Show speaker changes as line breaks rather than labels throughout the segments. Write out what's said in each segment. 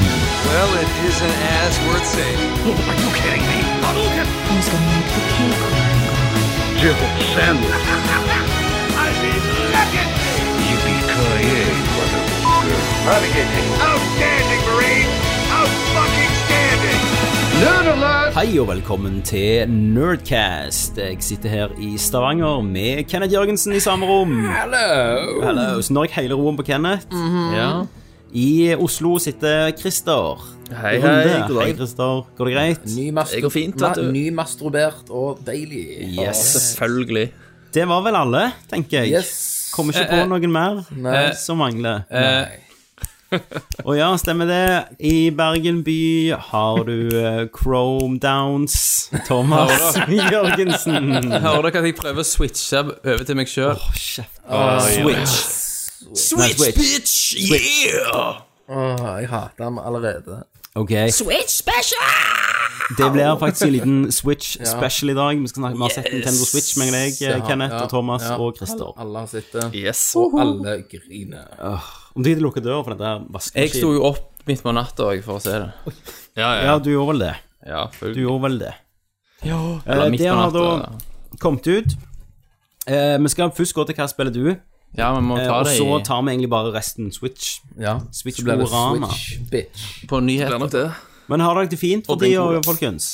Well, it isn't as worth saving.
Who's gonna make the cake?
Hei og velkommen til Nerdcast. Jeg sitter her i Stavanger med Kenneth Jørgensen i samme rom. Hello. Så nå er jeg hele roen på Kenneth.
Ja.
I Oslo sitter Christer.
Hei,
I Runde.
hei, god dag.
Hei, Christer. Går det greit?
Ny
Det går fint, vet du.
Nymasturbert og deilig.
Yes.
Selvfølgelig.
Det var vel alle, tenker jeg.
Yes.
Kommer ikke på noen mer
Nei.
som mangler.
Eh,
Og ja, stemmer det. I Bergen by har du eh, Chrome Downs. Thomas Jørgensen.
hører dere at jeg prøver å switche over til meg sjøl?
Kjeft.
Ah,
Ah, Switch. Switch, bitch! Yeah!
Åh, jeg hater ham allerede.
Ok. Switch special! Det blir faktisk en liten Switch special i dag. Vi, skal snakke, vi har sett Nintendo Switch med deg, eh, Kenneth og Thomas
ja.
og Christer.
Alle har eh, sett det.
Yes.
Og alle griner.
Om du ikke lukker døra for dette her
Jeg sto
vaskemaskinen
jo opp midt på natta også for å se det. Ja,
Ja, du gjorde vel det.
ja
Du gjorde vel det.
Eller
Eh,
midt
det
på
har
natta.
da- Kommet ut. Eh, vi skal først gå til hva spiller du,
Ja, vi må
eh,
ta
og
det i,
så tar vi egentlig bare resten Switch.
Ja.
Switch
så blir det
Orama.
Switch bitch.
på nyheter.
Men har dere det fint for
Og Blink
tida,
Blink.
folkens?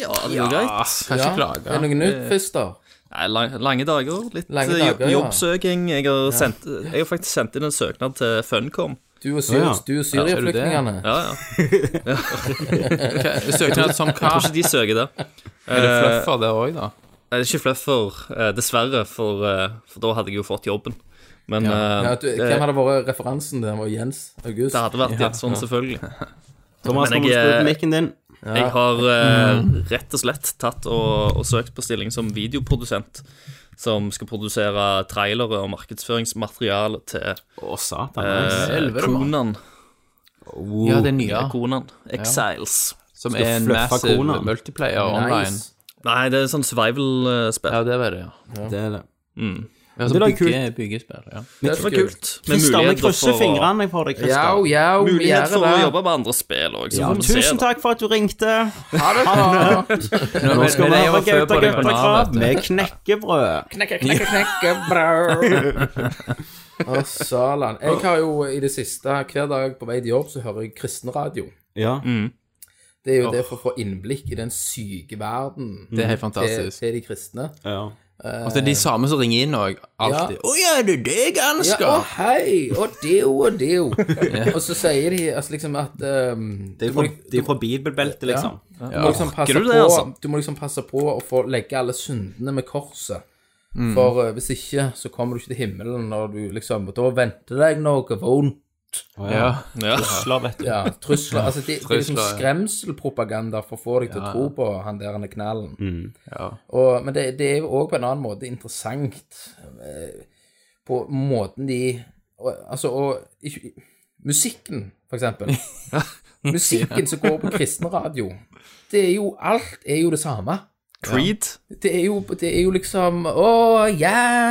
Ja, det går greit. Kan ikke klage.
Er det noe nytt, Christer?
Nei, lang, lange dager, litt
Lange
eh,
dager, ja.
jo- jobbsøking. Jeg har, sendt, jeg har faktisk sendt inn en søknad til Funcom.
Du og, syr,
Å, ja.
du og Syria-flyktningene.
Ja, ja.
Okay, Søknad som hva?
Kanskje de søker det.
Er det fluffer der òg, da?
Jeg er ikke fluffer, eh, dessverre, for, eh, for da hadde jeg jo fått jobben. Men eh,
Ja, du,
det,
hvem hadde vært referansen der? Var Jens August?
det hadde vært Jens sånn, selvfølgelig.
Thomas,
Men
nå må du
jeg,
skru
eh,
på mikken din.
Jeg har eh, rett og slett tatt og, og søkt på stilling som videoprodusent. Som skal produsere trailere og markedsføringsmateriale til
Å, satan. nice.
eh,
helvete, mann.
Konan. Eh,
Ja, det er nye.
Konan Exiles.
Som
Skal
er en
fluffe
massive
kona.
multiplayer online.
Nice.
Nei, det er sånn survival-spill.
Ja, det var det, ja.
Det er det.
ja
Det
som
er da
bygge, byggespill. Ja.
Det var kult. Med
Christer, vi
muligheter
krysser
for å-
fingrene for deg, Christer.
oh,
Jau, jau, vi
Mulighet
gjør
for å
det.
jobbe med andre spill òg, så
Ja,
får vi se.
tusen
da.
takk for at du ringte.
Ha det bra.
Nå, men,
Skal
men
vi
jeg
ha
var før
gauta
på det på
gauta
Nav,
krav
vet du.
med knekkebrød?
Knekke, knekke, knekke, brød. Å, salan. Jeg har jo i det siste, hver dag på vei til jobb, så hører jeg kristenradio.
Ja.
Mm.
Det er jo det for å få innblikk i den syke verden
Det er helt
til,
fantastisk.
til de kristne.
ja.
Og så er det de samme som ringer inn òg. Alltid. Å ja, det er deg han
Ja,
skal
å hei, å deo, å deo. Og så sier de altså, liksom at ehm,
Det er
du
fra,
må,
det er fra bibelbeltet, liksom.
du må liksom passe
Orker du det,
på,
altså?
du må liksom passe på å få legge alle syndene med korset.
Mm.
For eh, hvis ikke, så kommer du ikke til himmelen når du liksom Da venter deg noe vondt.
Ja.
Ja.
Sla, vet du.
Ja, trusler. Altså, det, det er
Trusler,
liksom
ja.
skremselpropaganda for å få deg til å tro på han der han er knallen.
Mm.
Ja.
Og, men det, det er jo òg på en annen måte interessant eh, på måten de og, Altså, og ikke, musikken, for eksempel. musikken som går på kristenradio, det er jo Alt er jo det samme.
Creed.
Det er jo, det er jo liksom Å,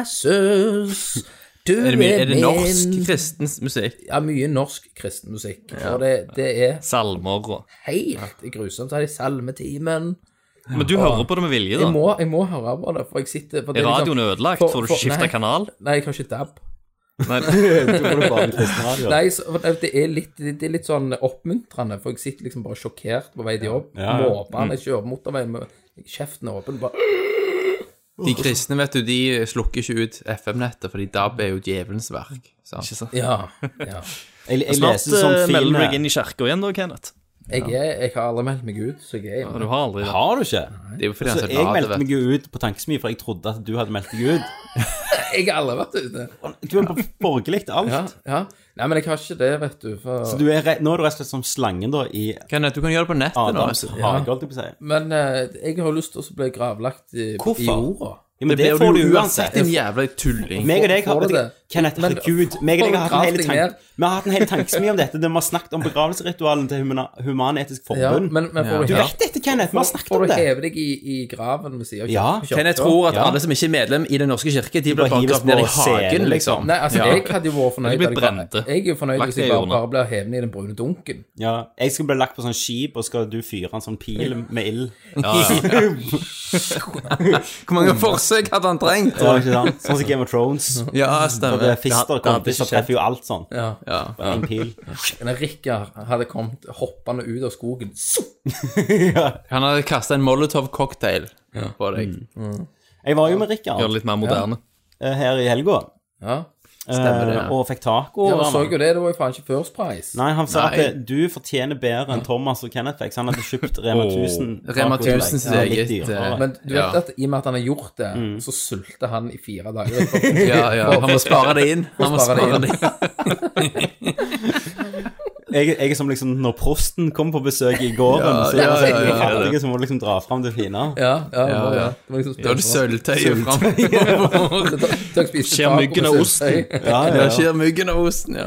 Jesus, du
Er, det, mye- er det norsk
min
kristen musikk?
Ja, mye norsk kristen musikk. For det, det er
Salmer og
helt grusomt. Så har de salmetimen.
Men du hører på det med vilje,
Jeg
da?
må, jeg må høre på det, for jeg sitter for det
Er
liksom-
radioen ødelagt?
For-
Får du
for- nei.
skifta kanal?
Nei, jeg har ikke DAB.
Nei,
Nei, så, for det, er litt, det er litt sånn oppmuntrende, for jeg sitter liksom bare sjokkert på vei til jobb.
Ja, Mm. ja.
Måpene jeg kjører på motorveien med kjeften åpen. Bare
De kristne vet du, de slukker ikke ut FM-nettet, fordi DAB er jo djevelens verk. Sant?
Ja. ja.
Jeg, jeg
Snart
leser sånn
eh, melder du deg
fine
inn i kirka igjen, da, Kenneth.
Jeg, er, jeg har aldri meldt meg ut, så jeg er
Ja,
hjemme.
Du har aldri det.
eh, Har du ikke?
Det er jo fordi han
Så
sa
jeg
DAB,
meldte
vet du.
meg jo ut på tankesmi, for jeg trodde at du hadde meldt deg ut.
Jeg har aldri vært ute.
Du er på borgerlig til
Ja,
alt.
ja. Nei, men jeg har ikke det, vet du.
Så
For...
du er, re- nå er du rett og slett som slangen da i
Kenneth, du kan gjøre det på nettet nå.
Adams hage, holdt jeg på å si.
Men eh, jeg har lyst til å bli gravlagt i,
Hvorfor?
i jorda.
Ja, Ja, men
Det
det
blir
får du
uansett,
uansett.
din jævla tulling.
Meg og deg har,
Får du det?
Kenneth,
Men-
herregud, meg og deg har hatt en hel
Grav deg ned.
tank, vi har hatt en hel tankesmi om dette. der Vi har snakket om begravelseritualen til Humana- Human-Etisk
Ja,
Forbund.
men, men får
Ja.
du
Du
heve-
vet dette, Kenneth. Vi har snakket
får
om
du
det.
heve deg i, i graven ved siden av
Ja.
kirken-
Kenneth tror at
Ja.
alle som ikke er medlem i Den norske kirke, de blir
bare
bare
hives
gravd ned
på
i hagen,
scenen,
liksom.
Nei, altså,
Ja.
jeg hadde jo vært fornøyd
Du blir
hadde jeg bare-
brente.
Jeg er jo fornøyd
Lagt
hvis jeg
det i
bare,
hjørnet.
bare blir hevende i den brune dunken.
Ja, jeg skal bli lagt på sånn skip, og skal du fyre en sånn pil med ild.
Hvor mange forsøk hadde han trengt?
Så, ikke sant? Sånn som Game of Thrones.
Ja,
Det
stemmer.
er Fister
det hadde
kompis,
ikke
så treffer jo alt sånn.
Ja.
Ja.
En pil.
Men Rikard hadde kommet hoppende ut av skogen. Sup!
Han hadde kasta en molotov-cocktail på deg.
Jeg var jo med
Gjør det
Rikard
litt mer moderne.
eh, her i helga,
Ja.
Stemmer det,
eh,
ja.
og fikk taco.
Jeg
av
så
han.
jo det, det var jo faen ikke First Price.
Nei, han sa
Nei.
at eh, du fortjener bedre enn Thomas og Kenneth fikk. så Han hadde kjøpt Rema 1000.
Rema
taco til deg.
1000 sitt
Ja,
eget
litt dyrere.
eh,
Men du
ja.
vet at i og med at han har gjort det, så sulter han i fire dager.
ja, ja. Han må spare det inn. Han må
Spare det
spare
inn.
det inn.
Jeg, jeg er som liksom når prosten kom på besøk i gården, så
ja,
er det
ja,
sånn,
ja,
de
ja.
fattige som må liksom dra fram det fine.
Ja, ja, det var-
Ja, ja.
det var liksom
Da har du sølvtøyet framover.
Dere spiste
Skjer
taco
myggen
med
av
sølvtøy.
Ja, ja,
Ja,
ja.
skjer myggen og osten, ja.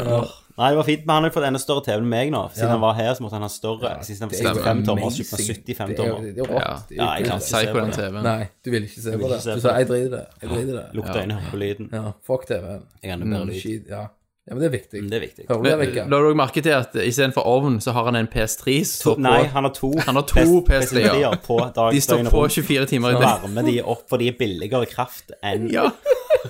Nei, det var fint, men han har jo fått enda større TV enn meg nå. Siden
Ja.
han var her, så måtte han ha større. Siden han
Det
fikk
er jo
65 tommer, så kjøpte han 75
amazing. Det er jo-
tommer.
Det er jo rått. Det er jo
Ja, jeg
ikke-
kan ikke se
Psycho
på
den
det.
TV-en.
Nei, du vil ikke se på
vil
det.
ikke se
Du
på
sa
det.
'jeg driter i det'. Jeg driter i det.
Lukta inn på lyden.
Ja, fuck TV-en.
Jeg kan jo
Mm,
bedre lyd.
Skit, Ja. ja, men det er viktig.
Men Det er viktig.
Hører du det, Rikard?
eh, La du også merke til at istedenfor ovn, så har han en PS3 som står
Nei,
på.
han har to,
Han har to
pest-
PS3, ja.
pesticider på dag,
De står
døgnet
på
rundt.
24 timer i
Så
døgnet.
varmer de opp, for de er billigere kraft enn
Ja.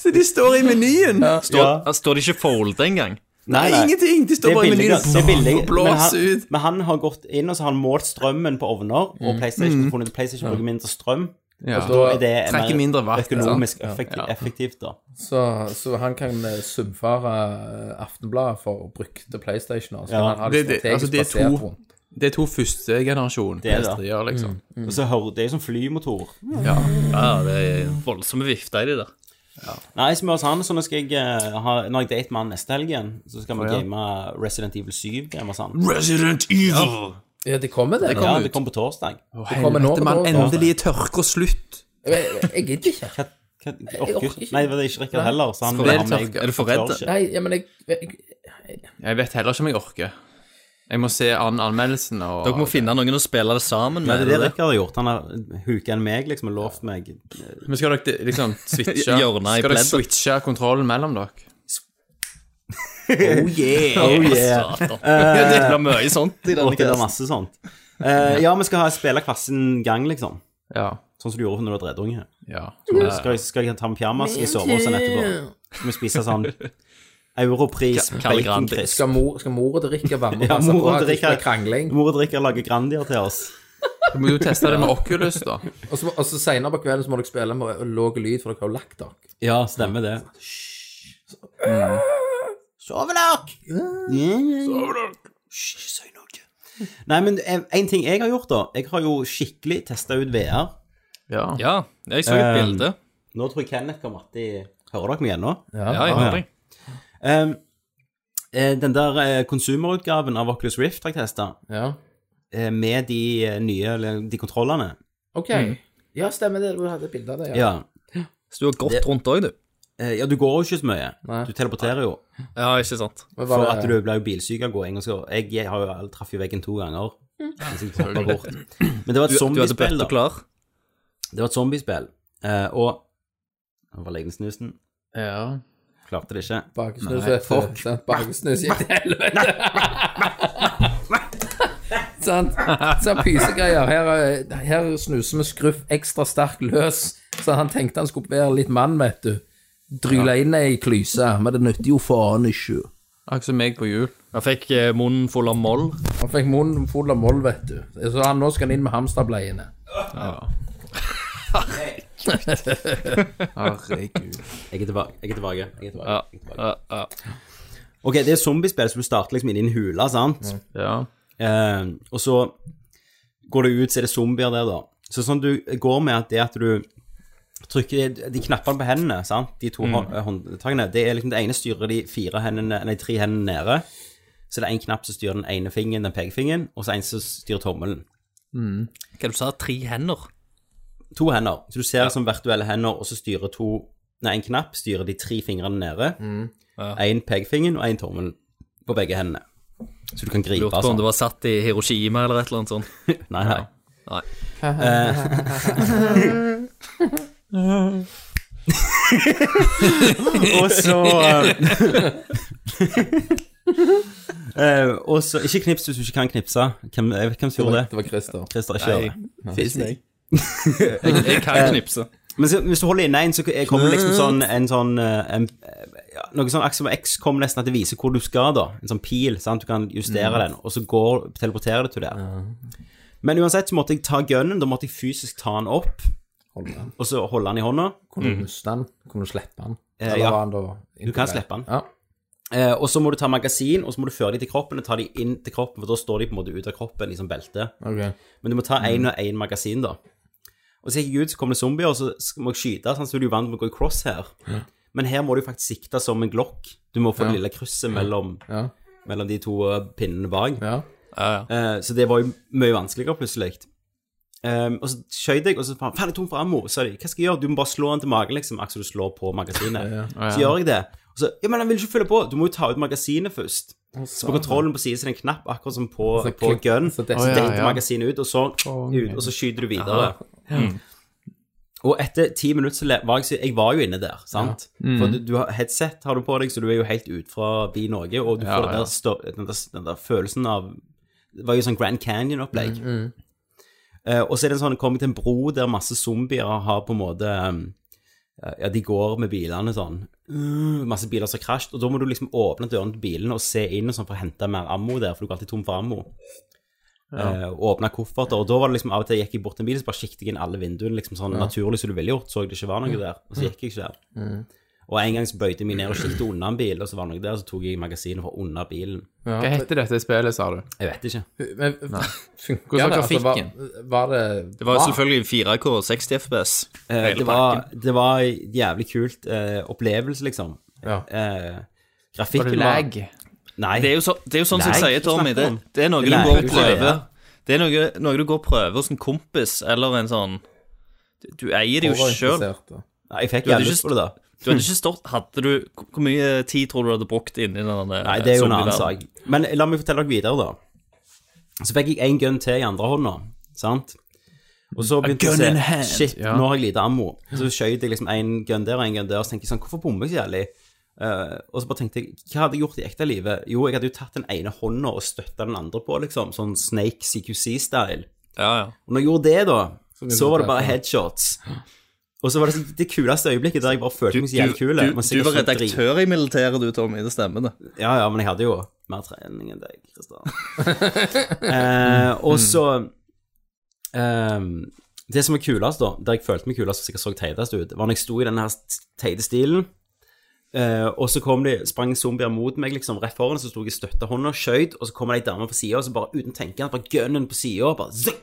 Så de står i menyen.
Står,
Ja.
står det ikke folde engang?
Nei, ingenting. De
Det
står
er
bare i
billigere. Det er
menyen
billig,
og
men,
blåser
han,
ut. Mm.
men han har gått inn og så har han målt strømmen på ovner, og PlayStation har funnet at PlayStation bruker mindre strøm.
Ja.
Så Altså, da er det
Trekker
mer
mindre vatt,
økonomisk
sant?
effektiv,
Ja.
effektivt, da.
Så, så han kan eh, subfare eh, Aftenbladet for brukte PlayStationer. Så
Ja,
kan han har
det- det-
strategisk
altså, det er
basert
to-
rundt.
Det er to første generasjon
Det Mm. er det.
PS3-er, liksom.
Og så hører, det er jo som flymotor.
Ja.
Ja, det er voldsomme vifter i de der.
Nei, som hos han, sånn, så nå skal jeg eh, ha, når jeg dater med han neste helg igjen, så skal vi
Å, ja.
game Resident Evil 7 hjemme hos han.
Resident Evil.
Ja, det kommer, det.
sånn. Ja,
ut.
det kom på torsdag.
Å,
kommer nå,
helvete,
det
mann.
kommer.
Endelig er tørke og slutt.
Jeg, jeg- jeg gidder ikke.
Hva, hva, jeg
orker
orker
ikke.
ikke. Nei, det er ikke Rikard heller, så han
Skal det
han-
tørke? Er du for
han
redd?
tør ikke.
Nei, ja, men jeg, jeg
Jeg vet heller ikke om jeg orker. Jeg må se an anmeldelsen og
Dere må finne noen å spille det sammen
Nei,
med.
det er det
eller?
Rikard har gjort. Han har huket enn meg, liksom, og lovt meg
Men skal dere liksom switche Skal
Hjørnet i
dere
pleddet.
switche kontrollen mellom dere?
Oh
Satan. Eh, Det blir mye sånt i denne
Og det er
casten.
masse sånt. Eh, ja, vi skal ha spille klassen gang, liksom.
Ja.
Sånn som du gjorde når du var dredunge.
ja.
Skal, jeg- skal jeg ta med pyjamas i soveposen etterpå? Skal vi spise sånn Europris
Kalle Grandi.
baconcrisp?
Skal, mor, skal mora til Rikard være med
Ja,
og passe på
mora
at
til
det ikke
Rikard-
blir krangling?
Mor og drikker lager Grandier til oss.
Du må jo teste det med Oculus, da.
Og så, og så senere på kvelden så må dere spille med lav lyd, for dere har jo lagt dere.
Ja, stemmer det. Sove dere! Sove dere! Hysj, si noe. Nei, men en en ting jeg har gjort, da. Jeg har jo skikkelig testa ut VR.
Ja.
Ja, jeg så et
Eh,
bilde.
Nå tror jeg Kenneth kommer alltid Hører dere meg igjen nå?
Ja, jeg
ja.
har det.
Um, eh, den der eh, konsumerutgaven av Oculus Rift har jeg testa,
Ja.
eh, med de eh, nye eller de kontrollene.
OK. Ja, stemmer det. Du hadde et bilde av det.
Mm. Ja.
Så du har gått rundt òg, du.
Eh, ja, du går jo ikke så mye.
Nei.
Du teleporterer jo.
Ja, ikke sant.
Men var
For
det-
at du blir jo bilsyk av gåing. og så- Jeg, jeg har jo jeg traff jo veggen to ganger. Mens jeg hoppet bort. Men det var
Du,
et
du hadde
zombiespill,
bøtta
da.
klar.
Det var et zombiespill. Eh, og Nå var legen snusen.
ja.
Klarte det ikke.
Bakesnus, vet du. Sant? Bakesnus gikk til helvete. Sant? Sånn pysegreier. Her, er- her snuser vi skruff ekstra sterk løs, så han tenkte han skulle være litt mann, vet du. Dryla inn ei klyse, men det nytter jo faen ikke.
Akkurat som meg på jul.
Jeg fikk eh, munnen full av moll.
Han fikk munnen full av moll, vet du. Så han, nå skal han inn med hamsterbleiene.
Herregud.
Jeg er tilbake. Jeg er tilbake. Jeg er tilbake.
Ja,
Jeg er tilbake.
ja, ja.
Ok, det er zombiespill, så du starter liksom inne i en hule, sant?
Ja.
Eh, og så går du ut, så er det zombier der, da. Så sånn du går med at det at du trykker de, de knappene på hendene, sant, de to hå- håndtakene, det er liksom det ene styrer de fire hendene, nei, tre hendene nede. Så det er en knapp som styrer den ene fingeren, den pekefingeren, og så en som styrer tommelen.
Hva du sa du? Tre hender?
to hender. Så du ser det som virtuelle hender, og så styrer to Nei, en knapp styrer de tre fingrene nede.
Mm.
Én pekefingeren og én tommel på begge hendene. Så du kan gripe
Lurte på om
sånn.
det var satt i Hiroshima eller et eller annet sånt.
Nei, nei.
Nei.
Eh. og så eh, Og så Ikke knips hvis du ikke kan knipse. Hvem, jeg vet hvem som gjorde det.
Det var Christer.
Christer, ikke gjør det.
Fins det?
Jeg, jeg kan knipse.
Men så, hvis du holder inne en, så kommer det liksom sånn en sånn eh, en, ja, Noe sånn Axiom X kommer nesten at det viser hvor du skal, da. En sånn pil. sant? Du kan justere den, og så går, teleporterer det til der. Men uansett så måtte jeg ta gunnen. Da måtte jeg fysisk ta den opp,
Holdt den.
og så holde den i hånda.
Kunne
Mhm.
du miste den? Kunne du slippe den?
Eh,
Eller
ja.
var den da
Du kan slippe den.
Ja.
Eh, og så må du ta magasin, og så må du føre de til kroppen og ta de inn til kroppen, for da står de på en måte ut av kroppen i sånn belte.
ok.
Men du må ta én og én magasin, da. Og så gikk jeg ut, så kom det zombier, og så sk- må jeg skyte, sånn, så er du jo vant med å gå i cross her. Men her må du faktisk sikte som en glokk. Du må få det lille krysset mellom,
Ja.
mellom de to eh, pinnene bak.
Ja.
Eh, så det var jo mye vanskeligere plutselig. Ehm, og så skjøt jeg, og så faen, faen, jeg er tom for ammo. Så sa de, hva skal jeg gjøre? Du må bare slå den til magen, liksom, akkurat som du slår på magasinet. Så gjør jeg det. Og så, ja, men han vil ikke fylle på. Du må jo ta ut magasinet først. Så på kontrollen på siden så er det en knapp, akkurat som på,
Så
på
klikk-
gun.
så
Så
det-
detter
Å, ja,
ja.
magasinet ut, og så ut, og så skyter du videre. Og etter ti minutter så le- var jeg, så- jeg var jo inne der, sant?
Mm.
For du, du har headset har du på deg, så du er jo helt ut fra Bi Norge, og du
Ja,
får den,
ja.
der, stå- den, der, den der følelsen av Det var jo sånn Grand Canyon-opplegg.
Mm,
Eh, og så er det en sånn, kommer til en bro der masse zombier har på en måte um, Ja, de går med bilene sånn. Uh, masse biler som har krasjet, og da må du liksom åpne dørene til bilene og se inn og sånn for å hente mer ammo der, for du går alltid tom for ammo. Eh, og åpna kofferter, og da var det liksom av og til gikk jeg bort til en bil, så bare kikket jeg inn alle vinduene, liksom sånn naturlig som du ville gjort, så jeg det ikke var noe der, og så gikk jeg ikke der.
Mm.
Og en gang så bøyde jeg meg ned og kikket unna en bil, og så var det noe der, så tok jeg magasinet fra under bilen.
Hva heter dette spillet, sa du?
Jeg vet ikke.
Men funka
Hvordan
det? var,
grafikken?
var det
Det var jo
bra?
selvfølgelig 4K og 60 FPS.
Eh,
Hele
det, var, det var jævlig kult eh, opplevelse, liksom.
Ja.
Var
Eh,
det
grafikken var
lag?
Nei.
Det er jo, så, det er jo sånn som
Nei,
jeg sier,
hva
Tommy.
snakker
Det,
du om?
det er noe
Nei,
du går og
du sier
prøver.
det.
Det er noe, noe du går og prøver hos en kompis eller en sånn Du eier det jo sjøl.
Overinteressert, da.
Nei, jeg
Du
fikk
hadde
jævlig
ikke
lyst på det, da.
Du hadde ikke stått Hadde du Hvor mye tid tror du du hadde brukt inni den der
Nei, det er jo en annen
zombieverdenen?
sak. Men la meg fortelle dere videre, da. Så fikk jeg en gun til i andre hånda, sant? Og så begynte
gun in
jeg å
hand,
se Shit,
ja.
nå har jeg lite ammo. Så skjøt jeg liksom en gun der og en gun der, og så tenkte jeg sånn Hvorfor bomber jeg så jævlig? Eh, og så bare tenkte jeg Hva hadde jeg gjort i ekte livet? Jo, jeg hadde jo tatt den ene hånda og støtta den andre på, liksom. Sånn Snake CQC-style.
Ja, ja.
Og når jeg gjorde det, da, så,
begynte
var
du å
det bare
treffe.
headshots. Og så var det så- det kuleste øyeblikket der jeg bare følte meg så jævlig kul.
du,
Man
du
sikkert
var
så drit-
redaktør i militæret, du, Tommy. Det stemmer, det.
Ja, ja, men jeg hadde jo mer trening enn deg, Kristian. eh, og så eh, Det som var kulest, da, der jeg følte meg kulest og sikkert så teitest ut, var når jeg sto i den her teite stilen, eh, og så kom de, sprang zombier mot meg liksom rett foran, så sto jeg i støttehånda og skjøt, og så kommer det ei dame på sida, og så bare uten tenkende, bare gunnen på sida, bare zing!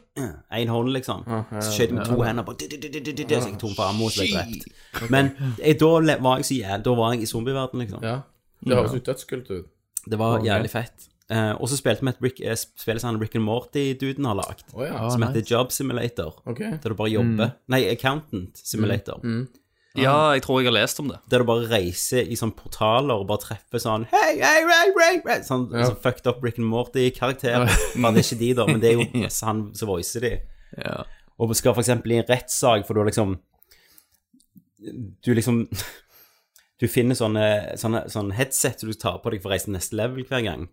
Én hånd, liksom. Så skjøt jeg med to hender, bare di-di-di-di-di-di, så jeg tom for ammo, så ble jeg drept. Men jeg, da le- var jeg så jævlig Da var jeg i zombieverdenen, liksom.
Ja. Det høres jo dødskult ut.
Det var jævlig fett. Eh, og så spilte vi et Rick, eh, spill som han Rick and Morty-duden har lagd,
Å ja.
som heter Job Simulator.
Ok. Mm.
Der du bare jobber. Nei, Accountant Simulator.
Ja, jeg tror jeg har lest om det.
Der du bare reiser i sånne portaler og bare treffer sånn Hei, hei, hei, hei, hei Sånn, sånn fucked up Rick and Morty-karakter. Men det er ikke de, da, men det er jo han som voicer de.
Ja.
Og skal for eksempel i en rettssak, for du liksom Du liksom Du finner sånne, sånne, sånne headset som du tar på deg for å reise til neste level hver gang.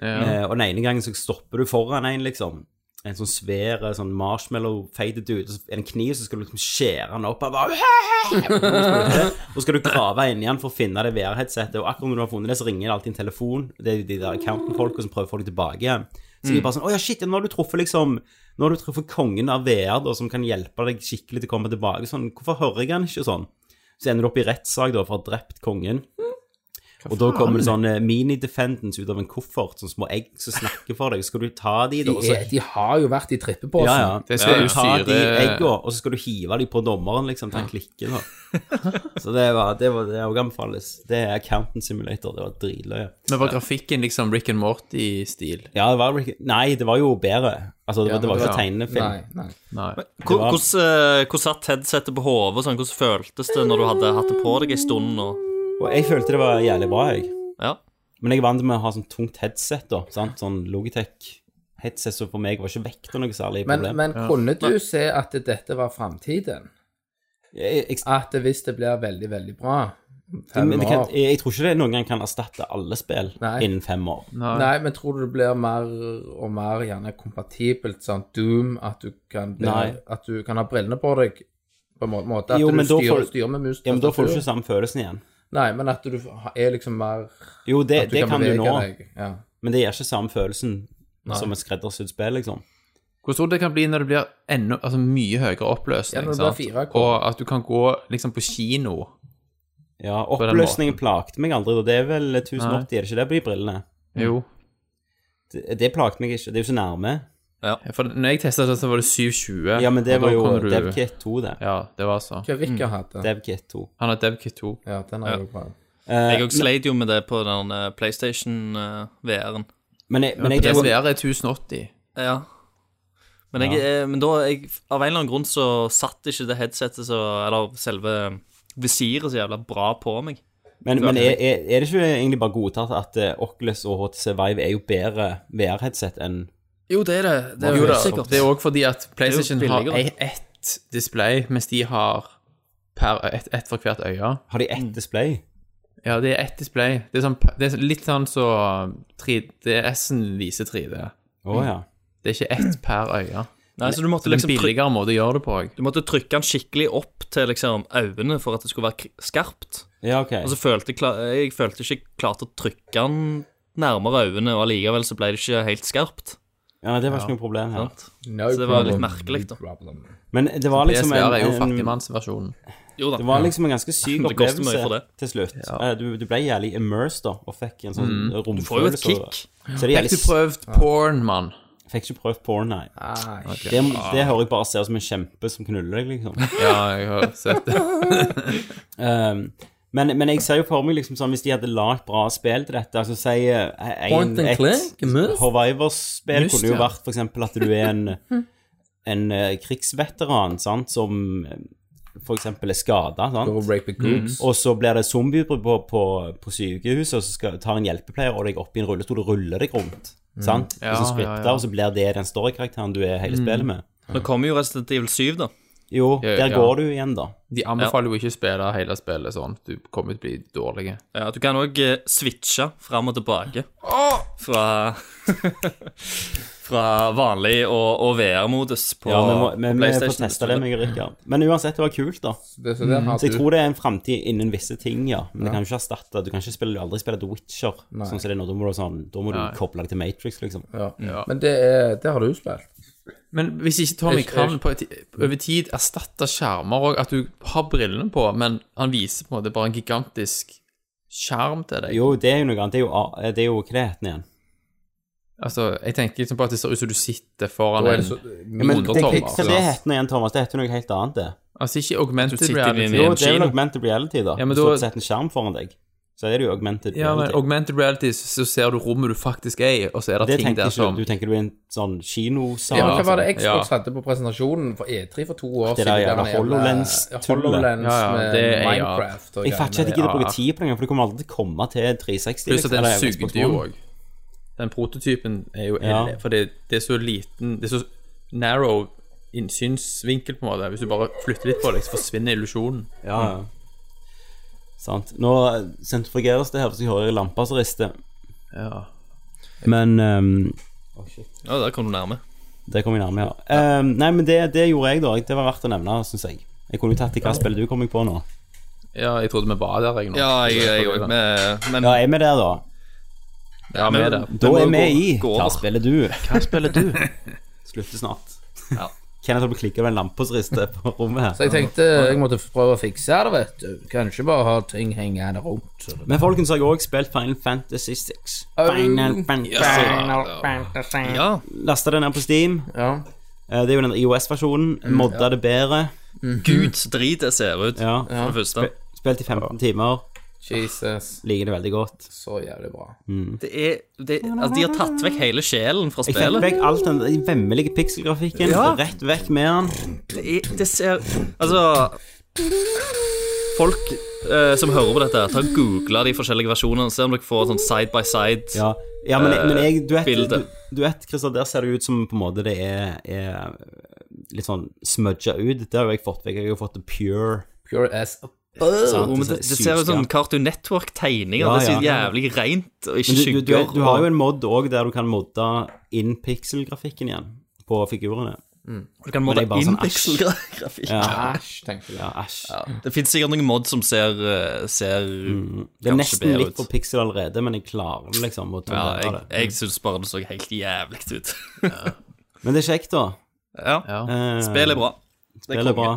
Eh, og den ene gangen så stopper du foran en, liksom. En sånn svær sånn marshmallow-feit dude. og så er det En kniv, så skal du liksom skjære han opp. Og, bare, og så skal du grave inni han for å finne det VR-headsetet. Og akkurat når du har funnet det, så ringer det alltid en telefon. Det er jo de der accountant-folka som prøver å få deg tilbake igjen. Så de er bare sånn Å ja, shit, ja, nå har du truffet liksom Nå har du truffet kongen av VR, da, som kan hjelpe deg skikkelig til å komme tilbake. Sånn, hvorfor hører jeg han ikke sånn? Så ender du opp i rettssak, da, for å ha drept kongen. Og da kommer det sånne mini-defendants ut av en koffert, sånne små egg som snakker for deg. Så skal du ta de, da.
De,
og så-
er, de har jo vært i trippepåsen.
Ja, ja.
Det skal
Ja,
jo
ta de
styre-
egga, og så skal du hive dem på dommeren, liksom, til han klikker. Da. Så det var det var det òg anbefales. Det er Accountant Simulator. Det var dritløye.
Men var grafikken liksom Rick and Morty-stil?
Ja, det var vel ikke Nei, det var jo bedre. Altså, det var, det var jo
ja.
ikke tegnefilm.
Nei, nei.
Nei.
Det var-
Hvordan eh, hvordan satt headsetet på hodet? Sånn, hvordan føltes det når du hadde hatt det på deg en stund? Og,
Og jeg følte det var jævlig bra, jeg.
ja.
Men jeg er vant med å ha sånn tungt headset, da. Sant? Sånn Logitech. Headset som for meg var ikke vekt og noe særlig
Men,
problem.
men kunne du se at dette var framtiden?
jeg, jeg,
At hvis det blir veldig, veldig bra fem
men det kan,
år
jeg, jeg tror ikke det noen gang kan erstatte alle spill
Nei.
innen fem år.
Nei, men tror du det blir mer og mer gjerne kompatibelt, sånn Doom, at du kan, bli,
Nei.
at du kan ha brillene på deg på en må- måte? At
Jo, men
du
da
styrer,
får-
styrer med mus.
Ja, men Da får du
tastatur?
ikke samme følelsen igjen.
Nei, men at du er liksom mer
Jo, det,
At du
det
kan
kan du
bevege
nå,
deg. Ja.
men det gir ikke samme følelsen som et skreddersydd spill, liksom.
Hvordan tror du det kan bli når det blir enda, altså mye høyere oppløsning?
Ja, når det
sant?
blir 4K.
Og at du kan gå liksom på kino.
Ja,
den
Oppløsningen
måten.
plagte meg aldri, da. Det er vel 1080, er det ikke det på de brillene?
Jo.
Det, det plagte meg ikke. Det er jo så nærme.
For når jeg testet det, så var det 720.
Ja, men det
og da
var jo
kan du-
DevKit 2, det.
Ja, det var så.
Hva Rikka hadde.
DevKit Eh, 2.
Han har DevKit 2.
Ja, den er jo bra.
Jeg òg sleit jo med det på den eh, PlayStation eh, VR-en.
Men jeg, men jeg,
Det
tror-
SVR er 1080.
Ja. Men, jeg, eh, men da jeg, Av en eller annen grunn så satt ikke det headsetet så Eller selve visiret så jævla bra på meg.
men, men er, er er det ikke egentlig bare godtatt at eh, Oculus og HTC Vive er jo bedre VR-headset enn
Jo, det er det. Det er
Jo
jo
da,
sikkert.
det er òg fordi at PlayStation
Det er jo
har
billigere.
ei- ett display, mens de har per, ett, ett for hvert øye.
Har de ett display?
Ja, det er ett display. Det er, sånn, det er litt sånn så 3, DS-en viser 3D.
Å ja.
Det er ikke ett per øye.
Nei, så du
Så
måtte
det er en
liksom trykke
billigere måte å gjøre det på òg.
Du måtte trykke den skikkelig opp til liksom øynene for at det skulle være kri- skarpt.
Ja, OK.
Og så følte jeg, kla- jeg følte ikke jeg klarte å trykke den nærmere øynene, og allikevel så ble det ikke helt skarpt.
Ja, men det var ikke noe problem her.
Sant?
No
Så det var litt
problem.
merkelig, da.
Problem.
Men det var liksom
SVR er jo
en, en
fattigmannsversjonen.
Jo da.
Det var liksom en ganske syk
Det koster mye for
opplevelse
det.
til slutt. Eh, Du, du ble jævlig immersed da, og fikk en sånn mm. romfølelse.
får jo et
over det.
kick.
Så det er
Fikk
jævlig
du prøvd porn, mann?
Fikk ikke prøvd porn, nei.
Nei,
Det, det hører jeg bare ser som en kjempe som knuller deg, liksom.
Ja, jeg har sett det.
Um, men, men jeg ser jo for meg liksom sånn, hvis de hadde lagd bra spill til dette altså si eh, en-
Point and
et
click, must.
Survivors-spill
Must,
kunne jo
ja.
vært for eksempel at du er en, en eh, krigsveteran sant, som eh, for eksempel er skada, sant?
Go rape the goods.
Og så blir det zombieutbrudd på, på, på sykehuset, og så skal, tar en hjelpepleier og deg opp i en rullestol og ruller deg rundt. Sant?
Ja,
og så scripter,
ja, ja.
og så blir det den storykarakteren du er hele spillet med.
Nå kommer jo Resident Evil 7, da.
Jo,
Ja,
der
ja.
går du igjen, da.
De anbefaler jo ikke å spille hele spillet sånn. Du kommer til å bli dårlig.
Ja, Eh, du kan òg switche fram og tilbake. Fra Fra vanlig og, og VR-modus på,
Ja, vi, må,
på
vi, vi får
PlayStation.
teste det, meg og Rikard. Men uansett, det var kult, da.
Så det- Så der har
Så jeg
du-
tror det er en framtid innen visse ting, ja. Men det kan jo ikke erstatte Du kan ikke spille, aldri spille The Witcher, sånn som det er nå. Da må du, sånn, da må du koble deg til Matrix, liksom.
ja. Men det, er, det har du spilt.
Men hvis ikke Tommy
Ikke-
kan på et, over tid erstatte skjermer og at du har brillene på, men han viser på en måte bare en gigantisk skjerm til deg
Jo, det er jo noe annet. Det er jo, A- det er jo hva det heter den igjen.
Altså, jeg tenker liksom på at det ser ut som du sitter foran
Da
en
er det så-
Men det, hva
undertommer.
hva det heter nå igjen, Thomas? Det heter noe helt annet, det.
Altså, ikke
Du
augmented
sitter inn i en
reality.
Jo, det er vel
kino.
augmented reality, da.
Ja, men
Hvis du
da-
har sett en skjerm foran deg, så er det jo augmented
Ja, men
reality.
augmented reality, så ser du rommet du faktisk er i, og så er det,
det
ting
tenker
der
ikke
som
du. Du tenker du er i en sånn kinosal.
Ja,
Ja,
men hva var det
sånn.
Xbox
Ja.
hadde på presentasjonen for E3 for to år
Det
siden?
der jævla
den jævla-
HoloLens-tullet.
HoloLens
Ja, ja,
med
det er- ja.
Minecraft og
jeg fatter ikke at de
greiene.
gidder å
Ja.
bruke tid på det engang, for du kommer aldri til å komme til 360.
Pluss at
liksom,
den
eller Xbox
sugde jo
One.
òg. Den prototypen er jo
Ja.
For det, det er så liten Det er så narrow innsynsvinkel, på en måte. Hvis du bare flytter litt på det, så forsvinner illusjonen.
Ja, ja. Sant. Nå eh, sentrifugeres det her, så jeg hører lampa som rister.
Ja.
Men ehm,
Ja, der kom du nærme.
det kom jeg nærme her. Ehm, nei, men det, det gjorde jeg, da. Det var verdt å nevne, syns jeg. Jeg kunne jo tatt i hva spillet du kom jeg på nå.
ja, jeg trodde vi var der, jeg nå.
Ja, jeg jeg òg. Men, men
Ja, er vi der, da?
Ja, vi er der.
Da
må
er
jo gå-
vi i
gå
Hva
over.
spiller du? Hva spiller du? Slutter snart.
Ja.
Kenneth holdt på å klikke med en lampe som rister på rommet
Så
her.
jeg tenkte jeg måtte prøve å fikse det, vet du. Kanskje bare ha ting hengende rundt. så det-
Men folkens, har jeg òg spilt Final Fantasy 6.
Oh,
Final Fantasy.
Ja,
Lasta det ned på Steam.
Ja.
Eh, Det er jo den IOS-versjonen. Modda det bedre.
gud så drit det ser ut,
Ja.
for det første.
Spilt i 15 timer.
Jesus,
Liker det veldig godt.
så jævlig bra.
Det er, det, altså, de har tatt vekk hele sjelen fra
Jeg fikk
spillet.
vekk all den den vemmelige pikselgrafikken.
Ja.
Rett vekk med den.
Det, er, det ser Altså Folk eh, som hører på dette, ta og google de forskjellige versjonene. Se om dere får sånn side by side.
Ja, ja men, jeg- men jeg, du vet,
Eh, bildet.
du, du vet Christer, der ser det ut som på en måte det er, er litt sånn smudga ut. Det har jo jeg fått vekk. Jeg har jo fått det pure.
Pure as
Jo,
sant?
men det, det ser ut som Cartoon Network-tegninger.
Ja,
det ser
ja.
jævlig rent og ikke
Men du, du,
skygger.
du, du har jo
og
en mod òg der du kan modde inn pikselgrafikken igjen på figurene.
du kan
det
modde
er bare
inn
sånn, æsj.
pixelgrafikk.
Æsj, tenkte jeg.
Ja, æsj.
Det fins sikkert noen mod som ser, eh, ser
Mm. Det er
kanskje
nesten
bedre
litt
ut.
for pixel allerede, men jeg klarer det liksom å
Ja,
tolerere
jeg,
det.
jeg syns bare det så helt jævlig ut.
Men det er kjekt, da.
ja.
Eh,
Spillet er bra.
Spillet er bra.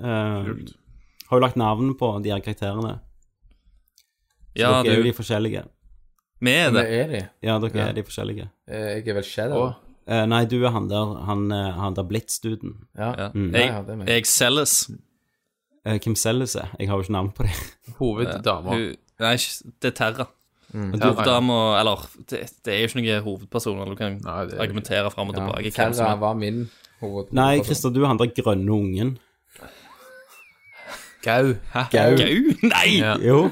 Eh, har jo lagt navn på de her karakterene.
Ja,
dere er jo
du,
de forskjellige.
vi er
Hva
det.
er de?
Ja, dere er de forskjellige.
Eh, Jeg er vel Shadow?
Eh, nei, du er han der, han, eh, han der Blitz-duden.
Ja.
Ja. Jeg,
ja, det mener jeg.
jeg selges.
Eh, Hvem selges er? Jeg har jo ikke navn på det.
Mm. Hoveddama.
Hun- Nei, ikke- det er Terra.
Og du,
Hoveddama Eller, det, det er jo ikke noen hovedpersoner du kan
Nei, det er-
argumentere fram og tilbake. hvem som
Terra
er-
var min hoved...
nei, Christer, du er han der grønne ungen.
Gau. Hæ?
Gau.
Gau? Nei!
Ja.
Jo.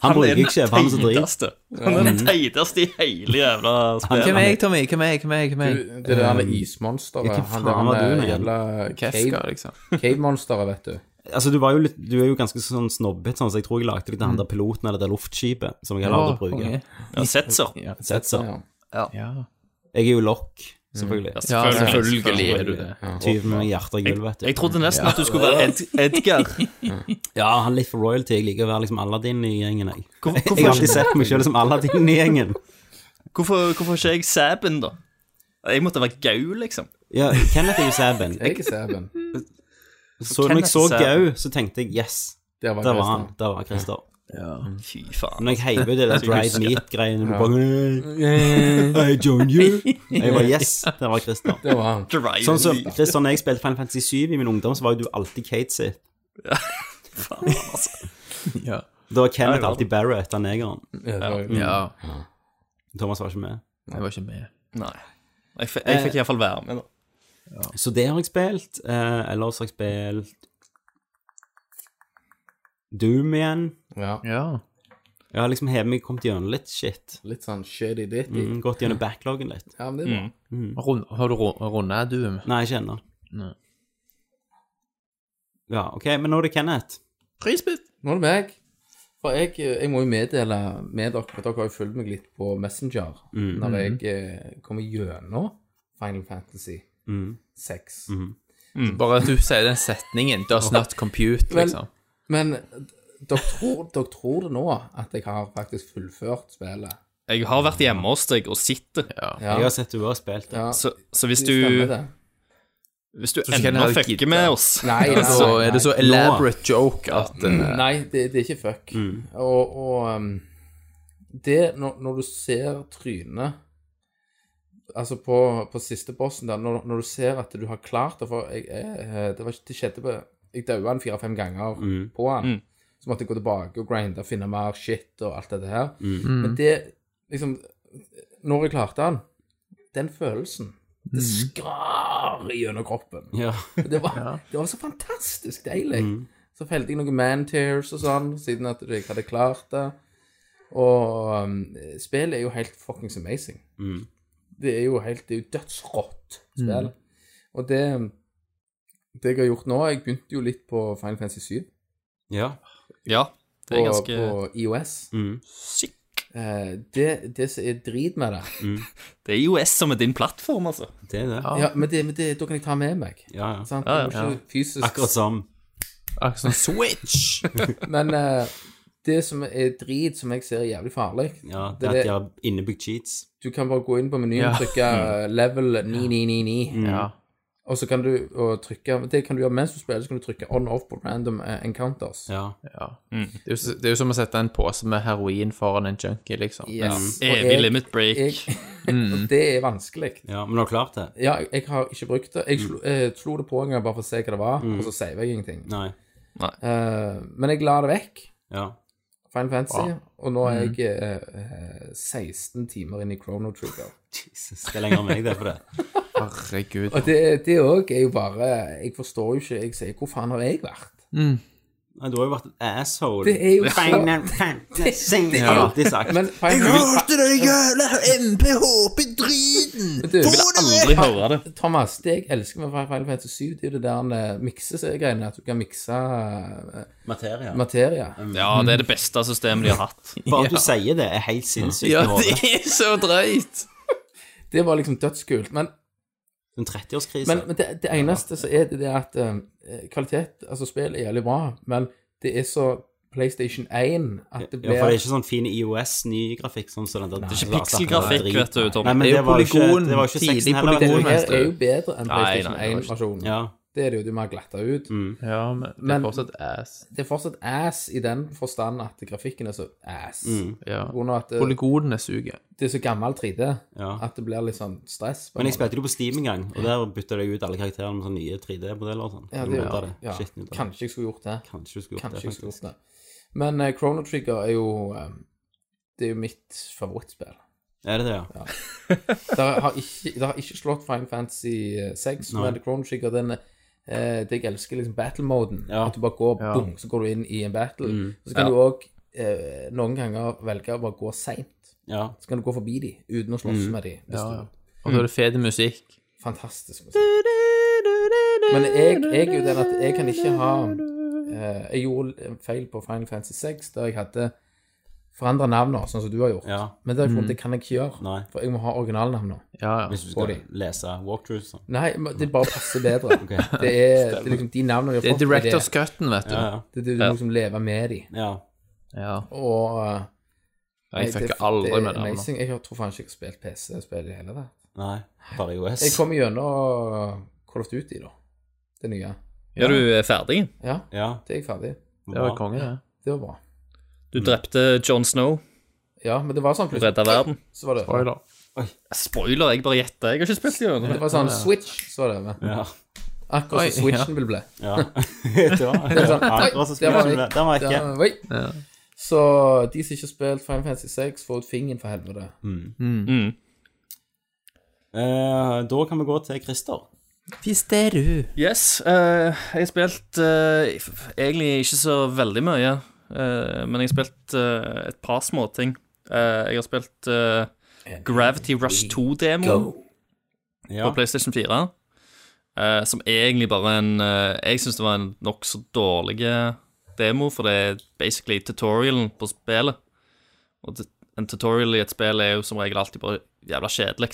Han bruker
den
ikke kjevene som driver.
teiteste. Han er den teiteste i hele jævla
Hvem
spillet.
er jeg, Tommy? Hvem er jeg? Hvem er jeg? Hvem er jeg?
Det der han er ismonsteret.
Ehm, Ja, hva faen
Han
var du
der han
nå
er
igjen?
jævla
Kefka,
cave-
liksom.
cave-monsteret, vet du.
Altså, du, var jo litt, du er jo ganske sånn snobbete, sånn, så jeg tror jeg lagde litt av han der piloten eller det der luftskipet som jeg heller aldri
Mm. Å,
bruker.
konge.
Ja, Setzer.
Ja.
Sett så.
Ja.
Ja.
Jeg er jo lokk, selvfølgelig.
Ja, selvfølgelig
selvfølgelig.
er du det.
Tyven med hjertet i gull, vet du.
Jeg trodde nesten at du skulle være Ed Edgar.
Ja, han er litt for royalty. Jeg liker å være liksom Aladdin i gjengen, jeg.
Hvor,
Jeg har
hvorfor,
alltid sett meg sjøl som Aladdin i gjengen.
hvorfor, hvorfor ikke jeg Sabin, da? Jeg måtte være Gau, liksom.
Ja, Kenneth er jo Sæben.
Jeg er Seven.
Så når jeg så
Kenneth er
Gau, så tenkte jeg yes,
Der var
der var han.
Christian.
Der var Christer.
Fy faen.
Når jeg heiv ut det der dried meat-greiene du bare I join you. Jeg var yes, der var Christer.
Der var han.
Drive
Sånn som
me.
Christer, når jeg spilte Final Fantasy 7 i min ungdom, så var jo du alltid Kate sitt.
Faen, altså.
Ja.
Da var Kenneth alltid Barrett, han negeren.
ja.
Thomas var ikke med.
Jeg var ikke med.
Nei. Jeg, f jeg fikk iallfall være med, da.
Så det har jeg spilt. Eh, ellers har jeg spilt Doom igjen.
Ja.
Ja.
Jeg har liksom hevet meg kommet gjennom litt shit.
Litt sånn shady ditty.
Mm, gått gjennom backloggen litt.
Ja, men det er
Mm.
bra.
Rund, har du runda Doom?
Nei, ikke ennå.
Nei.
Ja, OK, men nå er det Kenneth.
Prisbit!
Nå er det meg. For jeg, jeg må jo meddele med dere for Dere har jo fulgt meg litt på Messenger
Mm.
Mm.
når jeg eh, kommer gjennom Final Fantasy
Mm.
6.
Bare at du sier den setningen Does not compute, liksom.
Men dere tror, dere tror det nå at jeg har faktisk fullført spillet?
Jeg har vært hjemme hos deg og sitter,
Ja.
Jeg har sett du har spilt det.
Ja,
så, så hvis
det
du
stemmer det.
Hvis du
du
ennå
ikke kan ha
fucker
gidda.
med oss
Nei, nei,
Så
nei,
er det så
nei.
elaborate joke at eh,
Nei, det, det er ikke fuck. Og, og um, det når, når du ser trynet Altså på, på siste bossen der, når, når du ser at du har klart det For jeg, jeg, det, var, ikke- det skjedde på Jeg daua han fire-fem ganger på han. Så måtte jeg gå tilbake og grinde og finne mer shit og alt dette her. Men det liksom Når jeg klarte han, den følelsen Det skar gjennom kroppen.
Ja.
Det var, det var så fantastisk deilig.
Mm.
Så felte jeg noen man tears og sånn, siden at jeg hadde klart det. Og um, spillet er jo helt fuckings amazing.
Mm.
Det er jo helt Det er jo dødsrått spill. Og det Det jeg har gjort nå Jeg begynte jo litt på Final Fantasy 7
ja.
Ja, det
på,
er ganske Mm.
på IOS.
sykt.
Eh, det, det som er drit med det
Det er IOS som er din plattform, altså.
Det er det.
Ja, men det, men det da kan jeg ta med meg.
Ja, ja.
Sant?
Ja, ja.
Jeg må ikke fysisk
Akkurat som
akkurat sånn Switch!
Men eh, det som er drit, som jeg ser er jævlig farlig
ja, det
det
at
er
de
det-
har innebygd cheats.
Mm.
Du kan bare gå inn på menyen
Ja.
Mm.
og trykke eh, level 9999.
Ja.
Og så kan du og trykke Det kan du gjøre mens du spiller, så kan du trykke on-off på random eh, encounters.
Ja.
Det er, jo, s- det er jo som å sette en pose med heroin foran en junkie, liksom.
Yes. Og
Mm. Evig
jeg-
limit Mm. break.
Jeg, og det er vanskelig.
ja. Men du har klart det?
Ja, jeg har ikke brukt det. Jeg slo, eh, slo det på en gang bare for å se hva det var, og så saver jeg ingenting.
Mm. Nei.
Eh, men jeg la det vekk,
Ja.
Final Fantasy, og nå
Mm.
er jeg eh, eh, 16 timer inn i Chrono Trigger.
Jesus, det er lenger enn meg, det, for det.
Herregud.
Og det det òg er jo bare Jeg forstår jo ikke Jeg sier hvor faen har jeg vært?
Nei, du har jo vært et asshole.
Det er jo så
Final Fantasy.
det er
Ja,
jo-
det er sagt.
Men Final
Du vil aldri høre det.
Thomas, det jeg elsker med Final Fantasy 7, det er jo det der eh, miksegreiene. At du kan mikse eh,
Materie.
materie.
Ja, det er det beste systemet de har hatt.
Bare at du sier det, er helt sinnssykt.
Ja,
i hodet.
det er så drøyt!
Det var liksom dødskult. Men,
En 30-årskrise.
men, men det, det eneste så er det det at eh, kvalitet Altså, spill er jævlig bra, men det er så PlayStation 1 at det
Ja, for det
blir
er ikke sånn fin IOS-ny grafikk sånn som den der. Det
Ikke pikselgrafikk, vet du, Tom.
Nei, men
Det er
det
jo
var jo ikke,
polygon,
det var jo ikke
tidlig
sexen heller.
Det
vet du.
polygon.
her
mest,
er
du.
jo bedre enn
Nei, nei, det
PlayStation
var ikke-
1-versjonen.
Ja. Mm.
Det er det jo de har glatta ut.
Ja, men det
Men-
er fortsatt ass.
Det er fortsatt ass i den forstand at grafikken er så ass.
Mm.
Ja.
På grunn av at det,
Polygonene suger.
det er så gammel 3D
Ja.
at det blir litt sånn stress. på en
Men jeg
måte.
spilte det på Steam en gang, og der bytta jeg ut alle karakterene med sånne nye 3D-modeller og sånn.
Ja,
Du
det,
måtte
ja,
det.
ja.
Shit, nytt av det.
Kanskje jeg skulle gjort det.
Kanskje du skulle gjort
Kanskje
det,
jeg skulle
faktisk.
gjort det. Men eh, Chrono Trigger er jo eh, Det er jo mitt favorittspill.
Er det det, ja?
Det har ikke, det har ikke slått Final Fantasy eh, 6, men Chrono Trigger den eh, det jeg elsker, liksom battle-moden.
Ja. Mm.
At du bare går, boom, så går du inn i en battle. Så kan du òg eh, noen ganger velge å bare gå seint.
Ja.
Så kan du gå forbi de uten
Mm.
å slåss med de. Hvis
Ja, ja.
du
Og så er det fet musikk.
Fantastisk musikk. Men jeg, jeg er jo den at jeg kan ikke ha eh, Jeg gjorde en feil på Final Fantasy 6 der jeg hadde forandra navnene, sånn som du har gjort.
Ja. Mm.
Men det, har jeg funnet, det kan jeg ikke gjøre,
Nei.
for jeg må ha originalnavnene.
Ja, ja.
Hvis du skal lese walkthroughs sånn.
Nei, men det bare passer bedre. det, er, det er liksom de navnene vi
Det
har
er
fått. det er
director's cutten, vet du.
Ja, ja.
det, det, du må liksom leve med de.
ja.
Ja.
Og eh,
Jeg
det-
fucker aldri med
Det er
det.
amazing. Jeg har- tror faen ikke jeg har spilt PC-spill i hele tatt.
Nei. Bare IOS.
Jeg kom gjennom eh, Call of Duty, da. Det nye.
Ja, altså. du er ferdig.
Ja,
Ja.
det er jeg ferdig.
Det var konge, det.
Det var bra.
Du drepte John Snow.
Ja, men det var sånn
Du
plutselig
redda verden.
så var det over.
Spoiler.
Spoiler, jeg bare gjetter. Jeg har ikke spilt i
Det
øynene.
var sånn switch, så var det over.
Ja.
Akkurat
Oi,
som switchen vil bli.
ja. det var akkurat som
Der sånn, var
spillet.
jeg.
Den var ikke
Der- oi. Så de som ikke har spilt Final Fantasy 6, får ut fingeren for helvete.
Eh, Da kan vi gå til Christer.
Hvis det er du.
Yes, eh, jeg har spilt eh, f- egentlig ikke så veldig mye, eh, men jeg har spilt eh, et par småting. Uh, jeg har spilt eh, Gravity Rush 2-demo
Ja.
på PlayStation 4, eh, som egentlig bare en eh, Jeg syns det var en nokså dårlig eh, demo, for det er basically tutorialen på spillet. Og det- en tutorial i et spill er jo som regel alltid bare jævla kjedelig.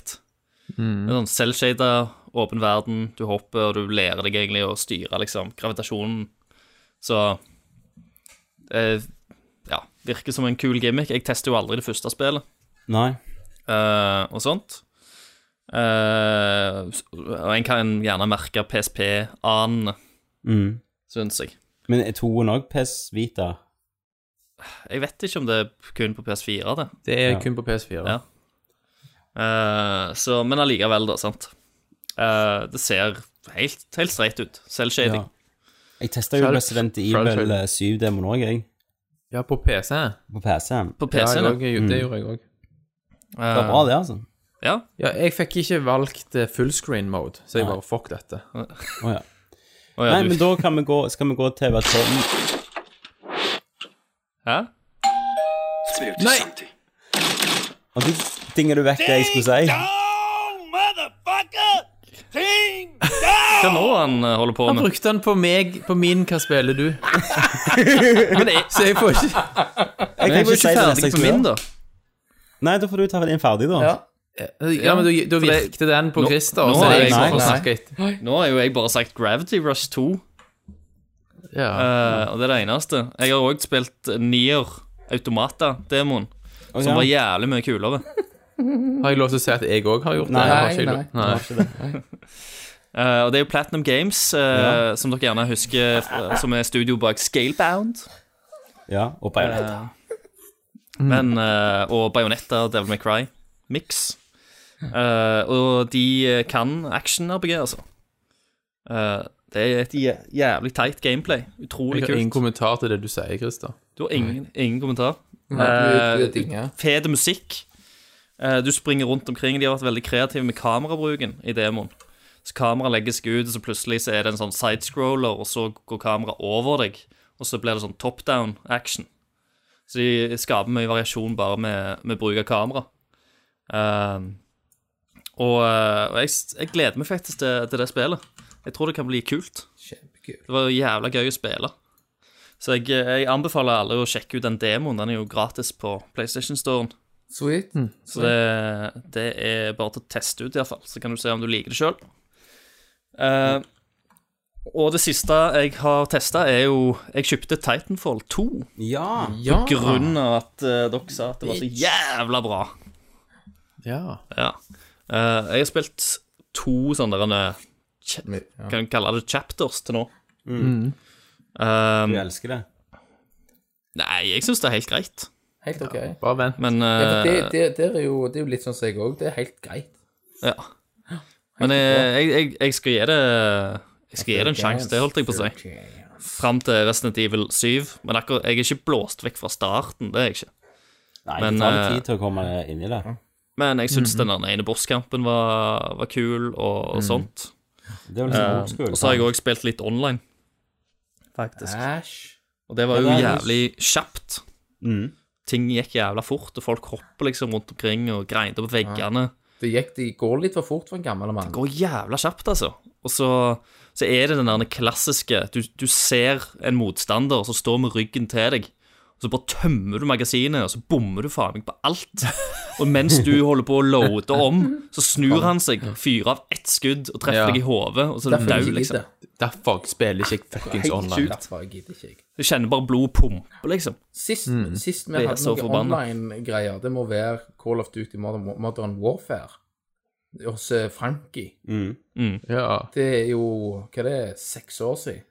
Det er Sånn selvshada, åpen verden, du hopper, og du lærer deg egentlig å styre liksom, gravitasjonen. Så eh, Ja, virker som en kul gimmick. Jeg tester jo aldri det første spillet
Nei.
eh, og sånt. Eh, s- og en kan gjerne merke PSP-anene,
Mm.
syns jeg.
Men er toen òg PS Vita?
Jeg vet ikke om det er kun på PS4, det.
Det er kun på PS4.
Ja. Eh, så, men allikevel, da, sant. Eh, det ser helt, helt streit ut. Selvshading.
Ja. Jeg testa jo
Selv-
Resident
selv-
Evil 7-demoen òg, jeg.
Ja, på PC.
På PC-en.
På
Ja,
PC-en,
jeg
ja.
også, jeg- det gjorde jeg òg.
Eh,
Det var bra, det, altså.
ja.
Ja, jeg fikk ikke valgt eh, fullscreen mode, så jeg bare fuck dette.
Å, ja.
Å, ja,
Nei,
du-
men da kan vi gå, skal vi gå til hva Tom
Hæ?
Nei!
Og du dinger du vekk det jeg skulle si.
Hva nå han eh, holder på
Han
med?
brukte den på meg, på min 'Hva spiller du?' Så jeg får ikke
Jeg kan
Jeg var
ikke
ikke
si det neste
ferdig
jeg
på
skulle
min,
gjøre.
da.
Nei, da får du ta din ferdig, da.
Ja.
Ja, men da- da
for det-
virkte den på
Nå-
Christer,
nå
og så
har
er
jeg-
jeg
nei,
for
nei.
snakket etter.
Nå har jo jeg bare sagt Gravity Rush 2, eh,
Ja.
og det er det eneste. Jeg har òg spilt Nier Automata-demoen,
Å,
som
ja.
var jævlig mye kulere.
Har jeg lov til å si at jeg òg har gjort det?
Nei,
Jeg har
Nei,
ikke
nei.
lov-
det var ikke det. Nei.
Eh, og det er jo Platinum Games, eh, som dere gjerne husker, eh, som er studio bak Scalebound. Eh,
Ja, og Bayonetta.
Mm.
Men, eh, og Bayonetta og Devil May Cry mix. Eh, og de kan action-RPG, altså. Eh, det er et jæ- jævlig teit gameplay. Utrolig
Jeg har ingen
kult.
kommentar til det du sier, Christer.
Du har ingen, ingen kommentar.
Nei,
Eh,
det er ting, ja.
Fet musikk. Eh, Du springer rundt omkring. De har vært veldig kreative med kamerabruken i demoen. Så kameraet legger seg ut, og så plutselig så er det en sånn sidescroller, og så går kameraet over deg. Og så blir det sånn top down action. Så de skaper mye variasjon bare med, med bruk av kamera. Eh, og eh, og jeg, s- jeg gleder meg faktisk til, til det spillet. Jeg tror det kan bli kult.
Kjempekult.
Det var jo jævla gøy å spille. Så jeg, eh, jeg anbefaler alle å sjekke ut den demoen. Den er jo gratis på PlayStation Storen.
Sweet.
Så det, det er bare til å teste ut, iallfall. Så kan du se om du liker det sjøl. og det siste jeg har testa, er jo Jeg kjøpte Titanfall 2
Ja.
Ja.
Ah.
grunn av at eh, dere sa at det var så jævla bra.
Ja.
Ja. Eh, jeg har spilt to sånne der, cha- Kan jeg kalle det chapters til nå?
Mm.
Du
Eh,
elsker det.
nei, jeg syns det er helt greit.
Helt OK. Ja,
Bare vent.
Men
for det,
eh,
det, det, er jo, det er jo litt sånn som jeg òg. Det er helt greit.
ja. Men eh, jeg, jeg, jeg skal gi det Jeg skal gi det en sjanse, det holdt jeg på å si. Fram til Resident Evil 7. Men akkurat, jeg er ikke blåst vekk fra starten, det er jeg ikke.
Nei,
Men,
det tar litt
eh,
tid til å komme inn i det.
Men jeg syns den ene bosskampen var, var kul, og, og sånt. Eh,
Det er jo liksom old
Og
school.
så har jeg òg spilt litt online, faktisk.
Æsj.
Og det var jo
Ja, det er
jævlig kjapt.
Mm.
Ting gikk jævla fort, og folk hopper liksom rundt omkring og greiner på veggene.
Det gikk, det går litt for fort for en gammel mann.
går jævla kjapt, altså. Og så, så er det den der klassiske du, du ser en motstander som står med ryggen til deg, og så bare tømmer du magasinet, og så bommer du faen meg på alt. Og mens du holder på å loade om, så snur han seg, fyrer av ett skudd og treffer
Ja.
deg i hodet, og så er du
Derfor
daud,
gidder jeg
liksom.
ikke.
Derfor spiller ikke jeg fuckings
Helt
online.
sjukt. Derfor gidder ikke jeg.
Du kjenner bare blod pumpe, liksom.
Sist, sist vi
Det er
hadde
så
noen
forbanna.
online-greier, det må være Call of Duty Modern, Modern Warfare hos eh, Frankie.
Mm.
Ja.
Det er jo hva er det seks år siden.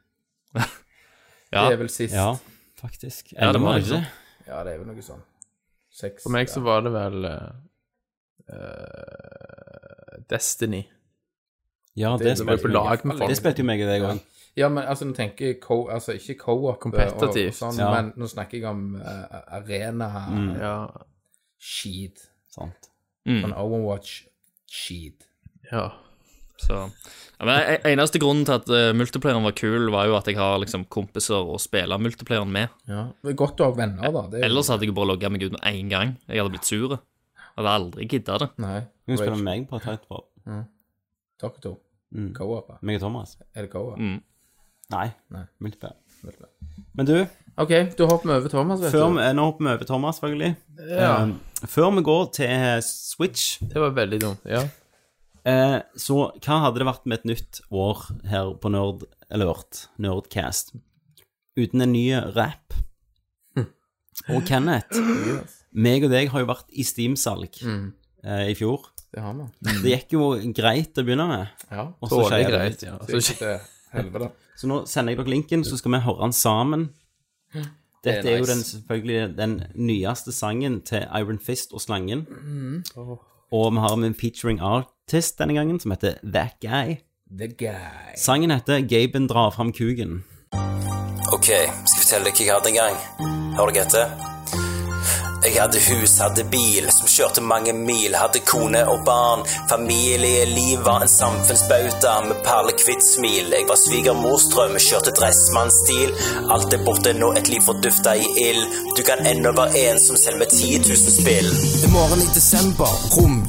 Ja.
Det er vel sist.
Ja,
Ja,
faktisk. altså.
Ja, det var
Elleve,
det
ikke?
sånn.
det er vel noe sånn. Seks
For meg
ja.
så var det vel eh, eh, Destiny.
Ja, det,
Det- det
Som er
spilte
på
jo-
lag med
Det
folk.
spilte jo meg og deg òg.
Ja, men altså, nå tenker jeg co altså, ikke co-op
Kompetitivt,
og- og sånn,
ja.
men nå snakker jeg om eh, arena-skid.
Ja.
Sant.
Mm,
Sånn Overwatch-skid.
ja.
Så. Ja, men e- eneste grunnen til at eh, multiplayeren var kul, var jo at jeg har liksom kompiser å spille multiplayeren med.
Ja. Det er godt å ha venner, da. Det er jo-
Ellers hadde jeg bare logga meg ut med én gang. Jeg hadde blitt sur. Jeg hadde aldri gidda det.
Nei.
Hun spiller med meg på Titanfall. Mm.
Dere to. Co-op. ja.
Meg og Thomas.
Er det co-op?
Nei.
Nei.
Multiplayer. Men du,
OK, da hopper vi over Thomas, vet
før
du.
vi, nå hopper vi over Thomas, selvfølgelig.
Ja.
Um, før vi går til eh, Switch,
Det var veldig dumt. Ja.
eh, så hva hadde det vært med et nytt år her på Nerd Alert, Nerdcast, uten en ny rap? Og Kenneth, meg og deg har jo vært i Steam-salg eh, i fjor.
Det har vi.
Det gikk jo greit å begynne med.
Ja.
og så
Dårlig
skjer det litt.
greit. Ja. Så,
Det er helvete.
Så nå sender jeg dere linken, så skal vi høre den sammen. Dette er, jo
nice.
den, selvfølgelig den nyeste sangen til Iron Fist og Slangen.
Mm.
Og vi har med en featuring artist denne gangen, som heter That Guy.
The guy.
Sangen heter Gaben drar fram kuken.
Ok, skal jeg fortelle deg hva jeg hadde en gang. Hør dere etter. Jeg hadde hus, hadde bil, som kjørte mange mil. Hadde kone og barn. Familieliv var en samfunnsbauta med perlekvitt smil. Jeg var svigermors drøm, kjørte dressmannsstil. Alt er borte nå, et liv fordufta i ild. Du kan ennå være en som selv med 10 000 spill. I morgen i desember,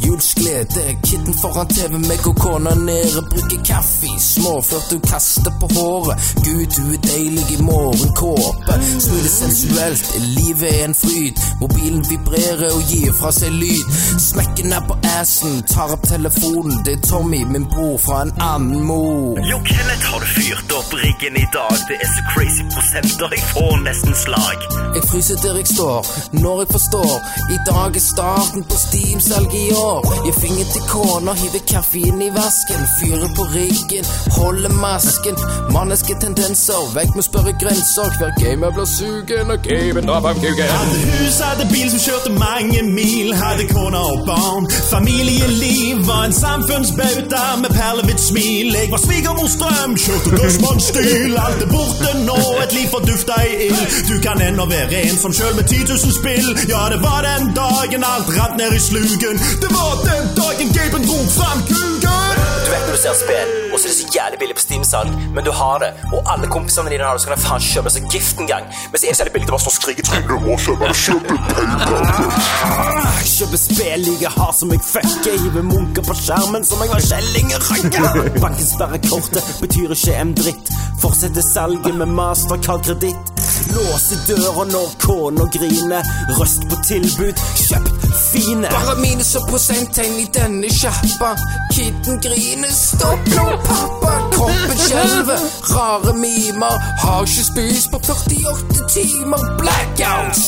romjulsglede. Kitten foran TV, meg og kona nede. Brygger kaffe, småført og kaster på håret. Gud, du er deilig i morgenkåpe. Smule sensuelt, livet er en fryd. Mobil
Bilen vibrerer og gir fra seg lyd. Smekken er på assen, tar opp telefonen. Det er Tommy, min bror fra en annen mor.
Jo, Kenneth, har du fyrt opp riggen i dag? Det er så crazy prosenter, jeg får nesten slag.
Jeg fryser der jeg står, når jeg forstår. I dag er starten på Steam-salget i år. Gir finger til kona, hiver kaffen i vasken. Fyrer på riggen, holder masken. Manniske tendenser, vekk med spørre grenser. Hver gamer blir sugen, og gamen drar bak kuken.
Hadde hus, hadde bil som kjørte mange mil, hadde kone og barn. Familieliv var en samfunnsbauta med perlehvitt smil. Jeg var svigermors drøm, kjørte dødsmannsstil. Alt er borte nå, et liv fordufta i ild. Du kan ennå være en som sjøl med 10 000 spill. Ja, det var den dagen alt rant ned i sluken. Det var den dagen gapen dro fram kuken.
Du vet når du ser et spill, og så er det så jævlig billig på Steam-salg, men du har det, og alle kompisene dine har det, så kan jeg faen kjøpe seg gift en gang. Men så er det så jævlig billig, du bare står og skriker til
Du må kjøpe kjøpe
Jeg kjøper spill like hardt som jeg fucker. Hiver munker på skjermen som jeg var kjellingerøkker. Banken sperrer kortet, betyr ikke en dritt. Fortsetter salget med mastercard-kreditt. Låser døra når kona griner. Røst på tilbud, kjøpt fine. Bare minus og prosenttegn i denne sjappa. Kidden griner, stopp nå, pappa. Kroppen skjelver, rare mimer. Har ikke spist på 48 timer. Blackouts.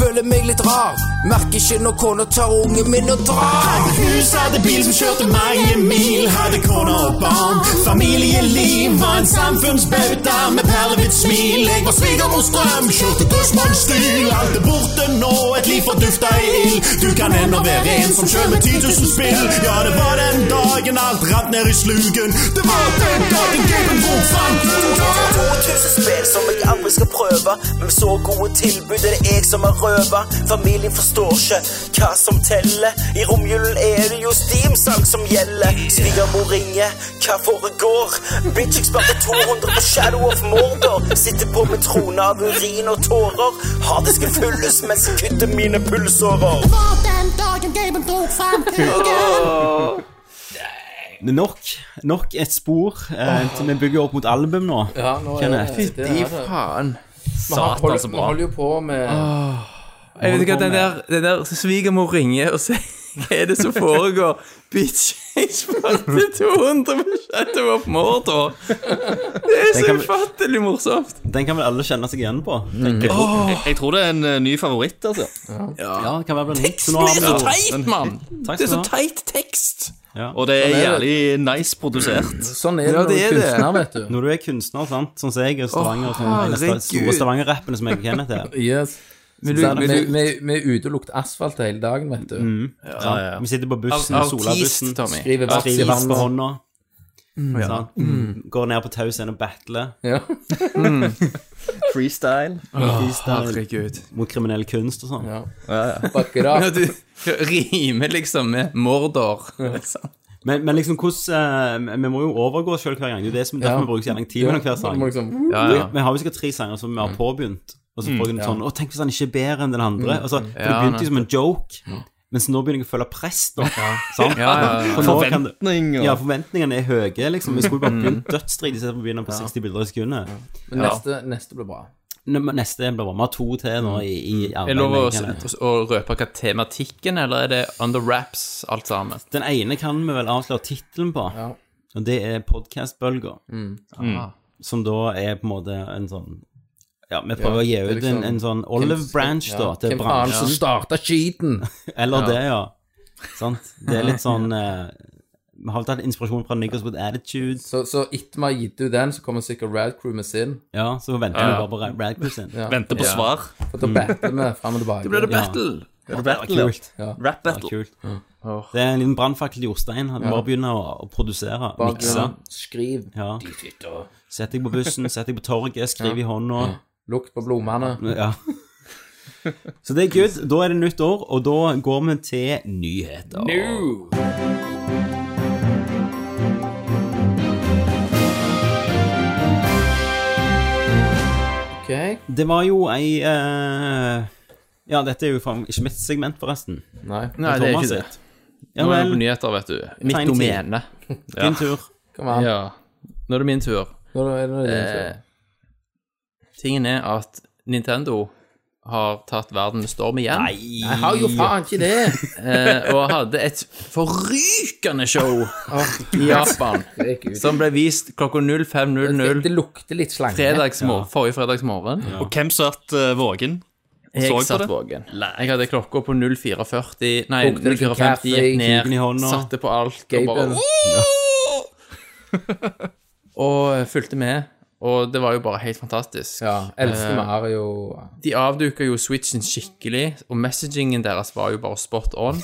Føler meg litt rar. Merker ikke når kona tar ungen min og drar.
Hadde hus, hadde bil som kjørte mange mil. Hadde kone og barn. Familieliv var en samfunnsbauta med perlehvitt smil. Jeg var svigermors drøm, kjørte gudsmannsstil. Alt er borte nå, et liv fordufta i ild. Du kan ennå være en som sjøl med 10 000 spill. Ja, det var den dagen alt rant ned i sluken. Det var den dagen gamen dro fram kuken.
2000 spill som jeg aldri skal prøve, men med så gode tilbud er det jeg som har røva. Familien forstår ikke hva som teller. I romjulen er det jo Steam-salg som gjelder. Svigermor ringer, hva foregår? Bitch, jeg sparte 200 på Shadow of Mordor. Sitter på min trone av urin og tårer. Harddisken fylles mens jeg kutter mine pulsårer.
Nok, nok et spor. Eh, til- Vi bygger opp mot album nå.
Ja, nå er
Kenneth.
det- det
Fy
er det.
faen.
Vi har-
Satan, så
vi
bra.
holder jo på med
Ah. Jeg vet ikke, den der, den der svigermor ringer og sier Hva er det som foregår? Bitch, jeg sparte 200 på Shadow of Mordor. Det er så
kan vi-
ufattelig morsomt.
Den kan vel alle kjenne seg igjen på?
Jeg, tror- jeg, jeg tror det er en eh, ny favoritt, altså.
Ja, det kan være blant hit. Så nå
Det
har
er
vi
så
jo
teit, mann!
Takk
Det er så
skal du ha.
teit tekst.
Og det er
er
jævlig nice produsert.
Sånn er det
Ja,
når du
det
er
er det.
kunstner, vet du.
Når du er kunstner, sant, sånn som jeg, og Stavanger
Å,
og sånn, en av de store
herregud.
Stavanger-rappene som jeg og Kenneth er.
Yes.
Vil
Så
du,
er
vil
det- Vi
du Mm.
vi- vi er ute og lukter asfalt hele dagen, vet du.
sant? Vi sitter på bussen, sola bussen,
Artist, Tommy.
Skriver vers i
skriver på
vannet.
hånda.
Mm.
sant? Går ned på tau scenen og battler.
Ja.
Freestyle.
Freestyle
Herregud.
mot kriminell kunst og sånn.
Ja. Bakker av.
Ja, du rimer liksom med Mordor. Sånn. sant?
Men, men liksom hvordan eh, Vi må jo overgå oss sjøl hver gang. Det er jo det som, derfor
Ja.
vi bruker så jævlig tid mellom hver
Du
sang.
må liksom
Ja, ja. Mm.
Vi har jo sikkert tre sanger som vi har påbegynt, og så får jeg en sånn Å, tenk hvis han ikke er bedre enn den andre. Altså, for det
Ja,
begynte
nei.
jo som en joke, mens nå begynner jeg å føle press, da. Sant?
Ja, ja, ja.
For nå kan det-
Forventning og
Ja, forventningene er høye, liksom. Vi skulle bare
Mm.
begynt dødsstrid istedenfor å begynne på 60 bilder i sekundet.
Men neste, neste blir bra.
Nå- men Neste blir bare Vi har to til nå i, i
Er det lov Mm. å,
arbeidet.
å, å røpe hva tematikken er, eller er det under wraps alt sammen?
Den ene kan vi vel avsløre tittelen på, og det er Podcastbølga.
Mm.
Som da er på en måte en sånn Ja, vi prøver
Ja,
å gi
det
ut
er liksom-
en, en sånn olive branch, da,
Ja.
til
Hvem faen som
bransjen.
starta skiten?
Eller det, ja. Sant? Det er litt sånn eh, Vi har vel tatt inspirasjon fra Niggers with Attitude,
Så, så etter vi har gitt ut den, så kommer sikkert Rad Crew med sin.
ja, så venter vi bare på Ra- Radcliffe sin. Ja.
venter på svar.
Og da batter vi fram og tilbake.
Blir det battle?
Det var kult. Det
Rap
var
battle.
kult. Det er en liten brannfakkel i Jostein. Han bare begynner å, å produsere,
Bare
mikse.
Skriv.
Ja. Sett deg på bussen, sett deg på torget, skriv i hånda.
Lukt på blomstene.
Ja. Så det er good. Da er det nytt år, og da går vi til nyheter.
Ok.
Det var jo ei eh, Ja, dette er jo faen ikke mitt segment, forresten.
Nei.
Nei, det er
Thomas
ikke det.
sitt. Ja
Nå er det
vel,
på nyheter, vet du. Mitt
Tegn til.
domene.
din tur.
Kom an.
Ja. Nå er det min tur. Eh,
Eh, Nå er det, nå er det din tur.
Tingen er at Nintendo har tatt verden med storm igjen.
Jeg har jo faen ikke det.
Eh, og hadde et forrykende show i Japan
Herregud.
som ble vist klokka
Det,
05.00
det lukter litt slange.
fredagsmor, forrige fredagsmorgen.
Og hvem satt eh, våken?
Jeg
Så på
satt
det?
våken. Jeg hadde klokka på 04.40 Nei,
Kokte det ikke
04.50 gikk
kuken i
ned,
hånda?
satte på alt og
Gaben.
bare Og eh, fulgte med. Og det var jo bare helt fantastisk.
Ja,
Eh.
Elsker Mario.
De avduka jo Switchen skikkelig, og messagingen deres var jo bare spot on.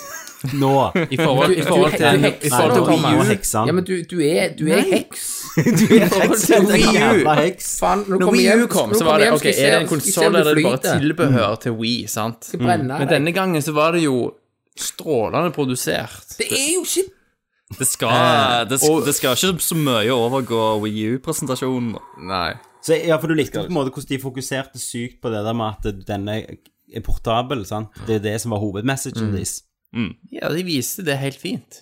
Nå!
I forhold, i forhold
Du- du-
til,
du-
i forhold til
Nei,
Wii U.
Thomas.
Heksan.
Ja, men du, du er, du er heks.
forhold til Wii U.
Jævla heks.
Faen, når du
Når
kommer
Wii
hjem-
U kom,
når du
så var
kommer
det
hjem,
ok,
skal jeg se-
er det en
skal jeg se om
konsoll
du
eller er det bare
flyter?
tilbehør til Wii, sant?
brenne
Men
deg.
denne gangen så var det jo strålende produsert.
Det er jo ikke
Det skal, det, sk- det skal ikke så mye overgå Wii U-presentasjonen.
Nei.
Så, ja, for du likte på en måte hvordan de fokuserte sykt på det der med at denne er portabel, sant? Det er det som var hovedmessagen deres.
Ja, de viste det helt fint.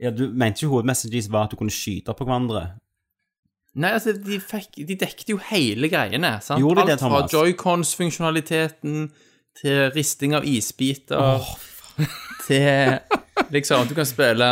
Ja, du mente ikke hovedmessagen deres var at du kunne skyte på hverandre?
Nei, altså, de, fikk, de dekket jo hele greiene, sant?
Gjorde de det,
Alt
Thomas?
fra Joy-Cons-funksjonaliteten til risting av isbiter til liksom Du kan spille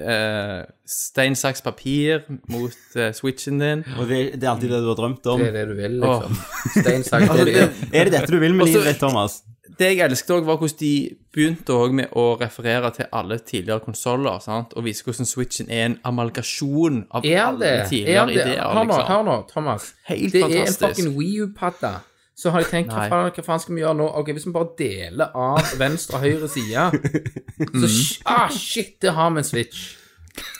eh, stein, saks, papir mot eh, switchen din.
Og det, det er alltid det du har drømt om.
det, er det du vil, liksom. Stein sagt det.
Altså, det-
Er det dette du vil med
Også-
livet ditt, Thomas?
det jeg elsket òg, var hvordan de begynte også med å referere til alle tidligere konsoller, sant, og vise hvordan Switchen er en amalgasjon av
Er
alle
det? Er
tidligere
det?
ideer.
Hør nå,
liksom.
hør nå, Thomas.
Helt
det
fantastisk.
er en fucking Wii U-padda. Så har jeg tenkt, hva
Nei.
faen, hva faen skal vi gjøre nå? Ok, Hvis vi bare deler av venstre og høyre side, så sh- ah, shit, det har vi en Switch.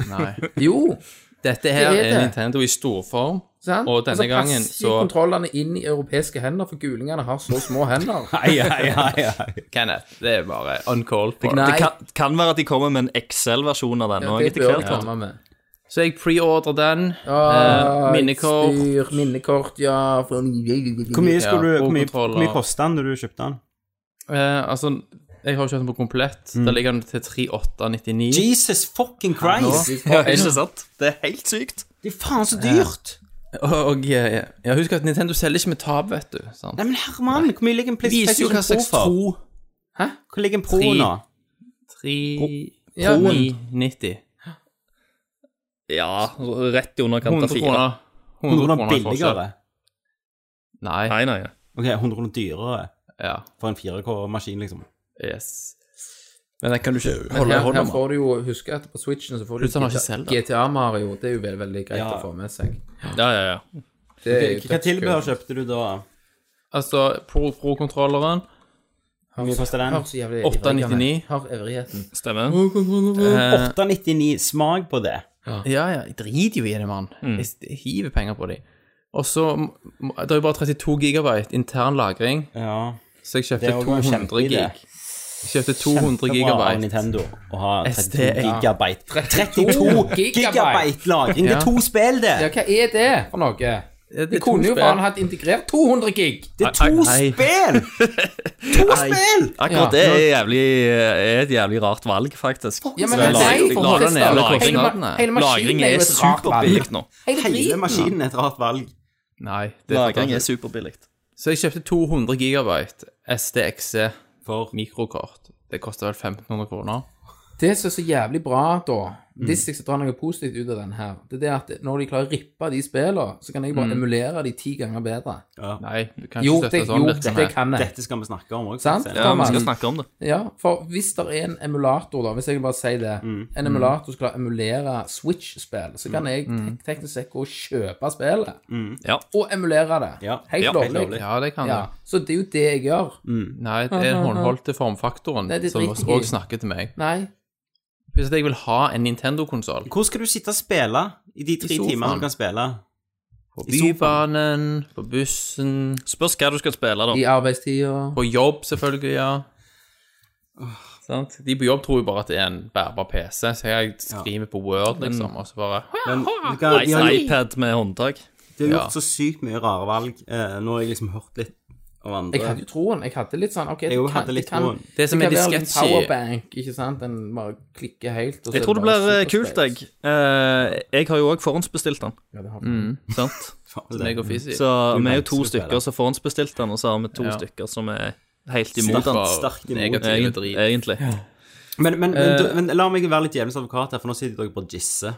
Mm. Nei.
Jo,
Dette her
Det er
er,
det.
Nintendo i storform,
sant?
og denne gangen
passer
så
jo kontrollene inn i europeiske hender, for gulingene har så små hender.
Ai, ai, ai, ai.
Kenneth, det er bare uncalled for.
Nei.
Det kan, kan være at de kommer med en Excel-versjon av den
Ja,
nå
det
etter
bør
hvert.
jeg ta med.
Så jeg preordrer den. eh, minnekort.
Styr, minnekort, ja. for-
Hvor mye, skulle
Ja,
du,
og
hvor mye,
kontroller.
hvor mye kostet den når du kjøpte den?
Eh, altså, jeg har kjøpt den på komplett. Der ligger den til 3899.
Jesus fucking Christ!
Ja, ikke sant? Det er helt sykt.
Det er faen så dyrt!
Og eh, ja, husk at Nintendo selger ikke med tap, vet du. Sant?
Nei, men herremann, hvor mye ligger en
Det viser jo hva
PlayStation Pro
slags
for?
tro
Hvor ligger en Pro
Tre.
nå?
390.
Ja, rett i underkant
100
av fire.
kroner.
100
i
kroner
forskjell.
billigere?
Nei.
Nei, nei.
Ok, 100 kroner dyrere
Ja.
for en 4K-maskin, liksom.
Yes. Men den kan du ikke holde
Her,
i hånda
her
med.
får du jo huske at på Switchen så får du
Plutselig har han ikke Zelda.
GTA Mario. Det er jo veldig, veldig greit
Ja.
å få med seg.
Ja, ja, ja.
Det er jo
Hva
dødskult.
tilbehør kjøpte du da?
Altså, Pro- Pro-kontrolleren
Hvor mye koster
Hør
den?
så jævlig
899.
ivrig han er. Hør ivrigheten.
Stemmer.
eh,
899. Smak på det.
Ja, ja. Jeg driter jo i det, mann. Jeg s- Jeg hiver penger på de. Og så m- m- Det er jo bare 32 gigabyte intern lagring,
Ja.
så jeg kjøpte
Det er jo en
200
kjempeidé.
gig. Jeg kjøpte 200
Kjempebra av
gigabyte.
Nintendo å ha 32
SD, ja.
gigabyte. 32 gigabyte lagring! Det
Ja.
er to spill, det!
Ja, hva er det for noe?
Det
Vi
er to
kunne jo
spill.
faen hatt integrert 200 gig!
Det er to
Nei.
spill! To spill!
Akkurat
Ja.
det er, jævlig, eh, er et jævlig rart valg, faktisk.
Ja, men
Så
nei,
lagring-
for
lagring-
Christer,
hele
lagring-
kostnadene.
hele maskinen
Lagring
er jo
er
et rart
superbillig nå.
Hele
Hele
driten.
maskinen er et rart valg.
Nei. Det er
Lagring er
fantastisk.
superbillig.
Så jeg kjøpte 200 gigabyte SDXC
For
mikrokort. Det koster vel 1500 kroner.
Det som er så jævlig bra, da Hvis jeg skal dra noe positivt ut av den her, det er det at når de klarer å rippe de spillene, så kan jeg bare emulere de ti ganger bedre.
Nei, du kan
Jo,
ikke
det,
støtte sånn
jo, det
virksomhet.
kan jeg.
dette skal vi snakke om òg.
Sant?
Ja, vi skal snakke om det.
Ja, for hvis det er en emulator, da, hvis jeg bare sier det En emulator som klarer å emulere Switch-spill, så kan jeg tek teknisk sett gå og kjøpe spillet.
Mm. Ja.
Og emulere det.
Ja.
Helt
Ja, helt
lovlig.
Ja, det kan
Ja,
det.
så det er jo det jeg gjør.
Nei, det er den håndholdte formfaktoren
Nei, det
som
driter jeg i.
også snakker til meg.
Nei,
Hvis jeg vil ha en Nintendo-konsoll
Hvor skal du sitte og spille i de tre
sofaen.
timene du kan spille?
På
I sofaen.
bybanen, på bussen,
Spørs hva du skal spille, da.
i arbeidstida
på jobb selvfølgelig, ja. Sant? De på jobb tror jo bare at det er en bærbar PC, så jeg skriver på Word, liksom, og så bare
Men du kan, de, har,
iPad med håndtak.
de har
Ja.
gjort så sykt mye rare valg. Eh, nå har jeg liksom hørt litt av andre.
Jeg hadde jo troen. Jeg hadde litt sånn OK,
jo
det kan,
hadde litt
det kan,
troen.
Det som er
kan være
litt
en
sketchy-
powerbank, ikke sant? Den bare klikker helt. og så er
Jeg tror det
bare
blir eh,
superspace.
kult, jeg. Eh, jeg har jo òg forhåndsbestilt den,
Ja, det har vi.
Mm. sant?
Faen, det-
Meg og Fizzy.
Så vi er jo to
vanskelig
stykker
spiller.
som forhåndsbestilte den, og så har vi to
Ja.
stykker som er helt imot den.
Bare
sterkt imot. Eh.
Negative
Egent,
drit.
egentlig.
Men, men, men, du- men la meg være litt djevelens advokat her, for nå sitter dere bare og gisser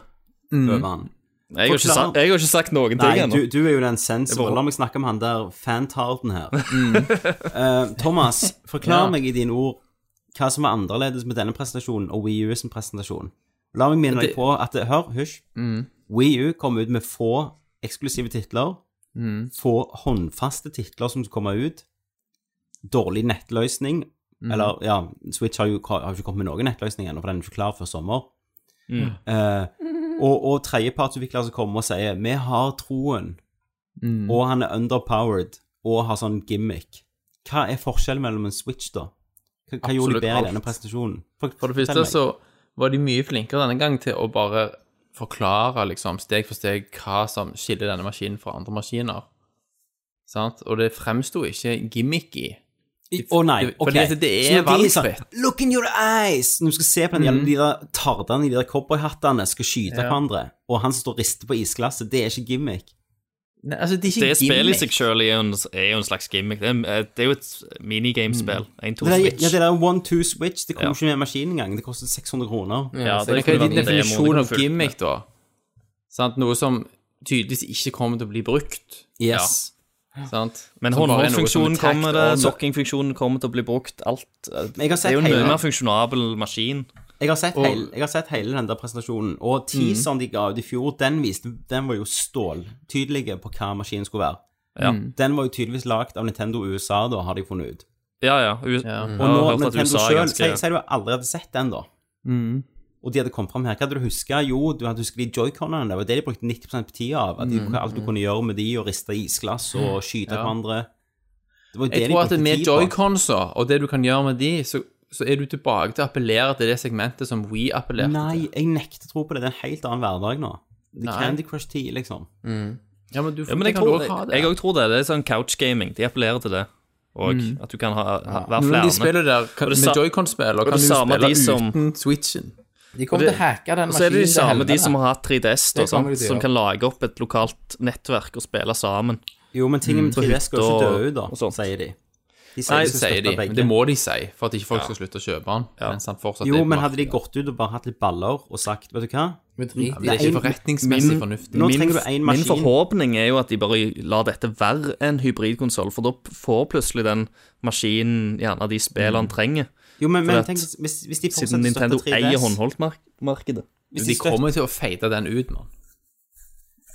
over han.
Jeg har ikke
Forklar.
sagt, jeg har ikke sagt noen ting
Nei,
ennå.
du, du Mm. er jo den sensoren. La meg snakke med han der fantarden her. Eh, Thomas, forklar meg i dine ord hva som er annerledes med denne presentasjonen og Wii U sin presentasjon. La meg minne deg på at det, Mm. Hør, hysj. Wii U kom ut med få eksklusive titler. Få håndfaste titler som kommer ut. Dårlig nettløsning.
Mm.
Eller, ja, Switch har jo har jo ikke kommet med noen nettløsning ennå, for den er ikke klar før sommer.
Mm.
Eh, og, og tredjepartsutviklere som kommer og sier 'Vi har troen',
Mm.
og han er underpowered og har sånn gimmick. Hva er forskjellen mellom en Switch, da? Hva, hva gjorde de
Absolutt
bedre i
alt.
denne presentasjonen? For,
For det første så var de mye flinkere denne gang til å bare forklare liksom, steg for steg hva som skiller denne maskinen fra andre maskiner. Sant? Og det fremsto ikke gimmicky.
Å nei,
det- for
ok.
det- det er
Så når de
valgfritt. Mm.
sånn, Look in your eyes! Når du skal se på den jævla de der tardene i de der cowboyhattene skal skyte hverandre, og han som står og rister på isglasset, det er ikke gimmick.
Nei, altså, det er
Det
ikke
spillet i
gimmick.
seg sjøl er, jo en- er jo en slags gimmick. Det er, eh, det er jo et minigamespill. En, to,
Det der,
switch.
ja, det der one-two switch, det kommer
Ja.
ikke med maskin engang. Det koster 600 kroner.
Ja,
Men
det
Altså, hva er
kunne
din
vært en demo, det
definisjon
kunne
av
fulgt med.
gimmick, da? Sant? Noe som tydeligvis ikke kommer til å bli brukt.
Yes.
Sant?
Men
Som Altså, bare er noe som er
håndholdfunksjonen
tagt
kommer eh,
on.
det, sokkingfunksjonen kommer til å bli brukt, alt. eh,
Men jeg har
Det er jo
sett
en mye
hele
mer funksjonabel maskin.
Jeg har, sett hele, jeg har sett hele den der presentasjonen, og teaseren de ga ut i fjor, den, viste, den var jo ståltydelig på hva maskinen skulle være.
Ja.
Den var jo tydeligvis lagd av Nintendo USA, da, har de funnet ut.
Ja, ja. U Mm. Jeg
Og nå,
har hørt at
Nintendo
USA er
sjøl
ganske
Sier sier du aldri hadde sett den, da. Og de hadde kommet fram her. Hva hadde du huska? Jo, du hadde husket de joyconene. Det var det de brukte 90 av tida av. At de, hva alt du kunne gjøre med de, og riste isglass og skyte hverandre. Det var jo det
Jeg
de
tror at
brukte
med
tid på.
joyconser og det du kan gjøre med de, så, så er du tilbake til å appellere til det segmentet som we appellerte til.
Nei, jeg nekter å tro på det. Det er en helt annen hverdag nå. Det er
Nei.
Candy Crush 10, liksom.
Ja, men du
Ja, men jeg
kan
tror,
du også ha det.
jeg også tror det. Det er sånn couchgaming. De appellerer til det. Og at du kan ha, ha, være
Noen av de
flere.
spiller der kan,
Og det sa-
med joycon-spill, og
og
kan
det
du
samme
spille
de som-
uten switchen.
De kommer til å hacke den
Og
maskinen.
så er det de
til
samme de
helvete.
som har hatt 3DS, da,
Det kommer
sant?
de til,
sånn, som
ja.
kan lage opp et lokalt nettverk og spille sammen.
Jo, men tingene med 3DS skal jo
hytta og-
ikke dø ut,
og
da,
sånt.
sier de. De
Nei,
de skal
sier de.
støtte begge.
Men det må de si, for at ikke folk skal slutte å kjøpe den. Mens han fortsatt
Jo,
er på
men hadde de
markedet.
gått ut og bare hatt litt baller og sagt, vet du hva
Med drit i
Det er
det.
ikke forretningsmessig
min-
fornuftig.
Nå
Min-
trenger du én
Min
maskin.
forhåpning er jo at de bare lar dette være en hybridkonsoll, for da får plutselig den maskinen gjerne de spillene trenger,
Jo, men, men
at-
tenk, hvis, hvis de
siden
fortsetter å
Nintendo
støtte
eier
3DS
håndholdtmarkedet.
hvis
De
støtter-
kommer til å fade den ut, mann.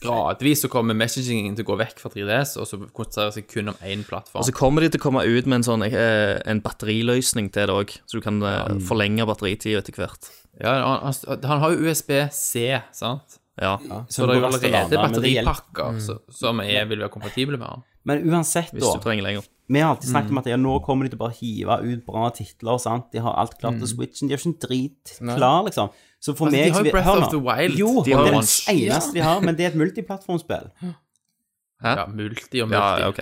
Gradvis så kommer messagingen til å gå vekk fra 3DS, og så konsentrere seg kun om én plattform.
Og så kommer de til å komme ut med en sånn eh, en batteriløsning til det òg, så du kan eh,
Mm.
forlenge batteritida etter hvert.
Ja, han, han, han har jo USB-C, sant?
Ja.
Så det Mm. er jo
Som
allerede
Barcelona, men det hjelper-
batteripakker så, som er, vil være kompatible med han.
Men uansett,
Hvis du
da.
trenger lenger.
Vi har alltid snakket om at ja, nå
Mm.
kommer de til å bare hive ut bra titler. sant? De har alt klart til Switchen. De har ikke en drit klar, liksom. Så for
Mm. Altså,
meg
de har jo
så vil-
Breath
hør
of
nå.
the Wild.
Jo,
De
det
har
er
launch.
det eneste de har, men det er et multiplattformspill.
Hæ?
Ja, multi og multi.
Ja, ja, ok.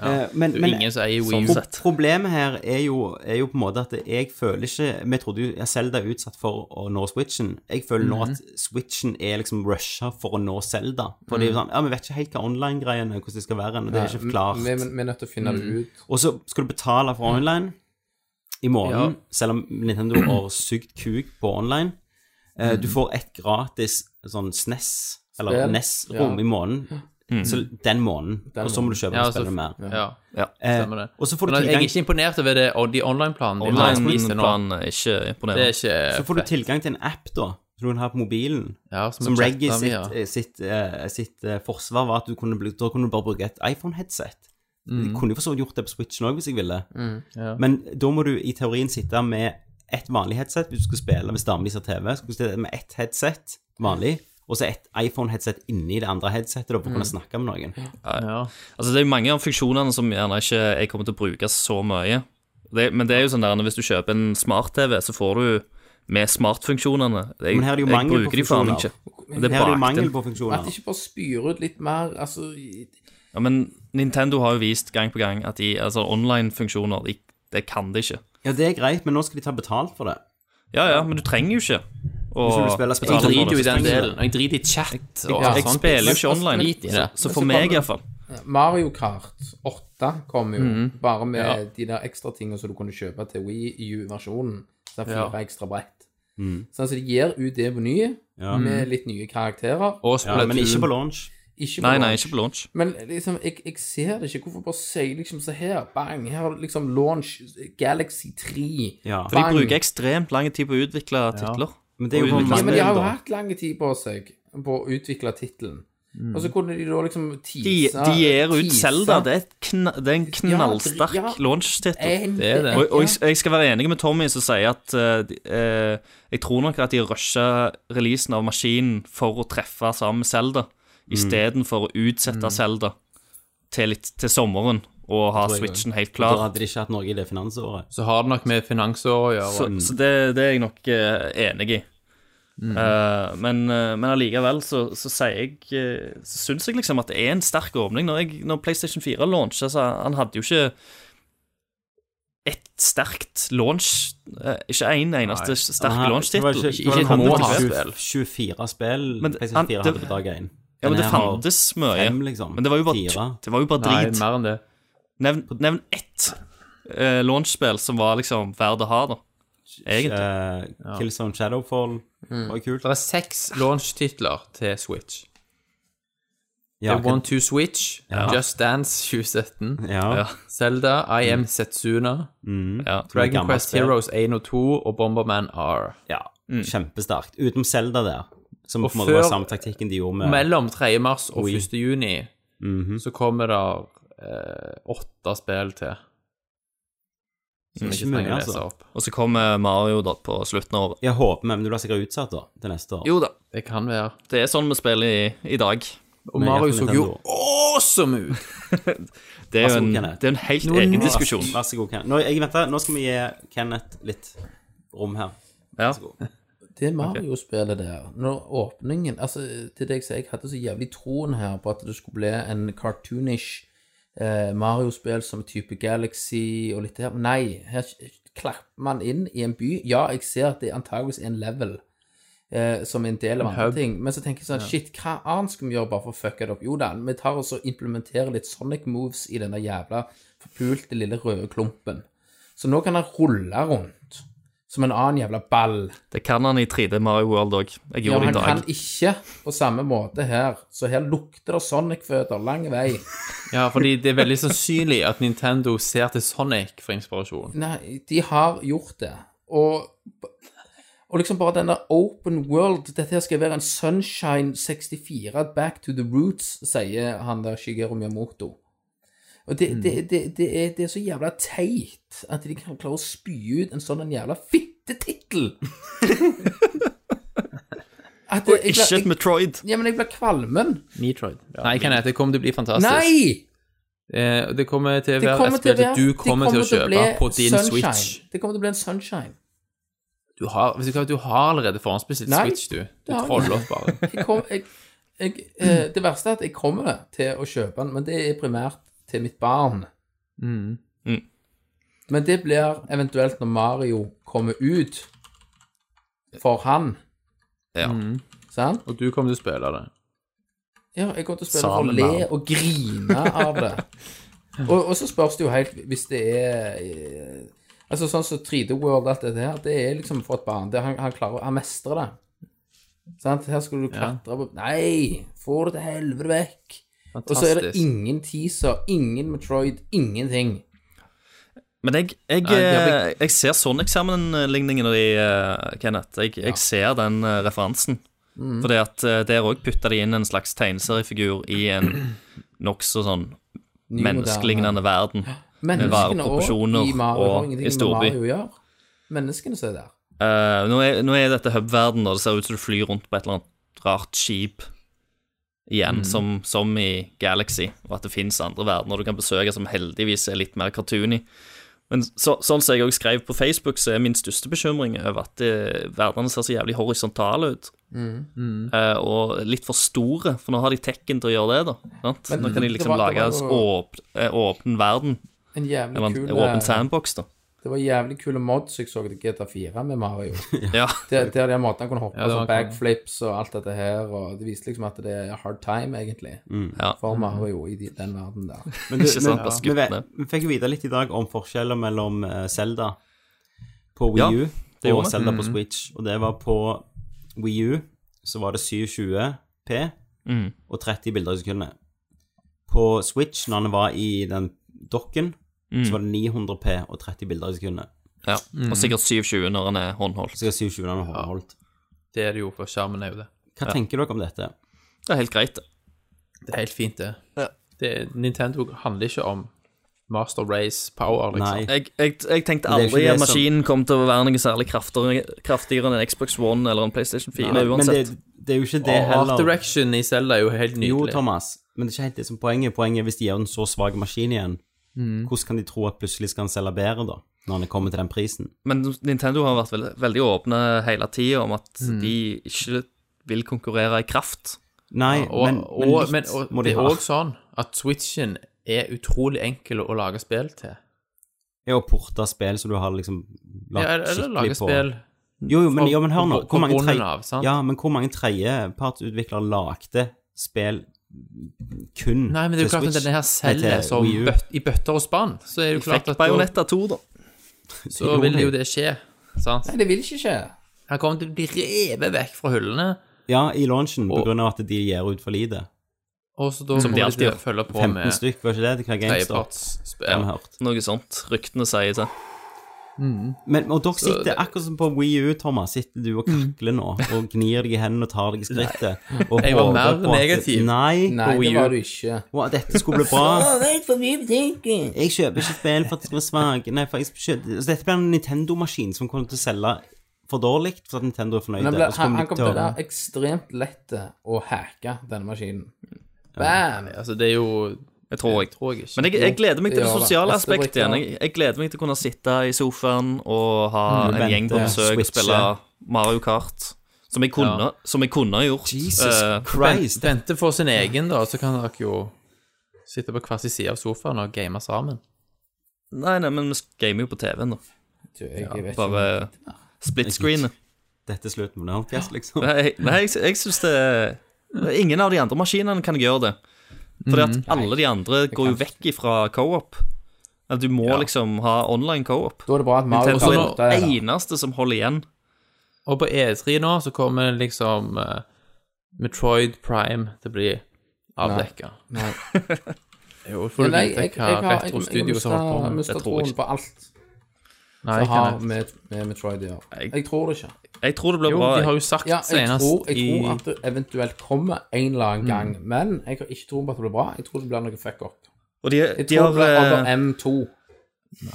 Eh, men,
Det er jo
men
ingen som eier
Sånn
Wii U.
sett.
Problemet her er jo, er jo på en måte at jeg føler ikke Vi trodde jo Selda er utsatt for å nå Switchen. Jeg føler nå
Mhm.
at Switchen er liksom rusha for å nå Selda. For det er jo
Mhm.
sånn, ja, vi vet ikke helt hva online-greiene hvordan det skal være. og Det er ikke klart.
Vi, vi, vi er nødt til å finne
Mm.
det ut.
Og så skal du betale for online i måneden, selv om Nintendo har sugd kuk på online. Eh,
Mm.
Du får et gratis sånn SNES, eller
Spill.
NES-rom
Ja.
i måneden. Så den måneden, og så må du kjøpe
Ja,
og
så-
spille mer.
Ja,
Eh,
stemmer det.
og så får du
Men jeg er
tilgang
ikke imponert over det, og de online-planene. de har vist nå.
Online-planen er ikke
Det er
imponerende.
ikke
Så får du tilgang til en app, da, som du kan ha på mobilen.
ja, som,
Som
chatta
Reggie
vi,
sitt,
ja.
eh, sitt, eh, sitt eh, forsvar var at du kunne, bli- da kunne du bare bruke et iPhone-headset. Jeg kunne jo for så vidt gjort det på Switchen òg, hvis jeg ville. Men da må du i teorien sitte med et vanlig headset hvis du skal spille hvis damen din ser TV. Skal du sitte med ett headset vanlig, og så et iPhone-headset inni det andre headsetet da, for å kunne snakke med noen.
Altså, det er jo mange av funksjonene som gjerne ikke jeg kommer til å bruke så mye. Det, men det er jo sånn der, hvis du kjøper en smart-TV, så får du med smart-funksjonene. Jeg,
Men her er det jo
jeg
mangel på
bruker de faen
funksjoner.
ikke.
Her
Det
er det jo
bakte.
mangel på
At
funksjoner.
de ikke bare spyr ut litt mer altså, i-
Ja, men Nintendo har jo vist gang på gang at de, altså online-funksjoner, de, det kan de ikke.
Ja, det er greit, men nå skal de ta betalt for det.
Ja, ja, men du trenger jo ikke å
Hvis du vil spille spill.
betale
Jeg
for
driter jo i
det.
den delen. Og jeg driter i chat og
Jeg
sånt.
spiller jo ikke
Men-
online.
Drit i det.
Så for meg, iallfall.
Mario Kart 8 kom jo,
Mhm.
bare med de der ekstra tingene som du kunne kjøpe til Wii U-versjonen. Så det er fire ekstra brett.
Mm.
Så altså, de gir ut det på nye,
Ja.
med litt nye karakterer.
Og
Ja, men ikke på
Splatoon.
launch.
Ikke på
Nei, nei,
launch.
ikke på launch.
Men liksom, jeg, jeg ser det ikke. Hvorfor bare sier liksom så her, bang, her har liksom launch Galaxy 3.
Ja.
For
Bang.
de bruker ekstremt lang tid på å utvikle titler.
Men det er jo
Og
på
utvikle
Ja, men de har jo
spill, da.
hatt lang tid på seg på å utvikle tittelen. Og så kunne de da liksom tease
Mm. De, de gir ut
tease.
Zelda. Det er, et kna, det er en knallsterk
Ja, ja.
launch-tittel.
En-
Det er det.
Og, og jeg, jeg skal være enig med Tommy som sier at eh, de- eh, jeg tror nok at de rusher releasen av maskinen for å treffe sammen med Zelda,
Mm.
istedenfor å utsette Zelda til, litt, til sommeren og ha
tror jeg
switchen helt
Da
klar.
hadde de ikke hatt noe i det finansåret.
Så har det nok med finansår å gjøre.
Så, så det, det er jeg nok eh, enig i.
Mm.
Eh, men, eh, men allikevel så, så sier jeg eh, Så syns jeg liksom at det er en sterk åpning. Når, jeg, når PlayStation 4 launchet, så han hadde jo ikke ett sterkt launch. eh, ikke én eneste sterk
Han har- det
launch-tittel.
var
Ikke
det
et
var
må
kanskje
ha-spill.
20 24 spill
Men
PlayStation
han-
4
det-
hadde på dag 1.
Ja, men det fantes mye.
fem, liksom.
Men det var jo bare,
Fire.
det var jo bare
Nei,
drit.
mer enn det.
Nevn, nevn ett eh, launch-spill som var liksom verdt å ha, da. Egentlig.
Eh, Killzone Shadowfall
Mm.
var jo kult.
Det er seks
Ah.
launch-titler til Switch.
Ja,
det er One Two Switch, Just Dance 2017,
ja.
Zelda, I
Mm.
Am Setsuna,
Ja.
Dragon
gammelt
Quest
spill.
Heroes 1 og 2 og Bomberman R.
ja.
Mm.
Kjempesterkt. Utenom Zelda der, som
Og
på en måte var
før-
samme taktikken de gjorde med
Mellom 3. mars og 1. juni
Mhm.
så kommer det eh, åtte spill til. Som jeg
Ikke
ikke
mye,
trenger å lese
altså.
opp.
Og så kommer Mario da på slutten av året.
Jeg håper vi, men du blir sikkert utsatt da, til neste år.
Jo da,
Det kan være.
det er sånn vi spiller i, i dag.
Og
Men
Mario
jeg tror
så jo
Nintendo-
awesome ut!
Det er jo en,
Vær så god, Kenneth.
det er en helt egen diskusjon.
Vær så god, Kenneth. Nå, jeg, venter, nå skal vi gi Kenneth litt rom her.
Ja.
Det Mario-spillet der, når åpningen Altså, til det jeg sier, jeg hadde så jævlig troen her på at det skulle bli en cartoonish eh, Mario-spill som type Galaxy og litt der. Nei, her klapper man inn i en by. Ja, jeg ser at det antageligvis er en level eh, som er en del av andre ting, men så tenker jeg sånn Shit, hva annet skal vi gjøre bare for å fucke det opp? Jo da, vi tar og så implementerer litt Sonic moves i denne jævla forpulte lille røde klumpen. Så nå kan han rulle rundt som en annen jævla ball.
Det kan han i 3D Mario World òg. Jeg
Ja,
gjorde
han
det i
kan
dag.
ikke på samme måte her, så her lukter det Sonic-føtter lang vei.
Ja, fordi det er veldig sannsynlig at Nintendo ser til Sonic for inspirasjon.
Nei, de har gjort det. Og, og liksom bare denne open world Dette her skal være en Sunshine 64 back to the roots, sier han der Shigeru Miyamoto. Og det,
Mm.
det, det, det, er, det er så jævla teit at de kan klare å spy ut en sånn en jævla fittetittel. At jeg- jeg-
Ikke et Metroid.
Ja, men jeg blir kvalmen.
Metroid. Nei, kan jeg, det kommer til å bli fantastisk.
Nei!
Eh, og det kommer til å
Det
være
kommer
et spill
til å
som du
være-
kommer
det
til å
bli
kjøpe på din
sunshine.
Switch.
Det kommer til å bli en sunshine.
Du har, vet du, hva, du har allerede forhåndsbestilt
Nei,
Switch, du. Du
det har jeg
troller oss bare.
Jeg kom, jeg, jeg, eh, det verste er at jeg kommer til å kjøpe den, men det er primært til mitt barn.
Mm.
Men det blir eventuelt når Mario kommer ut for han.
Ja.
Mm.
Sant?
Og du kommer til å spille det.
Ja, jeg kommer til å spille for å
Sammen med
le
han.
og grine av det. Og, og så spørs det jo helt hvis det er eh, Altså sånn som 3D World, alt dette her, det er liksom for et barn. Det, han, han klarer Han mestrer det. Sant? Her skulle du klatre på Nei! Få det til helvete vekk. Og så er det
Fantastisk.
ingen teaser, ingen Metroid, ingenting.
Men jeg, jeg,
Nei, det har
eh, jeg ser Sonic-sammenligningen av de, eh, Kenneth. Jeg, jeg ser den eh, referansen.
Mm.
Fordi at eh, der òg putta de inn en slags tegneseriefigur i en nokså sånn
Ny moderne.
menneskelignende verden. varer,
Menneskene
proporsjoner
og i Mario
og
har ingenting med
historie.
Mario å gjøre. Menneskene som er der.
Eh, nå, er, nå er dette hub-verden, og det ser ut som du flyr rundt på et eller annet rart skip igjen,
Mm.
som, som i Galaxy, og at det fins andre verdener du kan besøke som heldigvis er litt mer cartoony. Men så, sånn som jeg også skrev på Facebook, så er min største bekymring over at eh, verdenene ser så jævlig horisontale ut.
Mm.
Eh, og litt for store, for nå har de tekken til å gjøre det. da sant?
Men
Nå kan de
det
liksom
var- det
lage
var
en
jo-
åp, eh, åpen verden,
En jævlig
eller en
kul eh,
åpen sandbox, da.
Det var jævlig kule mods jeg så til GTA4 med Mario.
Ja,
Der, der den måten han kunne hoppe
Ja, det var
sånn backflips og alt dette her, og det viste liksom at det er hard time, egentlig,
ja.
for Mario i de, den verden der.
Men du,
Ikke sant,
men-
bare skutt
vi vet-
ned.
Vi fikk jo vite litt i dag om forskjeller mellom eh, Zelda på Wii
Ja,
U
det gjorde
og
vi. Mm.
Zelda på Switch. Og det var på Wii U så var det 720P
Mm.
og 30 bilder i sekundet. På Switch, når den var i den dokken,
Mm.
så var det 900P og 30 bilder i sekundet.
ja.
Mm.
Og sikkert 720 når han er håndholdt.
Så jeg har 720 den har holdt.
Det er det jo, for skjermen er jo det.
Hva tenker dere om dette?
Det er helt greit, det.
Det er helt fint, det. det Nintendo handler ikke om Master Race Power, liksom.
Nei.
Jeg, jeg, jeg tenkte
Men det er
aldri
ikke det
at
som-
maskinen kom til å være noe særlig kraftigere, kraftigere enn en Xbox One eller en PlayStation 4,
Nei, men det,
uansett.
det er jo ikke det
Og Art
heller.
Direction i Zelda er jo helt nydelig.
Jo, Thomas, men det er ikke helt det som er poenget. Poenget er hvis de gjør en så svak maskin igjen,
Mm.
hvordan kan de tro at plutselig skal han selge bedre, da? Når han kommer til den prisen.
Men Nintendo har vært veldig, veldig åpne hele tida om at
Mm.
de ikke vil konkurrere i kraft.
Nei,
Og,
men,
og,
men litt
men og,
må de
det er
ha.
òg sånn at Switchen er utrolig enkel å lage spill til.
Er å porte spill så du har liksom lagt
Ja, eller
skikkelig
lage
på
spill
Jo, jo, men, ja, men hør nå.
på- på
Hvor mange,
bunnen
tre...
av, sant?
ja, men hvor mange tredjepartsutviklere lagde spill kun
Nei, men det er jo
til
klart at
Switch?
denne her selger
til
som
Wii U.
bøt, i bøtter og spann, så er det jo klart
Fikk
at da,
Bajonetta 2, da.
så vil jo det skje. Sant?
Nei, det vil ikke skje.
Han kommer til å bli revet vekk fra hyllene,
Ja, i launchen, på
Og-
grunn av at de gir ut for lite.
og så da
Som de
kommer
alltid
til å følge på
15
med
stykk, var ikke det? Det kan GameStop.
tredjepartsspill.
har vi hørt.
Noe sånt. Ryktene sier til.
Men, og dere sitter akkurat som på Wii U, Thomas, sitter du og
Mm.
kakler nå og gnir deg i hendene og tar deg i skrittet. og
Jeg var
håper
mer
på at-
negativ.
Nei,
Nei,
På
det
Wii U.
var du ikke.
og at dette skulle bli bra. Jeg kjøper ikke spill for at det skal være svak. Nei, for jeg kjøper, så dette blir en Nintendo-maskin som kommer til å selge for dårlig for at Nintendo er fornøyd.
Men han, ble,
og så
han,
kommer de
han kom
til
til
å-
å være ekstremt lett eh, å hacke denne maskinen. Bam!
Altså, det er jo
Jeg tror jeg.
Tror jeg ikke.
Men jeg, jeg gleder meg til det
Ja, da.
sosiale
Neste
aspektet igjen.
brikke.
Jeg, jeg gleder meg til å kunne sitte i sofaen og ha en gjeng på
Mm, vente,
besøk og
switche.
spille Mario Kart. Som jeg kunne, som jeg kunne ha gjort.
Jesus
Eh,
Christ.
Bente får sin egen, da, så kan dere jo sitte på hver sin side av sofaen og game sammen.
nei, nei, men vi gamer jo på TV-en, da.
Du, jeg, jeg vet ikke.
Bare split screen.
Dette er slutten på Nerdcast, liksom.
Nei, nei jeg, jeg syns det Ingen av de andre maskinene kan gjøre det. Fordi at alle de andre går jo vekk ifra co-op. At Du må liksom ha online co-op.
Da er det bra at Mario
Nintendo
har
er
gjort det.
den
da.
eneste som holder igjen.
Og på E3 nå så kommer liksom eh, Metroid Prime til å bli avdekka.
Nei.
Jo, får du
Nei,
vite
jeg, jeg,
hva
jeg, har- jeg, jeg,
Retro-studios har holdt på
har
med.
mista
Jeg tror
troen
ikke.
på alt
Nei,
som
jeg
har
kan-
med, med Metroid å gjøre.
Jeg-
Jeg tror det ikke.
Jeg tror det blir
jo,
bra.
de har jo sagt
Ja, jeg
senest
tror, jeg
i
tror at det eventuelt kommer en eller
Mm.
annen gang, men jeg har ikke troen på at det blir bra. Jeg tror det blir noe fuck up.
Og de,
Jeg
de
tror det blir
har
Alder
eh,
M2.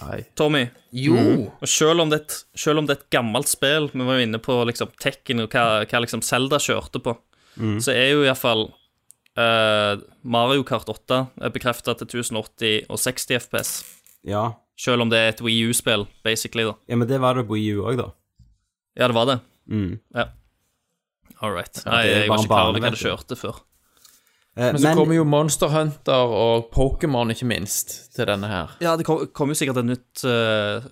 Nei.
Tommy,
Jo!
og selv om, det, er et- selv om det er et gammelt spill, vi var jo inne på liksom Tekken og hva, hva liksom Zelda kjørte på, så er jo iallfall uh, Mario Kart 8 er bekrefta til 1080 og 60 FPS.
Ja.
Selv om det er et Wii U-spill, basically, da.
ja, men det var det på Wii U òg, da.
Ja, det var det.
Mm.
Ja. All right. Nei,
det er
jeg
bare
var
en
ikke klar
bane,
over hva
vet
det
du.
kjørte før.
Eh,
Men så kommer jo Monster Hunter og Pokémon, ikke minst, til denne her.
Ja, det kom, kom jo sikkert et nytt eh,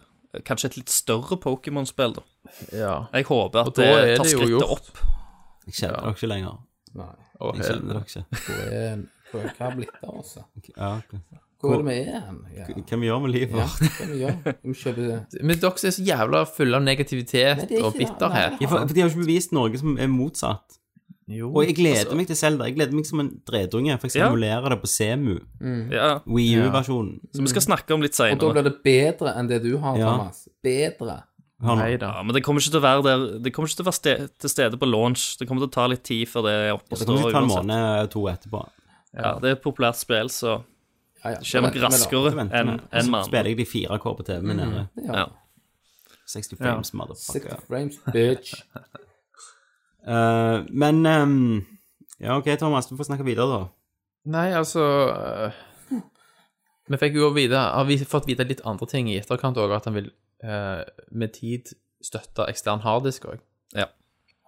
Kanskje et litt større Pokémon-spill, da.
Ja.
Jeg håper at det
da er
tar
det jo
skrittet
gjort.
opp.
Jeg kjenner dere ikke lenger.
Og
Jeg kjenner dere ikke.
Hvor er hvor- Hva har blitt av oss?
Ja, ok.
Hvor er det vi er hen? Ja.
Hva vi gjør med livet
Ja,
vårt?
hva skal vi gjøre? Vi kjøper
Men dere er så jævla fulle av negativitet
Nei, det er ikke
og
det.
bitterhet.
Ja, for, for de har jo ikke bevist noe som er motsatt. Og jeg gleder meg til Zelda. Jeg gleder meg som en dredunge. For jeg skal
Ja.
emulere det på Semu.
Ja,
Wii U-versjonen.
så vi skal snakke om litt
Og da
seinere.
blir det bedre enn det du har,
Ja.
Thomas. Bedre.
Hør nå.
Nei da.
Ja, men det kommer ikke til å være der Det kommer ikke til å være ste til stede på launch. Det kommer til å ta litt tid før det er oppe og
Det kommer
står.
til å ta en
uansett.
måned eller to etterpå.
Ja, det er et populært spill, så
Ja, ja.
det skjer nok
Men- men da-
raskere
Så
enn
venter vi. Og
enn
så
med andre.
spiller jeg de 4K på TV-en min nede.
Ja.
60 frames, motherfucker.
60 frames, bitch.
Eh, men ehm, Ja, OK, Thomas. Du får snakke videre, da.
Nei, altså øh, Vi fikk jo vite, har vi fått vite litt andre ting i eh, etterkant òg, at han vil øh, med tid støtte ekstern harddisk òg.
Ja.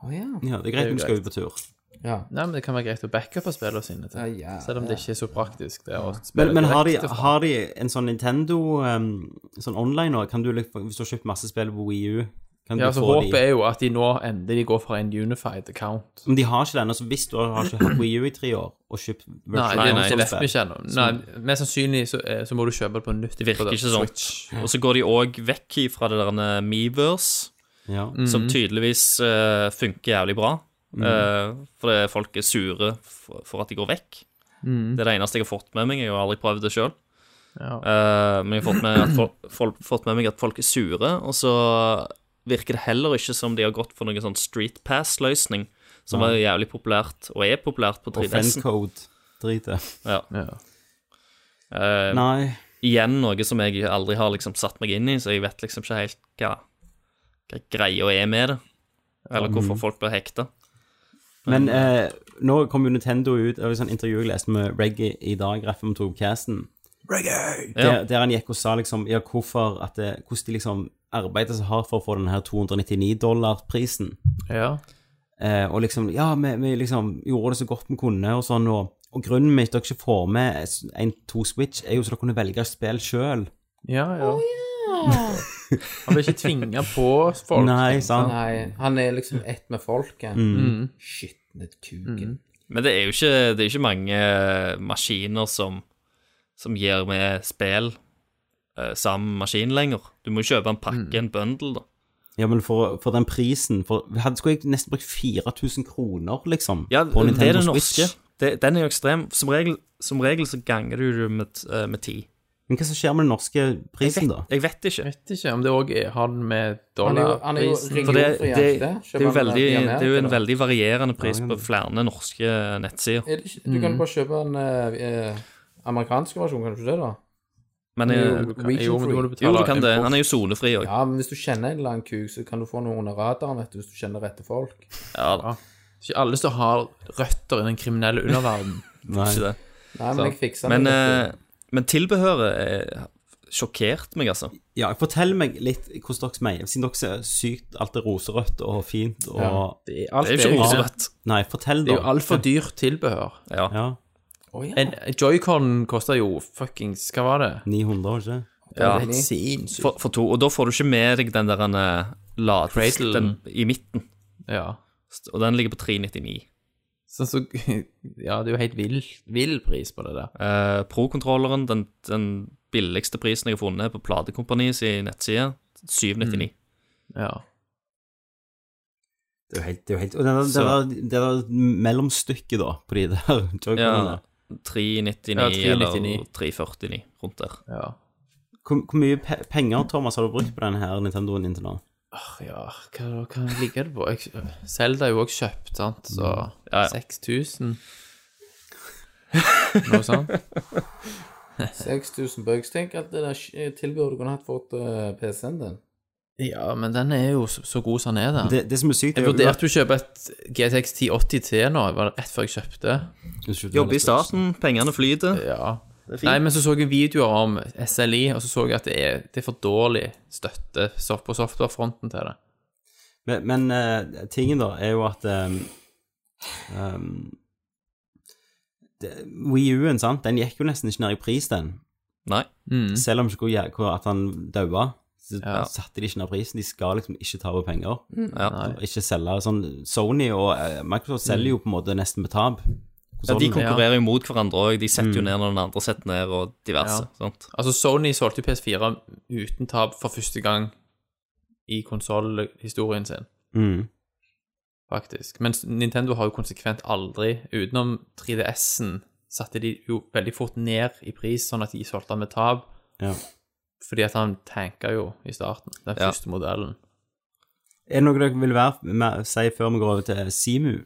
Å ja.
Ja, det er greit
jo
når vi skal ut på tur.
ja.
Nei, men det kan være greit å backupe spillene sine til.
Ja, ja,
Selv om det ikke er så praktisk. Det, å spille
Men, men har, de,
direkte fra.
har de en sånn Nintendo um, sånn online nå? Kan du, liksom- hvis du har kjøpt masse spill på Wii U kan
Ja, altså
du
så
få
Håpet
de?
er jo at de nå endelig går for en unified account.
Men de har ikke den. Altså, hvis du har ikke hatt Wii U i tre år og kjøpt
Nei,
virtual
det,
nei,
det vet vi
console-spill
ikke ennå. Nei, Mest sannsynlig så, eh, så må du kjøpe det på nytt.
Det virker
på
ikke sånn.
Switch.
Og så går de òg vekk fra det der Meverse,
ja.
Mm. Mhm.
som tydeligvis eh, funker jævlig bra. Eh, fordi folk er sure for, for at de går vekk. Det er det eneste jeg har fått med meg. Jeg har aldri prøvd det sjøl.
Mhm. Ja.
men jeg har fått med, at folk, folk, fått med meg at folk er sure, og så virker det heller ikke som de har gått for noen sånn Street Pass-løsning, som var jævlig populært, og er populært på
og
3DS-en.
fancode. Drit det.
Ja.
Ja.
Eh,
Nei.
igjen noe som jeg aldri har liksom satt meg inn i, så jeg vet liksom ikke helt hva, hva greia er med det. Eller hvorfor folk blir hekta.
Men eh, nå kom jo Nintendo ut av et sånt intervju jeg leste med Reggie i dag, rett før vi tok opp casten.
Ja.
Der, der han gikk og sa liksom ja, hvorfor at det, hvordan de liksom arbeider så hardt for å få den her 299 dollar-prisen.
ja.
Eh, og liksom Ja, vi, vi liksom gjorde det så godt vi kunne, og sånn, og, og grunnen til at dere ikke får med en to Switch, er jo så dere kunne velge spill sjøl.
Ja, ja. Han vil ikke tvinge på folk.
Nei, sant?
Nei, han er liksom ett med folket.
Mm.
Skitne kuken.
Men det er jo ikke, det er ikke mange eh, maskiner som, som gir med spill eh, sammen med maskin lenger. Du må kjøpe en pakke, en bundle, da.
Ja, men for, for den prisen for, hadde, Skulle jeg nesten brukt 4000 kroner, liksom,
Ja,
på
det er
Nintendo
det
Switch?
norske. Det, den er jo ekstrem. Som regel, som regel så ganger du det med, eh, med ti.
Men hva som skjer med den norske
Jeg
prisen, da?
vet, jeg vet ikke.
Vet ikke om det òg har den med
Han er jo, han er jo
dollarprisen
For det, det,
regionfrihandel.
det, er
Kjøper
jo
han
veldig,
i
det
Amerika,
er jo en
da?
veldig varierende pris på flere norske nettsider.
Er det ikke, Du
Mm.
kan bare kjøpe en eh, eh, amerikansk versjon, kan du ikke det, da?
Men eh,
Jo, region
Jo, men du må
free.
du betale
jo, du kan det.
import.
Han er jo sonefri òg.
Ja, men hvis du kjenner en eller annen kuk, så kan du få noe under radaren, vet du, hvis du kjenner rette folk.
Ja, da.
Ikke alle som har røtter i den kriminelle underverdenen.
Nei.
Ikke det.
Nei, men jeg fikser
Men,
det.
eh, men tilbehøret eh, sjokkerte meg, altså.
Ja, fortell meg litt hvordan dere mener, siden dere ser sykt alt er roserødt og fint og
Det er, alt
Det er jo ikke roserødt.
Nei, fortell
Det
da.
er jo altfor dyrt tilbehør.
Ja.
Ja,
En Joycon koster jo fuckings Hva var det?
900, var det ikke?
ja.
Det er helt sinnssykt.
For, for to. Og da får du ikke med deg den der eh, ladesten
Cradlen.
i midten.
Ja.
Og den ligger på 399.
Sånn så Ja, det er jo helt vill, vill pris på det der.
Eh, Pro-kontrolleren, den, den billigste prisen jeg har funnet, er på Platekompaniets nettside. 799.
Ja.
Det er jo helt, det er jo helt Og det der,
Så-
det der, det der mellomstykket, da, på de der joyconene
Ja, 399
Ja,
eller
399.
349, rundt der.
ja.
hvor, hvor mye pe penger, Thomas, har du brukt på denne her Nintendoen inntil nå?
Åh, ja, hva, hva ligger det på? Jeg- Zelda er jo også kjøpt, sant, så
Ja, ja.
6000 Noe sånt.
6000 bucks. Tenk at det der sk- eh, tilbudet du kunne hatt for eh, PC-en din.
Ja, men den er jo så, så god som den er, den.
Det, det som er sykt,
Jeg
er jo
vurderte jo å kjøpe et GTX 1080 T nå, det var rett før jeg kjøpte.
Jobbe i starten, pengene flyter.
Ja. Nei, men så så jeg videoer om SLI, og så så jeg at det er, det er for dårlig støtte soft- på softwarefronten til det.
Men, men eh, tingen, da, er jo at um, um, det- Wii U-en, sant, den gikk jo nesten ikke ned i pris, den.
Nei. Mm.
Selv om ikke hvor, jæ- hvor at han daua, så
Ja.
satte de ikke ned prisen. De skal liksom ikke tape penger.
Ja.
Og Ikke selge sånn Sony og eh, Microsoft selger jo på en måte nesten med tap.
Mm. Ja, de
Konsollen.
Sånn,
konkurrerer jo mot hverandre òg. De setter jo ned når den andre setter ned, og diverse.
Ja.
Sant?
Altså, Sony solgte jo PS4 uten tap for første gang i konsollhistorien sin,
Mm.
faktisk. Mens Nintendo har jo konsekvent aldri, utenom 3DS-en, satte de jo veldig fort ned i pris, sånn at de solgte den med tap,
Ja.
fordi at han tanka jo i starten, den
Ja.
første modellen.
Er det noe dere vil være med, si før vi går over til Simu?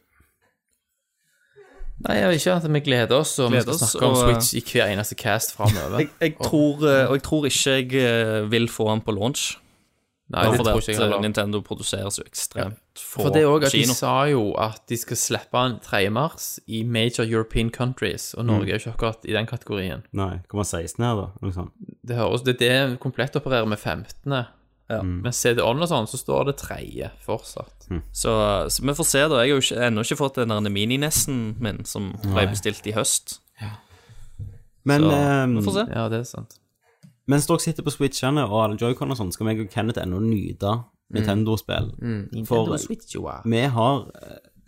Nei, jeg vil ikke at vi gleder oss, og
Gleder
vi skal
oss,
snakke om
og,
Switch i hver eneste cast framover.
Jeg, jeg tror, eh, og jeg tror ikke jeg eh, vil få den på launch.
Nei, det
fordi
tror ikke jeg
at, eh,
heller.
Nintendo produserer så ekstremt få
For det er òg at de
kino.
sa jo at de skal slippe den 3. mars i major European countries, og Norge er jo ikke akkurat i den kategorien.
Nei, kommer 16 her, da? Noe sånt.
Det høres, det er det komplett opererer med 15.
Mm.
Men CD-on og sånn, så står det tredje fortsatt.
Så, så vi får se, da. Jeg har jo ikke, ennå ikke fått den der mininessen min som ble bestilt i høst.
Men
Så
ehm,
vi får se.
Ja, det er sant.
mens dere sitter på switchene og alle joycon og sånn, skal meg og Kenneth ennå nyte Nintendo-spill. For eh, vi har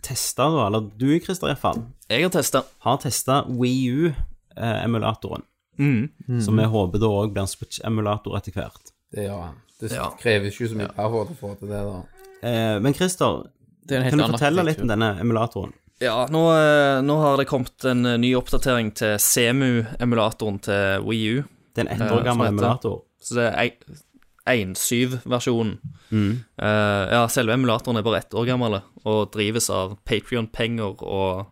testa, eller du, Christer, iallfall,
Jeg har testa.
har testa WiiU-emulatoren. Som eh, vi håper da òg blir en Switch-emulator etter hvert.
Det gjør han. Det krever ikke så mye power til å få til det, da.
Eh, men Christer,
Det er en helt
kan du
annen
fortelle litt
arkitektur.
om denne emulatoren?
Ja, nå, eh, nå har det kommet en eh, ny oppdatering til Semu-emulatoren til Wii U.
Det er en ett
Ja,
år
som
gammel
heter-
emulator.
Så det er 1.7-versjonen.
Mm.
Eh, ja, selve emulatoren er bare ett år gammel og drives av Patrion-penger og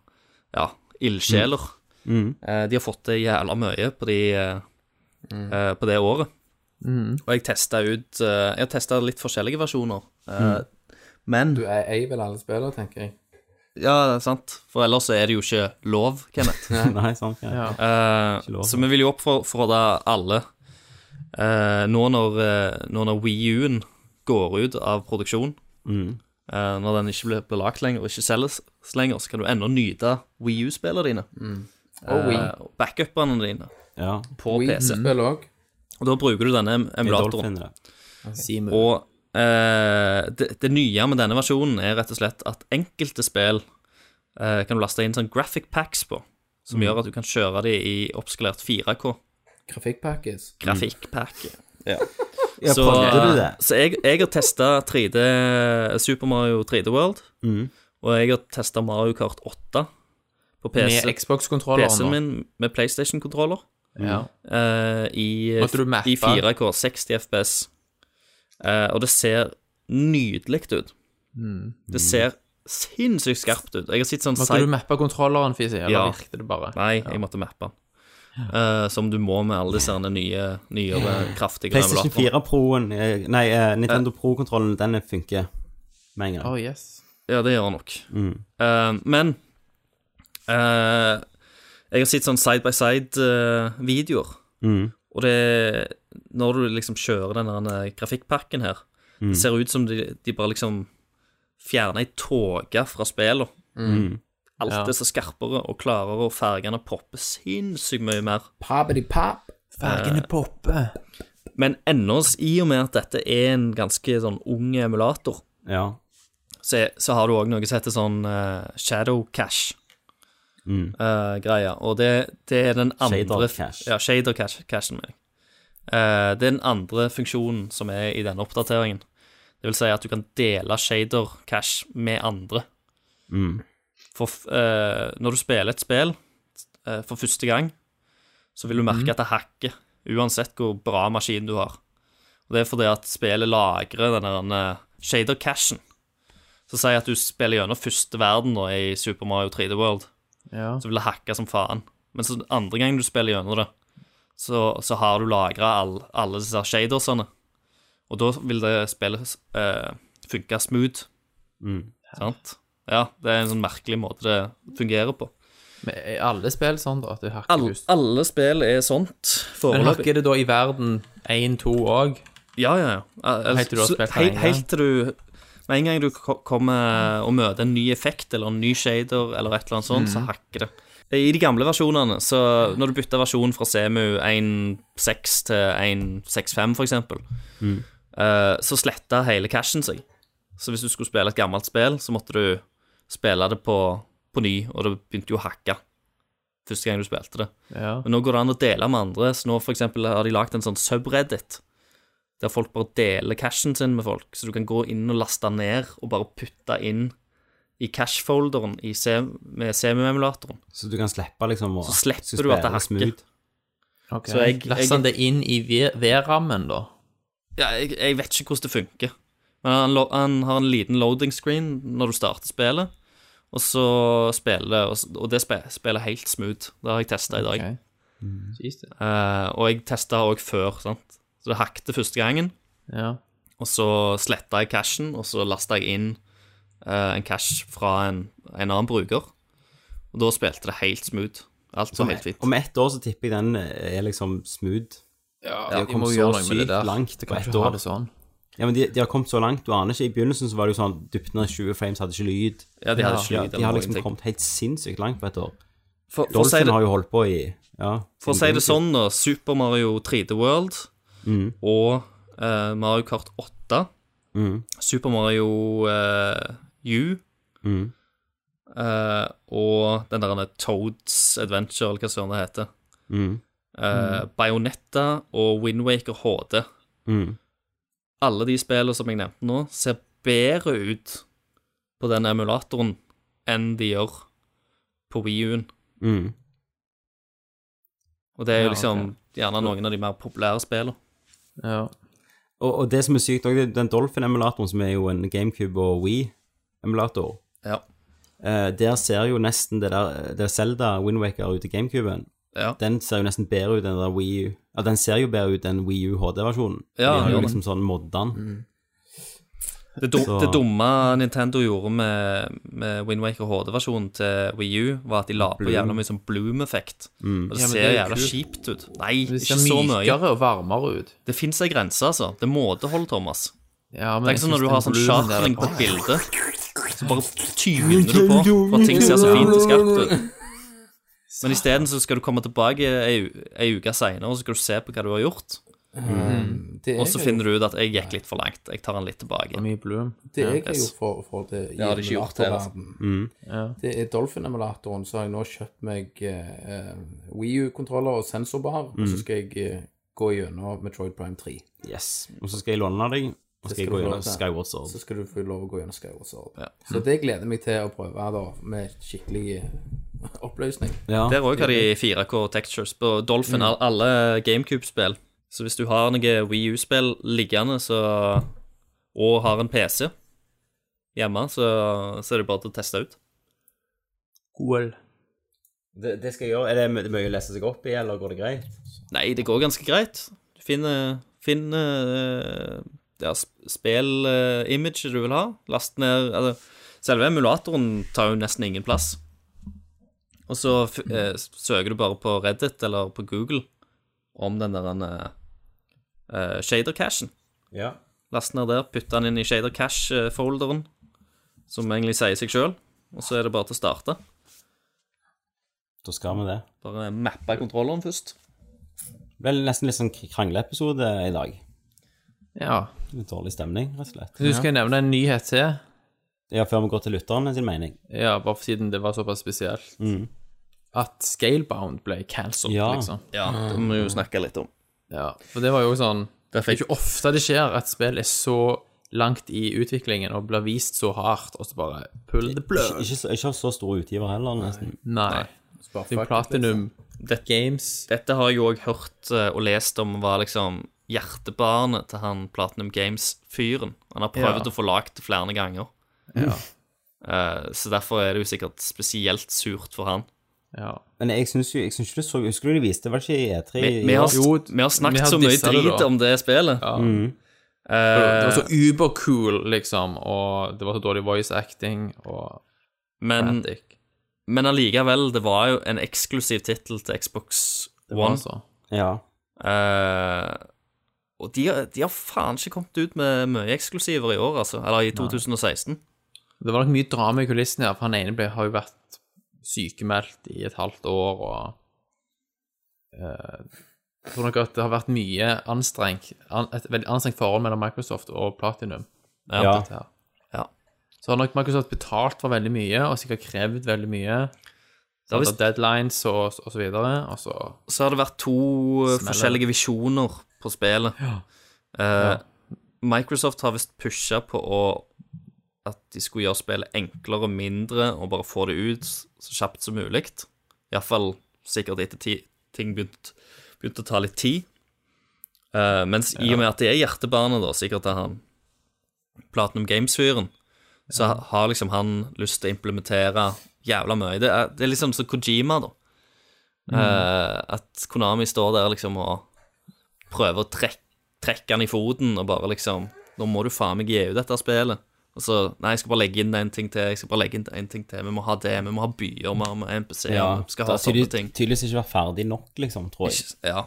ja, ildsjeler.
Mm.
Eh, de har fått til jævla mye på, de, eh, eh, på det året. Og jeg testa ut eh, Jeg har testa litt forskjellige versjoner. Eh, Men
Mm. Du er ei vel alle spillere, tenker jeg.
Ja, sant. For ellers så er det jo ikke lov, Kenneth.
Nei, sant? Ja.
Eh,
Ikke lov.
så vi vil jo oppfordre alle eh, nå når, eh, nå når Wii U-en går ut av produksjon,
Mm.
eh, når den ikke blir, blir lagt lenger og ikke selges lenger, så kan du ennå nyte Wii U-spillene dine.
Og Wii. Mm.
eh, og backupene dine
ja.
på PC.
Wii-spill òg.
Og da bruker du denne em-
Det er
emulatoren.
Dolphin, det.
Og eh, det, det nye med denne versjonen er rett og slett at enkelte spill eh, kan du laste inn sånn graphic packs på, som
Mm.
gjør at du kan kjøre de i oppskalert 4K
Grafikkpakkes.
grafikkpakke.
Ja,
Så,
prøvde du det?
så jeg, jeg har testa 3D Super Mario 3D World,
Mm.
og jeg har testa Mario Kart 8 på PC,
Med Xbox-kontrolleren
PC-en
nå.
min med PlayStation-kontroller
Ja.
eh, i,
Måtte du mappe?
i 4K, 60 FPS. Eh, og det ser nydelig ut. Det ser sinnssykt skarpt ut. Jeg har sett sånn
Mm. Måtte
side...
du mappe kontrolleren, Fisi? Eller
Ja.
virket det bare?
Nei, jeg måtte mappe den. Eh, som du må med alle disse herne nye, nyere, kraftigere
PlayStation 4 Proen eh, Nei, eh, Nintendo Pro-kontrollen, den funker med en gang.
Oh, yes.
Ja, det gjør han nok. Eh, men eh, jeg har sett sånn side by side-videoer. Og det Når du liksom kjører den der grafikkpakken her, det ser ut som de, de bare liksom fjerner ei tåke fra spillene. Alt
Ja.
er så skarpere og klarere, og fargene popper sinnssykt mye mer.
Papidi-pap.
Fargene popper.
Men ennå, i og med at dette er en ganske sånn ung emulator,
Ja.
så, så har du òg noe som heter sånn eh, shadow cash. eh, greia, og det, det er den andre
Mm. Shader cache.
Ja, shader cash, cashen, mener jeg. Eh, det er den andre funksjonen som er i denne oppdateringen. Det vil si at du kan dele shader cash med andre.
Mm.
For f- eh, når du spiller et spill eh, for første gang, så vil du
Mm.
merke at det hakker, uansett hvor bra maskin du har. Og det er fordi at spillet lagrer denne shader cashen. Så si at du spiller gjennom første verden da, i Super Mario 3D World,
Ja.
så vil det hakke som faen. Men så andre gang du spiller gjennom det, så, så har du lagra all, alle disse shadersene. Og da vil det spillet eh, funke smooth. Mm. Sant? Ja, det er en sånn merkelig måte det fungerer på.
Men er alle spill sånn, da? At du hakker
All,
først?
alle spill er sånt
Men
foreløpig.
hakker det da i verden 1-2 òg?
Ja, ja, ja. Al-
Helt til du har
så-
spilt den
hei-
en gang.
Helt til du Med en gang du ko- kommer og møter en ny effekt eller en ny shader eller et eller annet sånt, så
Mhm.
hakker det. I de gamle versjonene, så når du bytter versjon fra CMU 1.6 til 1.6.5 for eksempel,
Mm.
eh, så sletta hele cashen seg. Så hvis du skulle spille et gammelt spill, så måtte du spille det på, på ny, og det begynte jo å hakke første gang du spilte det.
Ja.
Men nå går det an å dele med andre. Så nå for eksempel har de lagd en sånn subreddit, der folk bare deler cashen sin med folk. Så du kan gå inn og laste ned, og bare putte inn i cashfolderen i C med CMU-emulatoren.
Så du kan slippe liksom å
Så slipper
skal
du at det
spille
hakker.
smooth.
Okay.
Så jeg-
Last han det inn i V- V-rammen, da?
Ja, jeg, jeg vet ikke hvordan det funker. Men han, lo- han har en liten loading screen når du starter spillet, og så spiller det, og, s- og det spe, spiller helt smooth. Det har jeg testa i dag.
Ok.
Mm.
Jesus.
Eh, og jeg testa òg før, sant. Så det hakket første gangen.
Ja.
Og så sletta jeg cashen, og så lasta jeg inn eh, en cash fra en, en annen bruker. Og da spilte det helt smooth. Alt var helt fint.
Om ett år så tipper jeg den er liksom smooth.
Ja,
De har
vi må
kommet
jo gjøre
så
noe med det
sykt
der.
langt
Det
på
kan
ett
ikke
år.
ha det sånn.
Ja, men de, de har kommet så langt, du aner ikke. I begynnelsen så var det jo sånn dypt ned 20 frames, hadde ikke lyd.
Ja, de hadde ikke
Ja,
lyd
de
eller
har
noen
liksom
ting.
kommet helt sinnssykt langt på et år.
For, for, å si
Dolphin
det,
har jo holdt på i ja,
for å si
Mm-hmm.
det sånn, da. Super Mario 3D World og eh, Mario Kart 8.
Mm,
Super Mario eh, U. eh, og den der Toads Adventure, eller hva søren det heter. Eh, Bayonetta og Windwaker HD.
Mm.
Alle de spillene som jeg nevnte nå, ser bedre ut på den emulatoren enn de gjør på WiiU-en.
Mm.
Og det er
Ja,
jo liksom gjerne noen av de mer populære spillene.
Ja.
Og, og det som er sykt òg, den Dolphin-emulatoren, som er jo en GameCube og Wii-emulator
Ja.
eh, Der ser jo nesten det der det Zelda Windwaker ut i GameCuben.
Ja.
Den ser jo nesten bedre ut enn den der Wii U. Ja, den ser jo bedre ut enn Wii U HD-versjonen.
Ja,
De har
ja,
jo
men-
liksom sånn modda den.
Det, dum,
Så-
det dumme Nintendo gjorde med, med Windwaker HD-versjonen til Wii U, var at de la på jævla mye sånn bloom-effekt. Og det
Ja, men det
ser
er jo
jævla
kult.
kjipt ut. Nei,
Det
ikke
ser
så mye.
mykere og varmere ut.
Det fins ei grense, altså. Det er måtehold, Thomas.
Ja, men
Det er
jeg
ikke sånn når
synes
du har
den
sånn
bloomen der er
chartling på
bra.
et bilde, så bare tyner du på for at ting ser så fint og skarpt ut. Men isteden så skal du komme tilbake ei, u- ei uke seinere, og så skal du se på hva du har gjort.
Eh, Det
Mhm. Og så finner du ut at jeg gikk litt for langt. Jeg tar den litt tilbake.
Mye bloom.
Det jeg har
yes.
gjort for, for det i
Det har de ikke gjort her, altså.
emulatorverdenen, det er Dolphin-emulatoren. Så har jeg nå kjøpt meg uh, WiiU-kontroller og sensorbar, og så skal jeg eh, gå gjennom Metroid Prime 3.
Yes. Og så skal jeg låne deg, og så skal
skal
jeg
du
gå
få lov
gjennom
til.
Skyward Sword.
Så skal du få lov å gå gjennom Skyward Sword. Så det gleder jeg meg til å prøve da, med skikkelig eh, oppløsning.
Ja.
Der òg har de 4K textures på Dolphin. al- Alle GameCube-spill. Så hvis du har noe Wii U-spill liggende så, og har en PC hjemme, så, så er det bare til å teste ut.
Det, det skal jeg gjøre. Er det my- mye å lese seg opp i, eller går det greit?
Nei, det går ganske greit. Du finner, finner eh, ja, spill-imaget du vil ha. Last ned altså, Selve emulatoren tar jo nesten ingen plass. Og så f eh, søker du bare på Reddit eller på Google om den der uh, shader-cashen.
Ja.
Last ned der, putt den inn i shader cache-folderen, som egentlig sier seg sjøl. Og så er det bare til å starte.
Da skal vi det.
Bare mappe kontrolleren først.
Vel, nesten litt sånn kr- krangleepisode i dag.
Ja.
Litt dårlig stemning, rett og slett.
Mm.
Du skal jeg nevne en nyhet til.
Ja, før vi går til lytterne sin mening.
Ja, bare for siden det var såpass spesielt. At Scalebound ble cancelled,
Ja.
liksom.
Ja, det må vi jo snakke litt om.
Ja, for det var jo sånn Det er ikke ofte det skjer at spill er så langt i utviklingen og blir vist så hardt, og så bare pull the
Ikke,
plug.
ikke, så- ikke så stor utgiver heller, nesten.
Nei. Det er jo Platinum Games.
Dette har jeg jo også hørt eh, og lest om var liksom hjertebarnet til han Platinum Games-fyren. Han har prøvd
Ja.
å få lagd det flere ganger. Eh, så derfor er det jo sikkert spesielt surt for han.
Ja.
Men jeg syns jo jeg synes ikke det så Husker du de viste det var ikke i E E3?
Vi,
i
vi,
år?
har,
Eh, Jo,
vi har snakket
vi har
så mye
dissa det
drit
da.
om det spillet. Eh,
ja. Det
Øh.
var- det var så ubercool, liksom, og det var så dårlig voice acting og
Men,
frantic.
men allikevel, det var jo en eksklusiv tittel til Xbox
Det var
One.
så.
Ja.
Eh, og de, har- de har faen ikke kommet ut med mye eksklusiver i år, altså. Eller i 2016.
Det var nok mye drama i kulissene, her, for han ene ble, har jo vært sykemeldt i et halvt år, og eh, jeg tror nok at det har vært mye anstrengt, an, et veldig anstrengt forhold mellom Microsoft og Platinum.
Ja.
dette her.
Ja.
Så har nok Microsoft betalt for veldig mye, og sikkert krevd veldig mye.
Det har
Det
visst-
deadlines og, og så videre, og så
så har det vært to eh,
Smeller.
forskjellige visjoner på spillet.
Ja.
Eh, Microsoft har visst pusha på å, at de skulle gjøre spillet enklere og mindre, og bare få det ut så kjapt som mulig. Iallfall sikkert etter ti, ting begynte begynte å ta litt tid. Eh, mens i og med at det er hjertebarnet, da, sikkert er han Platinum Games-fyren, så ha- har liksom han lyst til å implementere jævla mye. Det er, det er liksom som Kojima, da. Eh, at Konami står der liksom og prøver å trekke, trekke han i foten og bare liksom Nå må du faen meg gi ut dette spillet. Og så Nei, jeg skal bare legge inn en ting til. Jeg skal bare legge inn en ting til Vi må ha det. Vi må ha byer. Vi må ha NPC-er.
ja.
vi skal ha
Det har tydelig-
sånne ting.
tydeligvis ikke vært ferdig nok, liksom, tror jeg.
Ikke- Ja.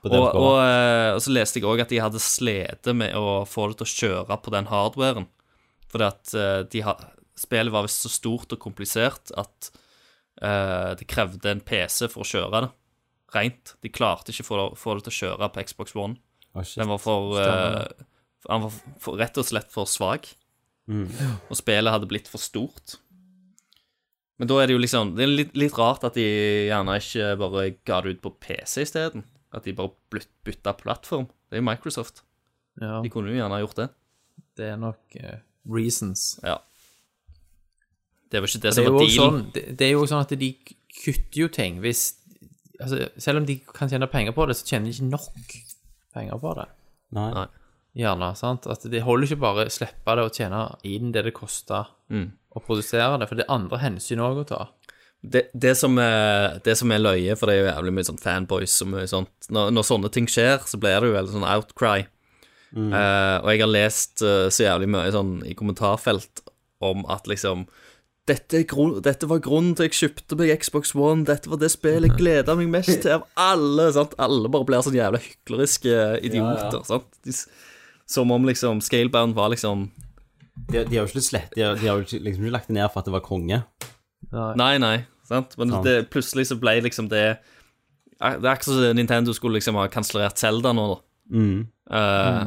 på
Og,
den
og,
utgaven.
eh, og så leste jeg òg at de hadde slitt med å få det til å kjøre på den hardwaren. Fordi at eh, de ha, spillet var visst så stort og komplisert at eh, det krevde en PC for å kjøre det rent. De klarte ikke å få, det- få det til å kjøre på Xbox One.
Å, shit.
Den var for eh, Han var for, rett og slett for svak.
Mm.
Og spillet hadde blitt for stort. Men da er det jo liksom Det er litt, litt rart at de gjerne ikke bare ga det ut på PC isteden. At de bare blytt- bytta plattform. Det er jo Microsoft.
Ja,
De kunne jo gjerne ha gjort det.
det er nok eh, reasons.
Ja. Det var ikke det
Det
som
er, jo
var
også
dealen.
sånn, det, det er jo også sånn at de kutter jo ting hvis altså, Selv om de kan tjene penger på det, så tjener de ikke nok penger på det. sånn.
Nei.
Nei.
Gjerne, sant? At det holder ikke bare å slippe det og tjene inn det det koster å produsere det, for det er andre hensyn òg å ta.
Det, det, som er, det som er løye, for det er jo jævlig mye sånn fanboys og mye sånt Når, når sånne ting skjer, så blir det jo veldig sånn outcry. Eh, og jeg har lest eh, så jævlig mye sånn i kommentarfelt om at liksom dette, er grunn, dette var grunnen til jeg kjøpte meg Xbox One. Dette var det spillet jeg gleda meg mest til av alle. sant? Alle bare blir sånn jævla hykleriske idioter. sant? De, s- som om liksom Scalebound var liksom
De, de har jo ikke slett, de har, de har jo ikke- liksom ikke lagt det ned for at det var konge.
Nei, nei, sant? Men
Sant.
Det, plutselig så ble liksom det eh, Det er akkurat som Nintendo skulle liksom ha kansellert Zelda nå, da. Eh,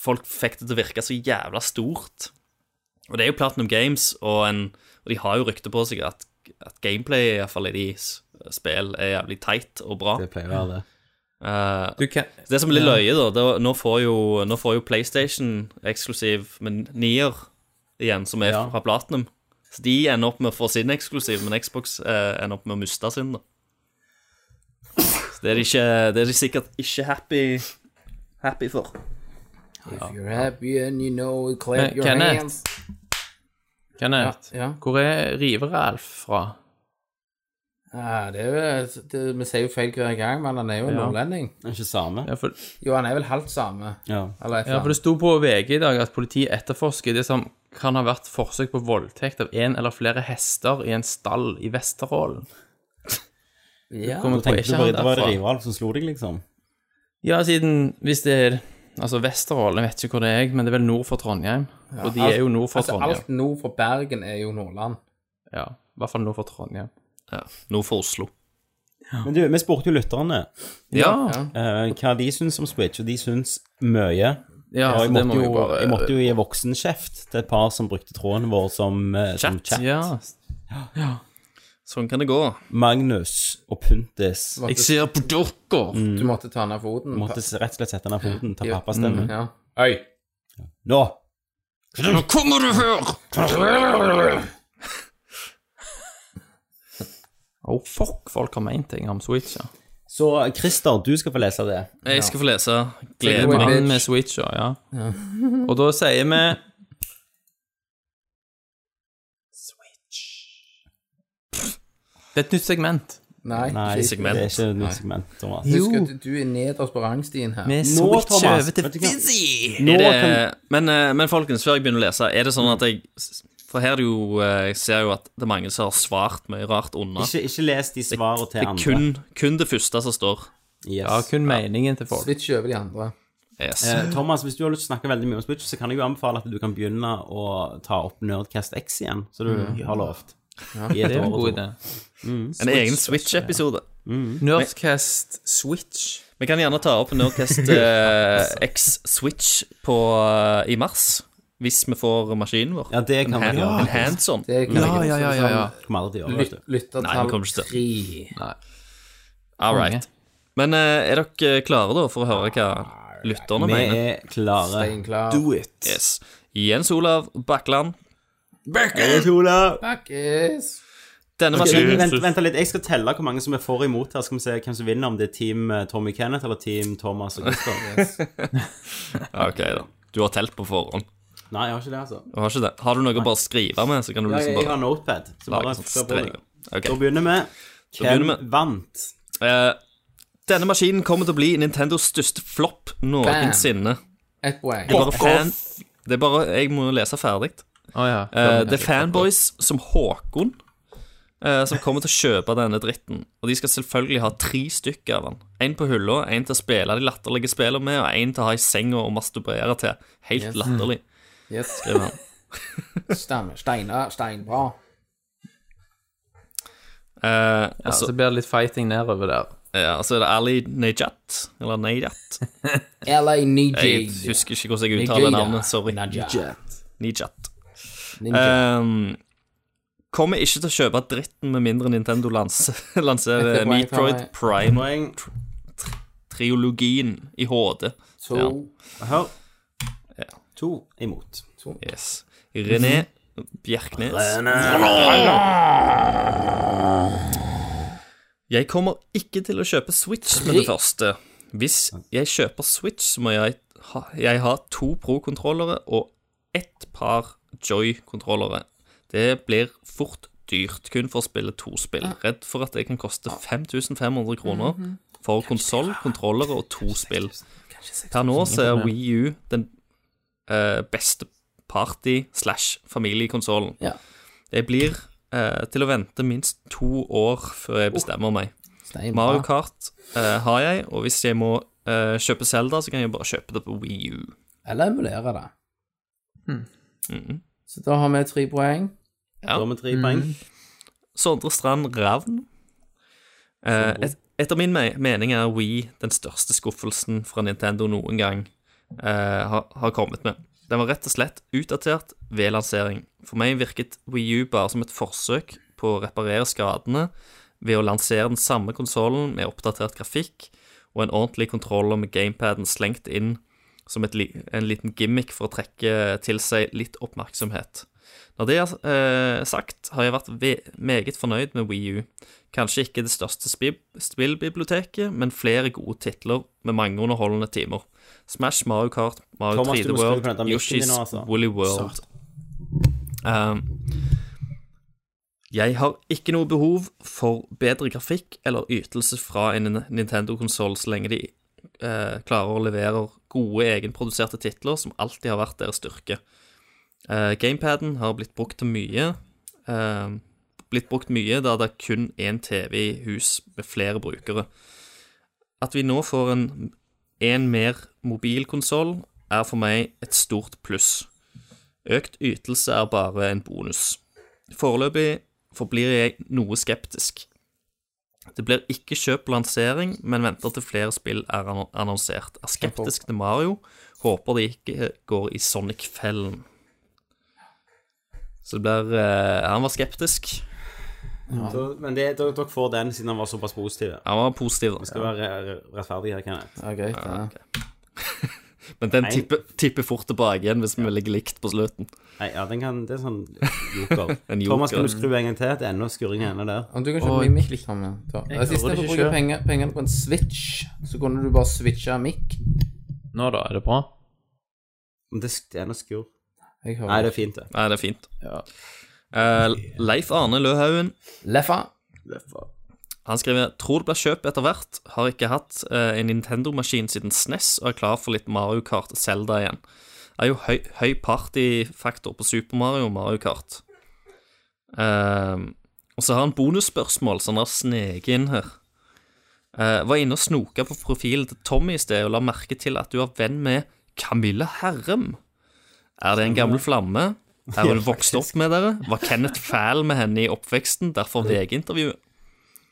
Folk fikk det til å virke så jævla stort. Og det er jo Platinum Games, og, en, og de har jo rykte på seg at, at gameplay, iallfall i de s- spill, er jævlig teit og bra.
Det pleier å være det.
Eh,
Du kan,
det som blir løye, da det, var- nå, får jo, nå får jo PlayStation eksklusiv med nier igjen, som er
Ja.
fra Platinum. Så de ender opp med å få sin eksklusiv, men Xbox eh, ender opp med å miste sin, da. Så det er de, ikke, det er de sikkert ikke happy, happy for.
If you're happy and you know it,
Men
clap your
Kenneth?
hands.
Kenneth,
Ja, ja.
hvor er River-Alf fra?
Ja, det er jo, eh, det, vi sier jo feil hver gang, men han er jo en
Ja.
nordlending.
Det er ikke samme.
Ja, for,
Jo, han er vel halvt same.
Ja.
Eller et
ja,
eller
for det
annet.
sto på VG i dag at politiet etterforsker det som kan ha vært forsøk på voldtekt av en eller flere hester i en stall i Vesterålen.
Ja,
Kommer
Da
på,
tenkte
ikke
du
han
bare det var
derfra?
Rivalv som slo deg, liksom.
Ja, siden hvis det er Altså Vesterålen, jeg vet ikke hvor det er, men det er vel nord for Trondheim. og de er jo nord for
altså,
Trondheim.
alt nord for Bergen er jo Nordland.
Ja, I hvert fall nord for Trondheim.
Ja. Nord for Oslo.
Men du, vi spurte jo lytterne
Ja, ja,
eh, hva de syns om Switch, og de syns mye. Og jeg,
så det må
måtte
vi
jo,
bare
jeg måtte jo gi voksenkjeft til et par som brukte tråden vår som eh, som
Chat?
chat.
Ja.
Sånn kan det gå.
Magnus og Puntis
Du måtte,
ser på dere!
du måtte ta ned foten.
måtte s- rett og slett sette henne av foten, ta
Ja.
pappastemmen.
Ja. Oi.
Nå!
Nå kommer du her!
Oh, fuck, folk har ment ting om switcher.
Så Christer, du skal få lese det.
Jeg skal få lese.
Jo,
Gleder
jeg
meg.
bitch.
Mann med switcher, ja. Og da sier vi Switch. Det er et nytt segment.
Nei.
Nei,
shit.
segment.
det er ikke et nytt segment, Thomas.
Husk at du er nederst på rangstien her.
Vi
Nå,
switcher
Thomas,
over til
vet du hva?
Fizzy.
Nå
Er det,
kan
men, eh, men folkens, før jeg begynner å lese, er det sånn at jeg For her er det jo eh, Jeg ser jo at det er mange som har svart mye rart unna.
ikke, ikke les de svarene
Det
til
er
andre.
kun, kun det første som står.
Yes.
Ja, kun meningen til folk.
Switch over de andre.
Yes.
Eh, Thomas, hvis du har lyst til å snakke veldig mye om Switch, så kan jeg jo anbefale at du kan begynne å ta opp Nerdcast X igjen, som du har lovt. I et
Det er
år
en
og
god
to.
idé.
en egen Switch-episode.
Nerdcast Switch.
Vi kan gjerne ta opp Nordcast eh, X Switch på, eh, i mars. Hvis vi får maskinen vår.
Ja, det kan
en
vi
hand,
gjøre.
en hands-on.
Det kan jeg Sånn
ja, ja, ja, ja.
Kommer aldri til å gjøre, vet du.
Nei,
Lyttertall
den kommer ikke til.
tre.
All right. Men eh, er dere klare, da, for å høre hva lytterne
Vi
mener?
er klare.
Stein klar.
it.
Yes. Jens Olav Bakland.
Snakkes.
Denne
Ok, vent,
maskinen
vent, vent litt, jeg skal telle hvor mange som er for og imot her. Skal vi se hvem som vinner, om det er Team eh, Tommy Kenneth eller Team Thomas og Gustav.
Ok, da. Du har telt på forhånd.
Nei, jeg har ikke det, altså.
Du har, ikke det. har du noe å bare skrive med, så kan du
Ja,
liksom
jeg, jeg har
bare
notepad. Så
lage
bare
sånn
skal på det.
streker. Ok.
Da begynner vi. Hvem
begynner vi.
vant?
Eh, denne maskinen kommer til å bli Nintendos største flopp noensinne.
Ett poeng.
Det er bare fan... Det er bare, jeg må lese ferdig.
Å ja.
Eh, det er fanboys som Håkon, eh, som kommer til å kjøpe denne dritten. Og de skal selvfølgelig ha tre stykker av den. En på hylla, en til å spille de latterlige spillene med, og en til å ha i senga og masturbere til. Helt latterlig,
Yes.
skriver han.
Stemmer. Steinar. Steinbra.
Eh,
Ja,
og så-
så blir det litt fighting nedover der.
ja, og så Eh, altså, er det Ali Nejat, eller Nejat.
LA
Jeg
Nijid.
husker ikke hvordan jeg uttaler
Nigeria.
navnet, sorry.
Najat.
Nejat.
Ninja.
Ehm, kommer ikke til å kjøpe dritten med mindre Nintendo lans lanserer
Dette må jeg ta
Metroid
meg.
Prime-triologien i HD.
to.
ja.
Hør. To imot.
Yes. René Bjerknes. Jeg kommer ikke til å kjøpe Switch med det første. Hvis jeg kjøper Switch, så må jeg ha, jeg ha to Pro-kontrollere og ett par Joy-kontrollere. Det blir fort dyrt kun for å spille to spill. Redd for at det kan koste 5500 kroner for konsoll, kontrollere og to spill. Per nå så er Wii U den eh, beste party-slash-familiekonsollen.
Ja.
Jeg blir eh, til å vente minst to år før jeg bestemmer meg. Mario
Steinbra.
Kart eh, har jeg, og hvis jeg må eh, kjøpe Zelda, så kan jeg bare kjøpe det på Wii U.
Eller emulere det.
Mhm.
Så da har vi tre poeng.
Ja.
Da har vi tre poeng.
Sondre Strand Ravn. Eh, et, etter min me mening er Wii den største skuffelsen fra Nintendo noen gang eh, har, har kommet med. Den var rett og slett utdatert ved lansering. For meg virket Wii U bare som et forsøk på å reparere skadene ved å lansere den samme konsollen med oppdatert grafikk og en ordentlig kontroller med gamepaden slengt inn som et li en liten gimmick for å trekke til seg litt oppmerksomhet. Når det er eh, sagt, har jeg vært ve- meget fornøyd med Wii U. Kanskje ikke det største spi- spillbiblioteket, men flere gode titler med mange underholdende timer. Smash, Mario Kart, Mario
Thomas,
3D
du må skru på denne
World,
mikken
Yoshi's
din nå, altså.
Woolly World. Um, jeg har ikke noe behov for bedre grafikk eller ytelse fra en Nintendo-konsoll så lenge de eh, klarer å levere gode egenproduserte titler som alltid har vært deres styrke. Eh, gamepaden har blitt brukt til mye. eh, blitt brukt mye da det er kun én TV i hus med flere brukere. At vi nå får en, en mer mobilkonsoll, er for meg et stort pluss. Økt ytelse er bare en bonus. Foreløpig forblir jeg noe skeptisk. Det blir ikke kjøp og lansering, men venter til flere spill er anno- annonsert. Er skeptisk til Mario, håper de ikke eh, går i Sonic-fellen. Så det blir eh, Han var skeptisk.
Så, men det, dere, dere får den siden han var såpass positiv.
Han var positiv.
Skal være eh, rettferdig her, Kenneth.
Ja, greit, det.
Men den tipper, tipper fort tilbake igjen hvis vi ligger likt på slutten.
Nei, ja, den kan, det er sånn joker.
En joker.
Thomas, kan du skru en gang til? Det er enda skurring ennå der.
Om du kan kjøpe ny mic sammen. Da.
Jeg
Sist
hører
jeg
det ikke
bruker
selv.
penger, pengene på en switch, så kunne du bare switche mic.
Nå, da. Er det bra?
Men Det, sk- det er enda skurr. Nei,
Jeg hører
det er fint, det.
Nei, det er fint. Eh, Leif Arne Løhaugen
Leffa.
Han skriver Tror det blir kjøp etter hvert. Har ikke hatt eh, en Nintendo-maskin siden SNES og er klar for litt Mario Kart og Zelda igjen. Er jo høy, høy partyfaktor på Super Mario og Mario Kart. Ehm, og så har han bonusspørsmål som han har sneket inn her. Eh, var inne og snoka på profilen til Tommy i sted og la merke til at du er venn med Camilla Herrem. Er det en gammel flamme? Er hun vokst opp med dere? Var Kenneth fæl med henne i oppveksten, derfor VG-intervjuet?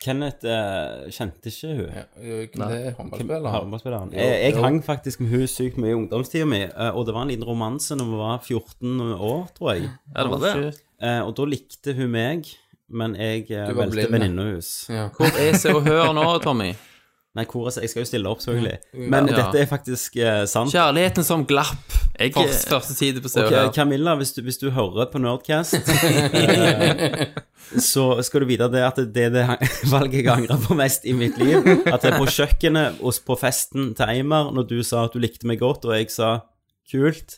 Kenneth eh, kjente ikke hun.
Eh, Det er håndballspilleren.
Harmbaspilleren. Jeg, jeg hang faktisk med hun sykt mye i ungdomstida mi, eh, og det var en liten romanse når vi var 14 år, tror jeg.
Ja, det var det.
Eh, Og da likte hun meg, men jeg eh,
Du var
valgte
blind.
venninna hennes.
Hvor er Se og Hør nå, Tommy?
Nei, hvor er jeg skal jo stille opp, selvfølgelig. Men
Ja.
dette er faktisk eh, sant.
Kjærligheten som glapp.
Jeg,
For første side på Se og
eh, Ok,
Hør.
Camilla, hvis du, hvis du hører på Nerdcast, eh, så skal du vite det at det er det valget jeg angrer på mest i mitt liv. At det er på kjøkkenet og på festen til Eimer, når du sa at du likte meg godt, og jeg sa kult.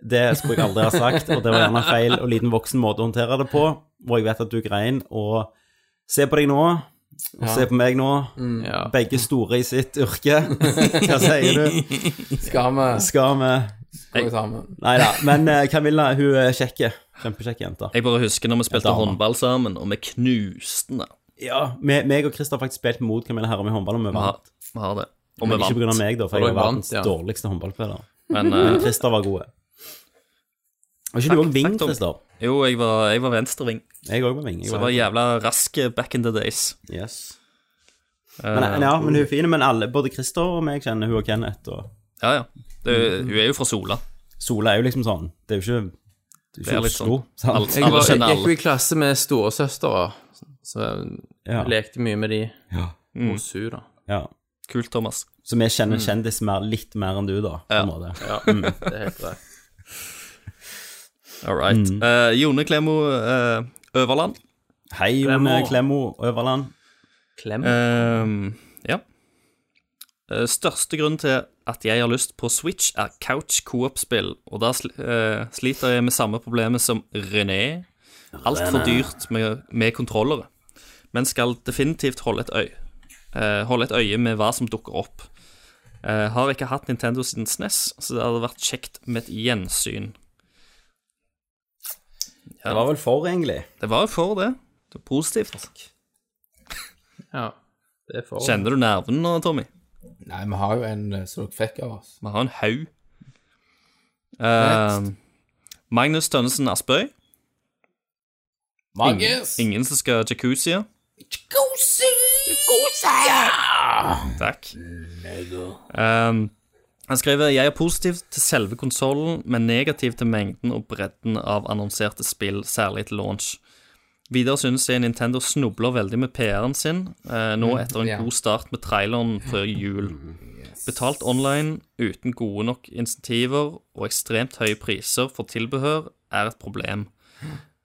Det skulle jeg aldri ha sagt, og det var gjerne feil og liten voksen måte å håndtere det på. Og jeg vet at du grein, og se på deg nå, og se på meg nå.
Ja.
Begge store i sitt yrke. Hva sier du?
Skal vi
Skal vi
går sammen.
Nei da. Men eh, Camilla, hun er kjekk. Kjempekjekk jente.
Jeg bare husker når vi spilte
Dama.
håndball sammen, og vi knuste den.
Ja, me- meg og Christer har faktisk spilt mot Camilla Herrem i håndball, og vi
Vi har,
vant.
vi har det. Og vi
Men ikke pga.
vant.
meg, da, for
Og
jeg
dere
var verdens
vant, ja.
dårligste håndballspiller.
Men eh,
Christer var god. Var ikke du òg ving,
takk, Tom.
Christer?
jo, jeg var, jeg var venstreving,
Jeg òg var ving. jeg
så jeg
var-
var jævla rask eh, back in the days.
Yes. Men, eh, ja, men hun er fin, men alle, både Christer og meg kjenner hun og Kenneth. Og
Ja, ja. Det, hun er jo fra Sola.
Sola er jo liksom sånn Det er jo ikke Det er,
Det er
jo ikke
litt
Oslo.
sånn.
sant?
Alle,
Jeg,
alle
var, jeg
kjenner
gikk jo
alle.
i klasse med storesøstera, så jeg
Ja.
lekte mye med de
Ja.
hos hun da.
Ja.
Kult, Thomas.
Så vi kjenner kjendis mer, litt mer enn du, da. På en måte.
Ja, det er helt greit.
All right.
Mm.
Eh, Jone Klemo eh, Øverland.
Hei, Jone Klemmo Øverland.
Klem.
Ehm, ja. Eh, Største grunn til at jeg har lyst på Switch, er couch coop-spill, og da sl eh, sliter jeg med samme problemet som René. Altfor dyrt med, med kontrollere, men skal definitivt holde et øye. eh, holde et øye med hva som dukker opp. Eh, har ikke hatt Nintendo siden SNES, så det hadde vært kjekt med et gjensyn. Ja,
Det var vel for, egentlig.
det var jo for det. Det er positivt.
Ja, det er for.
Kjenner du nervene nå, Tommy?
Nei, vi har jo en eh, som dere fikk av oss.
Vi har en haug. Eh, Magnus Tønnesen Aspøy.
Magnus!
Ingen som skal jacuzzi. Takk. Eh, han skriver Jeg er positiv til selve konsollen, men negativ til mengden og bredden av annonserte spill, særlig til launch. Videre synes jeg Nintendo snubler veldig med PR-en sin, eh, nå etter en
ja.
god start med traileren før jul. Betalt online uten gode nok insentiver og ekstremt høye priser for tilbehør er et problem.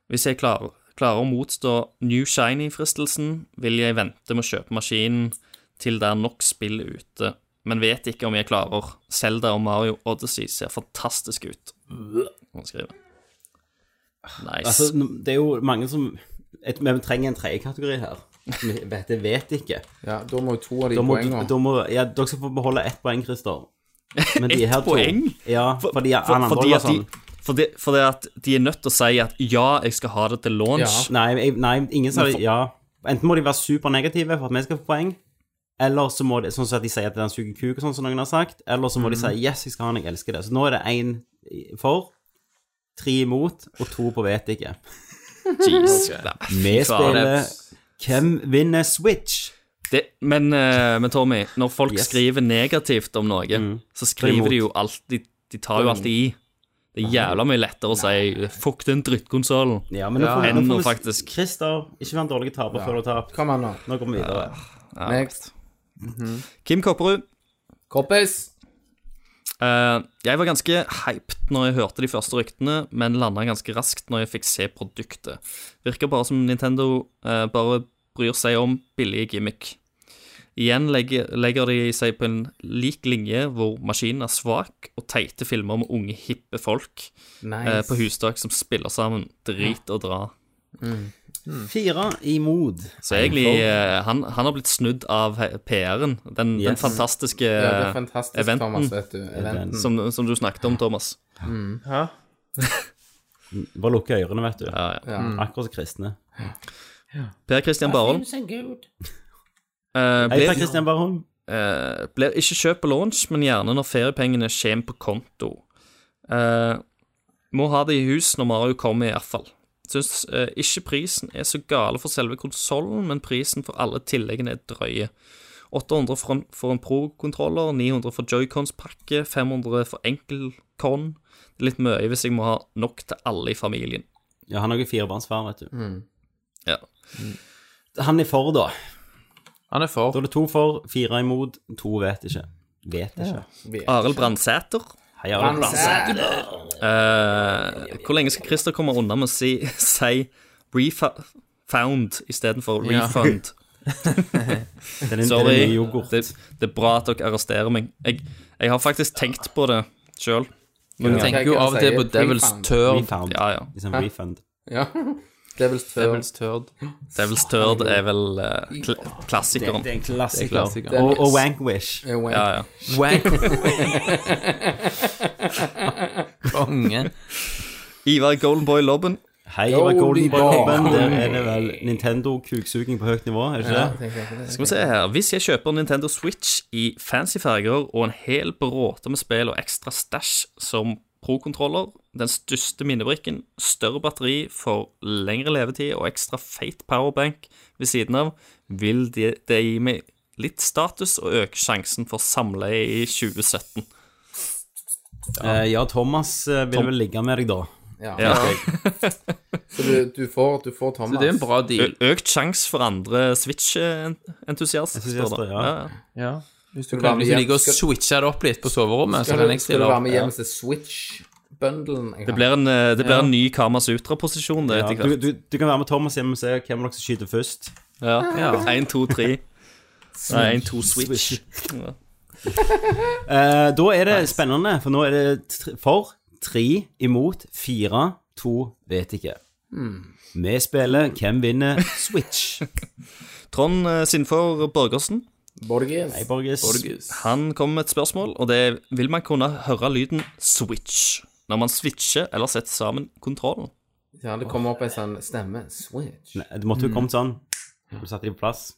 Hvis jeg klarer, klarer å motstå New Shiny-fristelsen, vil jeg vente med å kjøpe maskinen til det er nok spill ute, men vet ikke om jeg klarer. Zelda og Mario Odyssey ser fantastisk ut. Han skriver.
Altså,
Nice.
n- det er jo mange som et, Men vi trenger en tredje kategori her. Som vi vet, jeg vet ikke.
Ja, da må jo to av de
Da må,
poengene
da må, ja, dere skal få beholde ett poeng, Christer. Men de
Ett
her to-
poeng?
Ja, fordi han
For,
andre
fordi,
var
at
sånn
de, fordi, fordi at de er nødt til å si at ja, jeg skal ha det til launch.
Nei, jeg, nei ingen sa
Men
det.
for-
Ja. Enten må de være supernegative for at vi skal få poeng, eller så må de, sånn at de sier at det er en suger kuk, og sånn som noen har sagt, eller så må
Mm.
de si 'yes, jeg skal ha den, jeg elsker det'. Så nå er det én for, tre imot og to på vet ikke.
Jeez.
Vi
Fy faen.
spiller Hvem vinner Switch?
Det, men, eh, men Tommy, når folk
Yes. Mm.
skriver negativt om noe, så skriver de jo alltid De tar jo alltid i. Det er jævla mye lettere å si 'fuck den drittkonsollen'.
Ja, men nå får,
Ja.
nå får
Ennå,
vi-
faktisk.
Christer, ikke vær en dårlig taper før du har tapt.
Kom an, nå.
Nå går vi videre.
Next.
Kim Kopperud.
Kompis!
eh, jeg var ganske hyped når jeg hørte de første ryktene, men landa ganske raskt når jeg fikk se produktet. Virker bare som Nintendo eh, bare bryr seg om billige gimmick. Igjen legger, legger de seg på en lik linje hvor maskinen er svak, og teite filmer med unge, hippe folk. eh, på hustak som spiller sammen. Drit og dra.
Fire imot.
Mm. Så egentlig, eh, han, han har blitt snudd av he- PR-en. Den, den
Yes.
fantastiske
Ja,
eh,
det er fantastisk,
eventen.
Thomas, vet du.
Mm.
eh,
Eventen.
som, som du snakket om, Thomas.
Bare lukke ørene, vet du.
Ja, Mm. ja.
Ja.
Akkurat som kristne.
Per Christian Barholm eh,
Hei, Per
blir,
Christian Barholm.
eh, blir ikke kjøpt på launch, men gjerne når feriepengene kommer på konto. Eh, må ha det i hus når Mario kommer, i hvert fall. Syns eh, ikke prisen er så gale for selve konsollen, men prisen for alle tilleggene er drøye. 800 for en, for en Pro-kontroller, 900 for Joycons pakke, 500 for enkel con. Det er Litt mye hvis jeg må ha nok til alle i familien.
Ja, han er jo firebarnsfar, vet du.
Mm.
Mm.
Ja.
Han er for, da.
Han er
Da
for.
er det to for, fire imot, to vet ikke. Vet ikke.
Arild Brandsæter.
Hei, Arne Plasse.
Eh, hvor lenge skal Christer komme unna med å si, si refound istedenfor
Ja.
refund?
Det er en- det er en
Sorry.
ny yoghurt.
Det, det er bra at dere arresterer meg. Jeg, jeg har faktisk tenkt på det sjøl.
Du tenker jo av og til på
Refund.
Devil's Turd.
Refund.
Ja, ja.
Liksom refund.
Ja. Devils Turd.
Devil's Turd.
Devil's Turd er vel eh, kl klassikeren.
er en klassiker.
Klassiker.
Og, og Wank Wish.
Eh, Wank.
Ja, ja.
Konge.
Ivar Golden Boy Lobben.
Hei, det var Golden
Golden
Boy
Boy.
Lobben. Der er det vel Nintendo-kuksuging på høyt nivå, er det ikke det?
Skal vi se her. Hvis jeg kjøper Nintendo Switch i fancy farger og en hel bråte med spill og ekstra stæsj som pro-kontroller, den største minnebrikken, større batteri for lengre levetid og ekstra feit powerbank ved siden av, vil det, det gi meg litt status og øke sjansen for samleie i 2017.
Eh, ja, Thomas eh, vil vel ligge med deg, da.
Ja.
Så du, du, får, du får Thomas.
Det er en bra deal.
Ø- Økt sjanse for andre Switch-entusiaster.
Entusiaster, ja.
Ja. Hvis du,
du
kan,
være med
hvis du
hjem-
liker å
skal-
switche det opp litt på soverommet, så
Skal
kan
du,
jeg
skal du
stille
være
opp.
med
Ja.
hjem til Switch-bundlen?
Det blir en, eh, det blir en ny Kama Sutra-posisjon, det,
Ja,
etter
du,
hvert.
du, du kan være med Thomas hjemme og se hvem av dere som skyter først.
Ja.
Ja.
1, 2, 3. Nei, 1, 2, Switch. Ja.
Eh, da er det spennende, for nå er det tre, for, tre, imot, fire, to, vet ikke. Vi spiller Hvem vinner Switch.
Trond eh, Sinfor Borgersen
Borges.
Hei, Borges.
Han kom med et spørsmål, og det er Vil man kunne høre lyden switch når man switcher eller setter sammen kontrollen?
Ja, det kommer opp en sånn stemme. Switch.
Det måtte jo kommet sånn. Du satte dem på plass.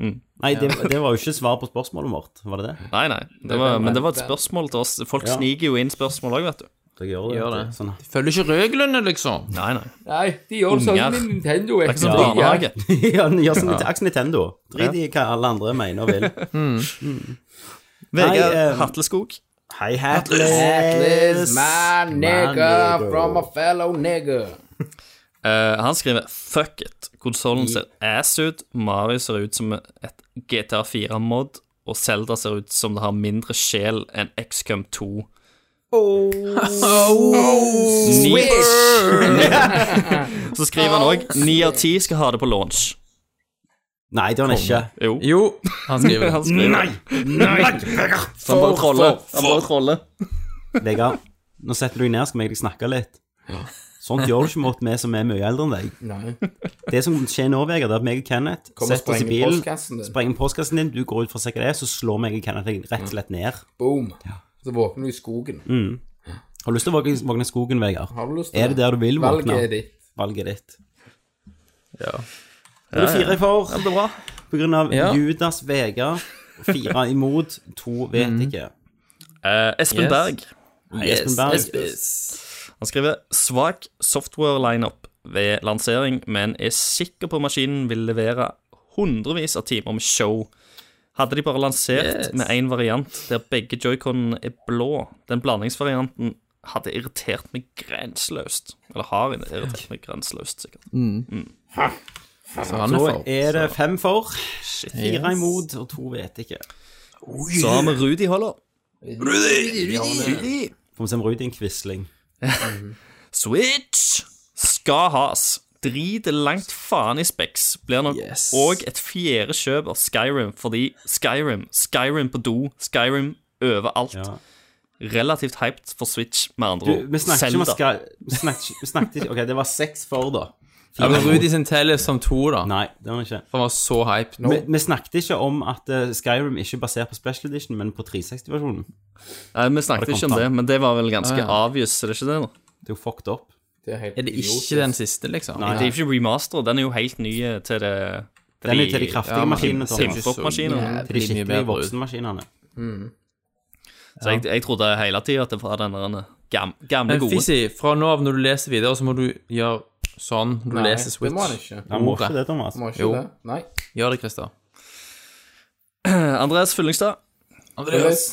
Nei, det, det var jo ikke svar på spørsmålet vårt, var det det?
Nei, nei, det var, men det var et spørsmål til oss. Folk
Ja.
sniker jo inn spørsmål òg, vet du.
Dere gjør det.
Gjør det.
Sånn.
Følger ikke reglene, liksom.
Nei, nei. Det
Nei, de gjør sånn
Unger.
med Nintendo.
er ikke som
Ja.
barnehage.
ja, gjør som Aks Nintendo. Drit i hva alle andre mener og vil.
Mm.
Mm.
Vegard
Nei, eh,
Hatleskog.
Hei, Hatles.
This my nigger
nigger.
from a fellow nigger.
Eh, han skriver Fuck it. Konsollen ser ass ut. Mario ser ut som et GTA 4-mod. Og Zelda ser ut som det har mindre sjel enn XCOM 2. Oh, Så skriver han òg ni av ti skal ha det på launch.
Nei, det var han ikke.
Jo.
Jo, han skriver
Han skriver Nei! Så han bare troller. Han bare troller.
Vegard, nå setter du deg ned, skal jeg snakke litt. Sånt gjør du ikke mot meg som er mye eldre enn deg.
Nei.
Det som skjer nå, Vegard, det er at meg og Kenneth
Kom og
setter oss i
spreng i
bilen,
postkassen din.
sprenger postkassen din, du går ut for å se hva det er, så slår meg og Kenneth deg rett og slett ned.
Boom. Så våkner du i skogen.
Har du lyst til å våkne- våkne i skogen, Vegard?
Har du lyst til
Er det der du vil våkne?
Valget er ditt.
Valget er ditt.
Ja.
Er det fire for?
Det er bra.
På grunn av
Ja.
Judas Vegard. Fire imot, to vet
Mm.
ikke.
Eh, Espen
Yes.
Berg.
Nei, Espen Berg.
Han skriver svak software lineup ved lansering, men er sikker på maskinen vil levere hundrevis av timer med show. Hadde de bare lansert
Yes.
med én variant der begge joyconene er blå, den blandingsvarianten hadde irritert meg grenseløst. Eller har irritert meg grenseløst, sikkert.
Så han er
Nå
for.
er det fem for, fire imot og to vet ikke.
Så har vi Rudi Holler.
Får vi se om Rudin Quisling.
Switch skal has. Drit langt faen i Specs. Blir nok
Yes.
òg et fjerde kjøp av Skyrim, fordi Skyrim, Skyrim på do, Skyrim overalt.
Ja.
Relativt hyped for Switch, med andre
Du,
ord.
vi snakket ikke
Zelda.
om å skal... Vi snakket, ikke- vi snakket ikke... Ok, det var seks for da.
Ja, men Rudi sin tell er som to, da.
Nei, det var det ikke.
For han var så hype.
Vi, vi snakket ikke om at eh, Skyrim ikke er basert på Special Edition, men på 360-versjonen.
Nei, vi snakket
det
ikke om
kontant?
det, men det var vel ganske
Ah, ja.
obvious, er det ikke det? nå?
Det er jo fucked up.
Det er helt
Er det
idiotisk.
ikke den siste, liksom?
Det er jo ikke remaster, den er jo helt ny eh, til det
Den er jo til de kraftige
Ja, men-
maskinene, Thomas.
Simpson.
Simfop-maskinen.
Til de
Mye
skikkelige
bedre ut.
voksenmaskinene.
Så jeg, jeg trodde hele tida at det var den der eh, gam, gamle,
Men
gode.
Fizzy, fra nå av når du leser videre, så må du gjøre sånn når du
Nei,
leser Switch.
det må han ikke.
Han må ikke det, Thomas.
Må ikke
Jo.
det. Nei.
Gjør det, Christer.
Eh, Andreas Fyllingstad.
Andreas.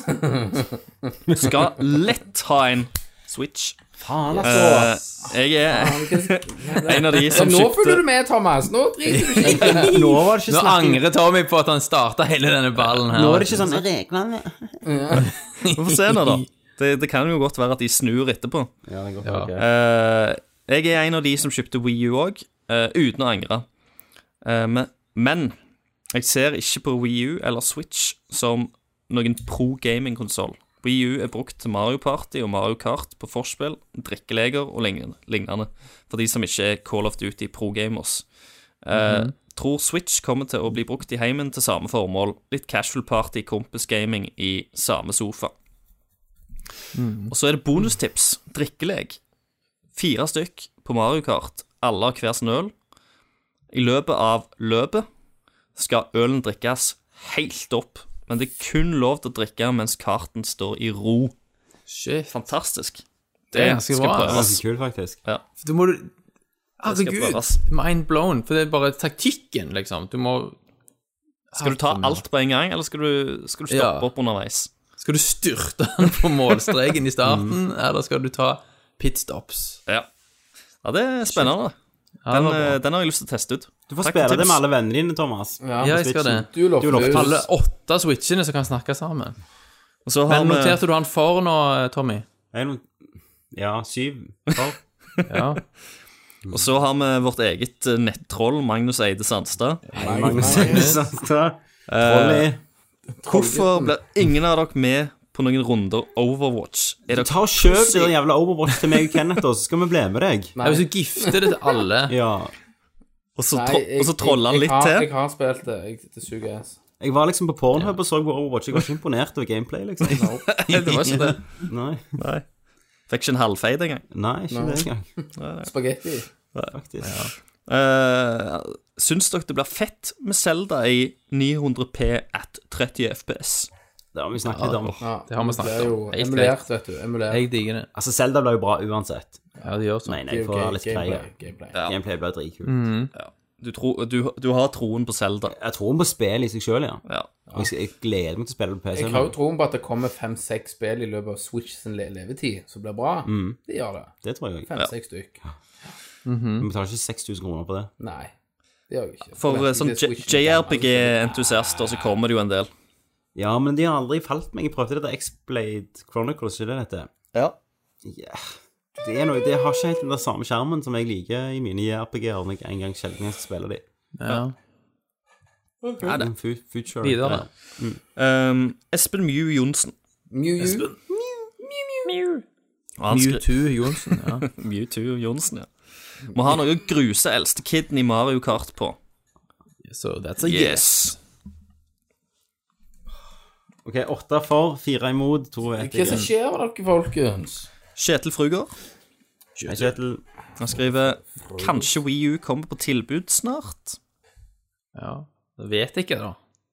skal lett ha en Switch.
Faen,
Eh,
altså.
jeg er en av de som
Nå følger
kjøpte
du med, Thomas. Nå driter du ikke i det.
Nå var det ikke
Nå
snakking...
angrer Tommy på at han starta hele denne ballen her.
Nå er det ikke sånn reglene.
Vi får se nå, da. Det, det kan jo godt være at de snur etterpå.
Ja, det går
Ja.
ok.
Eh, jeg er en av de som kjøpte Wii U òg, uten å angre. Eh, men, men jeg ser ikke på Wii U eller Switch som noen pro gaming-konsoll. Wii U er brukt til Mario Party og Mario Kart på forspill, drikkeleker og lign- lignende, for de som ikke er Call of Duty pro-gamers. Eh, Tror Switch kommer til å bli brukt i heimen til samme formål. Litt casual party, kompisgaming i samme sofa. Og så er det bonustips. Drikkelek. Fire stykk på Mario Kart, alle har hver sin øl. I løpet av løpet skal ølen drikkes helt opp, men det er kun lov til å drikke mens karten står i ro.
Shit.
Fantastisk.
Det er ganske bra,
Det er
prøves.
ganske kult, faktisk.
Du må
skal
Herregud,
prøves.
mind blown. For det er bare taktikken, liksom. Du må
Skal du ta alt på en gang, eller skal du, skal du stoppe
Ja.
opp underveis?
Skal du styrte han på målstreken i starten, eller skal du ta pitstops?
Ja. ja, det er spennende.
det
Den,
var bra.
eh, den har jeg lyst til å teste ut.
Du får
Takk
spille
for
det
tips.
med alle vennene dine, Thomas.
Ja, jeg skal det.
Du lovte
lovte
løs.
Alle åtte switchene som kan snakke sammen.
Og så har
Men
vi
noterte du han for nå, Tommy?
En, ja, syv. tolv.
Ja.
Og så har vi vårt eget eh, nettroll, Magnus Eide Sandstad.
Magnus Sandstad.
Eh,
Trolley.
Hvorfor blir ingen av dere med på noen runder Overwatch? Er dere
Ta og Kjøp det der jævla Overwatch til meg og Kenneth, og så skal vi bli med deg.
Ja, Hvis du gifter det til alle
Ja.
Og så,
Nei,
tro
jeg-
og så troller han
jeg- jeg
litt
har-
til.
Jeg har spilt det. Jeg, det suger ass.
Jeg var liksom på Pornhub og så på Overwatch. Jeg var ikke imponert over gameplay, liksom.
det var ikke det.
Nei,
Nei. Fikk ikke en halvfeid engang.
Nei ikke det engang,
Spagetti.
faktisk.
Uh, syns dere det blir fett med Zelda i 900P at 30 FPS?
Det har vi snakket litt om.
Ja,
Det har vi snakket
er
om.
jo
Helt
emulert, vet du. Emulert.
Jeg digger det.
Altså, Zelda ble jo bra uansett.
Ja, det gjør sånn.
Nei, nei,
Det er jo
for
ga-
litt greier.
gameplay.
Gameplay ble dritkult.
Mm.
Du, tro, du, du har troen på Zelda.
Jeg tror hun må spille i seg sjøl, ja.
Ja.
Og jeg, jeg gleder meg til å spille det på PC.
Jeg har jo troen på at det kommer fem-seks spill i løpet av Switch sin le levetid som blir bra. Det gjør det.
Det tror jeg.
Fem-seks stykk.
Vi betaler ikke 6000 kroner på det.
Nei, det gjør jeg ikke.
For
Fordi
eh, sånn
det er Switchen.
JRPG-entusiaster så kommer det jo en del.
Ja, men de har aldri falt meg. Jeg prøvde dette X-Blade Chronicles, ikke det dette? Ja. Det er noe, det har ikke helt den der samme skjermen som jeg liker i mine JRPG-er når jeg en gang sjelden jeg skal spille de.
Ja.
Ja, det. Fu future.
Videre.
Ja.
Um, Espen Mew Johnsen.
Mew Mew.
Og han skri-
Mewtwo Johnsen, ja.
Mewtwo Johnsen, ja. Må ha noe å gruse eldste kiden i Mario Kart på.
So that's a yes.
Yes.
Ok, åtte for, fire imot, to vet
Hva som
jeg.
skjer med dere, folkens?
Kjetil Frugård.
Jeg Kjetil,
Han skriver Kanskje Wii U kommer på tilbud snart?
Ja. Det vet jeg ikke, da.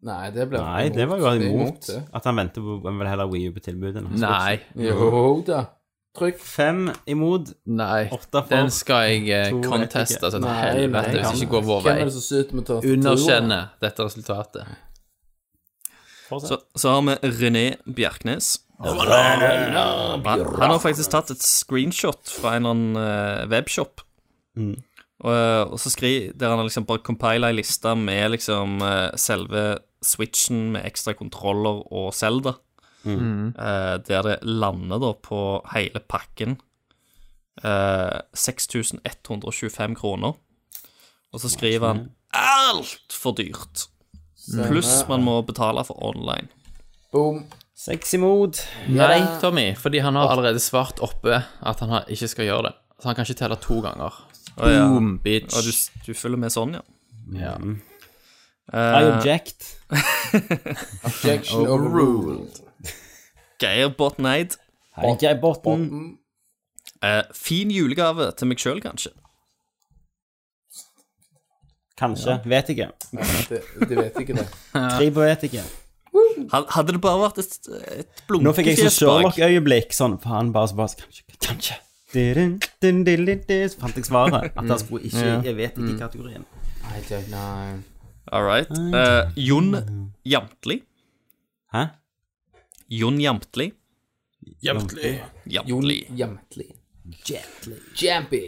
Nei, det blir
nei, det var jo
Det er
imot.
det.
At han venter på Han vil heller ha Wii U på tilbud enn han skal.
Nei.
Jo da. Trykk.
Fem imot,
Nei.
åtte for.
Den skal jeg eh,
To vet
conteste
ikke.
altså, til
Nei, nei,
helvete hvis
kan
ikke går vår vei.
Hvem er det som sitter med tastaturet?
Underkjenne dette resultatet.
Så, så har vi René Bjerknes. Han, han har faktisk tatt et screenshot fra en eller annen eh, webshop. Og, eh, og så skri, Der han har liksom bare compila ei liste med liksom eh, selve switchen med ekstra kontroller og Zelda. Eh, der det lander da på hele pakken eh, 6125 kroner. Og så skriver han altfor dyrt. Pluss man må betale for online.
Boom.
Seks imot.
Nei, Tommy, fordi han har allerede svart oppe at han har, ikke skal gjøre det. Så han kan ikke telle to ganger.
ja.
Boom, bitch.
Og du, du følger med sånn, ja.
Ja.
Mm. I object.
Objection overruled.
Geir Botneid.
Hei, Geir Botten.
Eh, fin julegave til meg sjøl, kanskje.
Kanskje. Vet ikke.
Det, det vet jeg ikke, det.
Tre på vet ikke.
Had- Hadde det bare vært et, et
Nå fikk jeg sånn
blunkefjes bak
Sherlock-øyeblikk. Sånn faen, bare så bare så, Kanskje. Kanskje. Dun, dun, dun, dun, dun, så fant jeg svaret. At han skulle ikke Jeg vet ikke i kategorien.
I don't know.
All right.
Ah.
Eh, Jon Jamtli.
Hæ?
Jon Jamtli.
Jevntlig.
Jon
Jamtli.
Jamtli. Jampy.